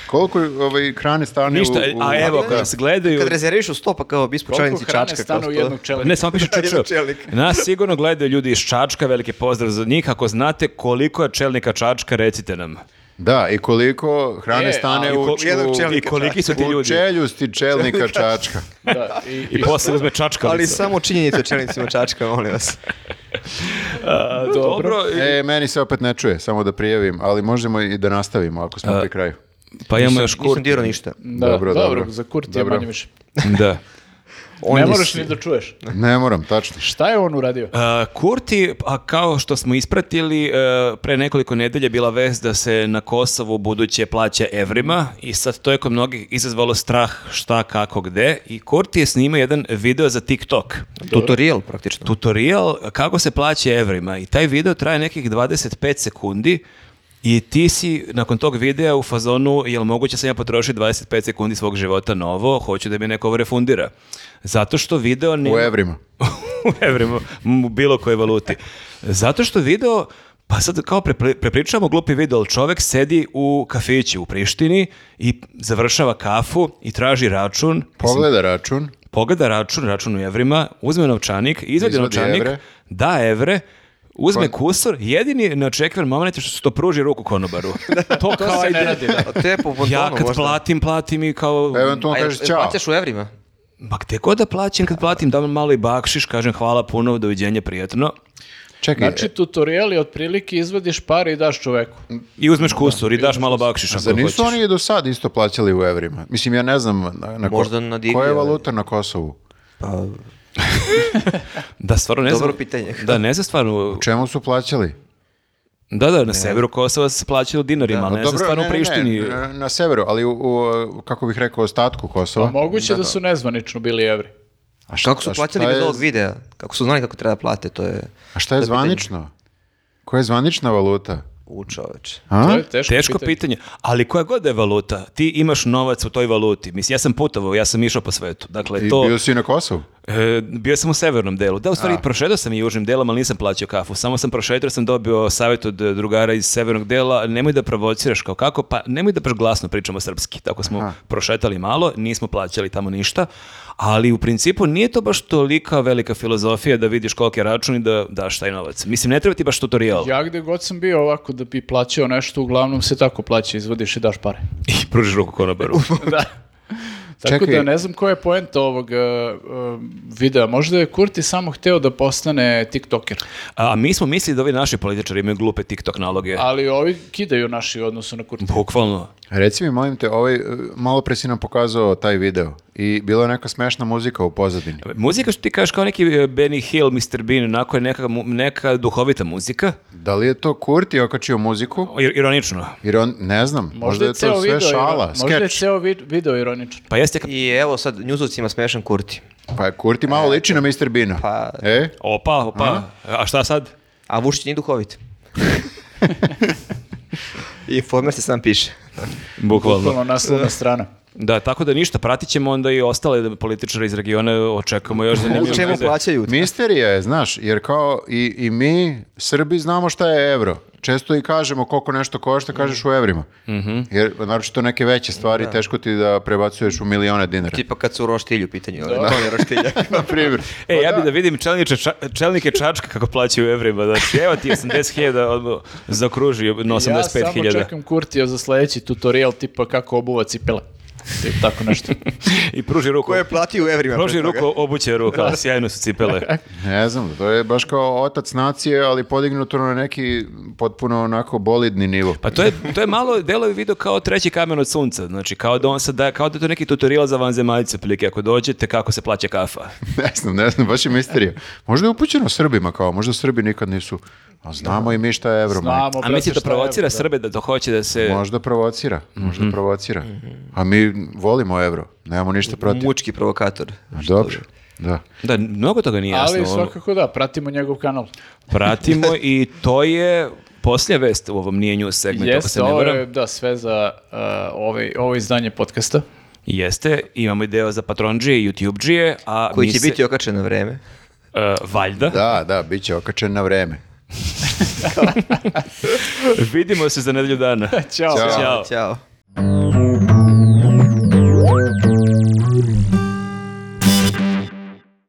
Koliko je, ovaj, hrane stane
Ništa,
u... u-
a evo,
Da.
kada se gledaju...
Kad rezerviš u stopa kao bispo
Koliko
čajnici
hrane
čačka. kao
stanu u
što-
jednog čelnika?
Ne, samo piše č,
Jedan
č.
čelnik.
Nas sigurno gledaju ljudi iz Čačka, veliki pozdrav za njih. Ako znate koliko je čelnika Čačka, recite nam.
Da, i koliko hrane
E,
stane
ali
u...
kol- jednog čelnika.
I koliki su ti
U
ljudi.
čeljusti čelnika Čačka.
Da, i,
I
i-
posle uzme čačkalicu.
Ali samo činjenice o čelnicima čačka, molim vas.
A, dobro.
E, meni se opet ne čuje, samo da prijavim, ali možemo i da nastavimo ako smo pri kraju.
Pa imamo još kur.
Nisam dirao ništa.
da,
dobro,
dobro,
dobro.
za kurt je
Dobro.
manje više.
Da.
Oni
ne moraš
su-
ni da čuješ.
Ne moram, tačno.
Šta je on uradio?
A, Kurti, a kao što smo ispratili, e, pre nekoliko nedelja je bila vest da se na Kosovu buduće plaća evrima i sad to je kod mnogih izazvalo strah šta, kako, gde. I Kurti je snimao jedan video za TikTok.
Tutorial praktično.
tutorial kako se plaća evrima i taj video traje nekih 25 sekundi i ti si nakon tog videa u fazonu jel moguće sam ja potrošiti 25 sekundi svog života na ovo, hoću da mi neko ovo refundira. Zato što video ne...
U evrima.
u evrima, m, u bilo kojoj valuti. Zato što video, pa sad kao prepri- prepričavamo glupi video, ali čovek sedi u kafiću u Prištini i završava kafu i traži račun.
Pogleda račun.
Pogleda račun, račun u evrima, uzme novčanik, izvadi
Izvadi
novčanik,
evre.
da evre, uzme
Kon-
kusur, jedini neočekivan moment je što se to pruži ruku konobaru. to
To
kao
se ne
ajde,
radi, da.
A te po bontonu
ja kad
možda.
platim, platim i kao...
A
pa Eventualno
jel-
kažeš
jel
čao.
Plaćaš u evrima?
Ma gde god da plaćam, kad platim, dam malo i bakšiš, kažem hvala puno, doviđenja, prijetno.
Čekaj, e,
Znači, tutorial je otprilike izvadiš pare i daš čoveku.
I uzmeš kusur i daš malo bakšiša.
za
ako
nisu
hoćeš.
oni i do sad isto plaćali u evrima? Mislim, ja ne znam na, na ko-
Možda na divlje,
koja je
ali-
valuta na Kosovu.
Da, stvarno ne znam.
Dobro pitanje.
Da, ne znam stvarno.
Čemu su plaćali?
Da, da, na severu Kosova se plaća u dinarima, ali ne znam stvarno u
ne, ne,
Prištini.
ne, na- na severu, ali u, u, kako bih rekao, ostatku
Pa
Kosova.
Pa Moguće da su nezvanično bili evri.
A šta-
Kako su
a šta
plaćali bez
je-
ovog videa? Kako su znali kako treba plate? To je
A šta je zvanično? Koja je zvanična valuta?
u čoveče.
To
A?
je teško,
Teško
pitanje.
pitanje, ali koja god da je valuta, ti imaš novac u toj valuti. Mislim, ja sam putovao, ja sam išao po svetu. Dakle,
I
to,
bio si i na Kosovu?
e, bio sam u severnom delu. Da, u stvari, prošetao sam i južnim delom, ali nisam plaćao kafu. Samo sam prošetao, jer sam dobio savjet od e, drugara iz severnog dela, nemoj da provociraš kao kako, pa nemoj da baš glasno pričamo srpski. Tako smo prošetali malo, nismo plaćali tamo ništa, ali u principu nije to baš tolika velika filozofija da vidiš koliko je račun i da daš taj novac. Mislim, ne treba ti baš tutorial.
Ja gde god sam bio ovako da bi plaćao nešto, uglavnom se tako plaća, izvadiš i daš pare.
I pružiš ruku konobaru.
da. Tako
Čekaj.
da ne znam koja je poenta ovog e, e, videa. Možda je Kurti samo hteo da postane tiktoker,
A mi smo mislili da ovi naši političari imaju glupe TikTok naloge.
ali ovi kidaju naši u odnosu na Kurti.
Bukvalno.
Reci mi, molim te, ovaj, e, malo pre si nam pokazao taj video i bila je neka smešna muzika u pozadini.
Muzika što ti kažeš kao neki e, Benny Hill, Mr. Bean, onako je neka, mu- neka duhovita muzika.
Da li je to Kurti okačio muziku?
O, ir- Ironično.
Jer on, ne znam, možda, je
ceo
to sve
video iro-
šala,
Možda je
skeč.
ceo vid- video ironičan.
Pa jeste ka-
I evo sad, njuzovcima smešan Kurti.
Pa Kurti malo liči na Mr. Beana.
Pa-
E?
Opa, opa. A šta sad?
A Vušić nije duhovit. I informer se sam piše.
Bukvalno naslovna strana.
Da, tako da ništa, pratit ćemo onda i ostale političare iz regiona, očekujemo još
U
zanimljive
čemu
veze.
plaćaju?
Misterija je, znaš, jer kao i, i mi, Srbi, znamo šta je evro. Često i kažemo koliko nešto košta, kažeš u evrima. Jer, naročito neke veće stvari, teško ti da prebacuješ u milione dinara.
Tipa kad su u roštilju u pitanju, ali to je roštilja.
Na primjer.
E,
Pa
ja bi da vidim čelniče, ča- čelnike Čačka kako plaćaju u evrima. Znači, evo ti 80.000 odmah zakruži na
Ja samo
85.000.
čekam Kurtija za sledeći tutorial tipa kako obuva cipele. Tip, tako nešto.
I pruži ruku.
Ko je platio u evrima?
Pruži
pre toga?
ruku, obuće ruka, sjajno su cipele.
Ne znam, to je baš kao otac nacije, ali podignuto na neki potpuno onako bolidni nivo.
Pa to je, to je malo, delo je video kao treći kamen od sunca, znači kao da on sad daje, kao da je to neki tutorial za vanzemaljce, otprilike ako dođete, kako se plaća kafa.
Ne znam, ne znam, baš je misterija. Možda je upućeno Srbima kao, možda Srbi nikad nisu, a znamo i mi šta je evro. majko.
Znamo,
A
brate,
misli da
šta je,
provocira
brate.
Srbe da to hoće da se
Možda provocira, možda provocira. A mi volimo evro, nemamo ništa protiv.
Mučki provokator.
Dobro, da.
Da, mnogo toga nije jasno.
Ali
Ono,
svakako da, pratimo njegov kanal.
Pratimo i to je posljednja vest u ovom nije news segmentu, ako se
Jeste,
ne
ovo
varam.
je da, sve za uh, ovaj, ovo izdanje podcasta.
Jeste, imamo i deo za Patronđije i YouTubeđije, a
Koji
mi
će
se-
biti okačen na vreme.
E, valjda.
Da, da, bit će okačen na vreme.
Vidimo se za nedelju dana.
Ćao.
Ćao.
Ćao.
Ćao.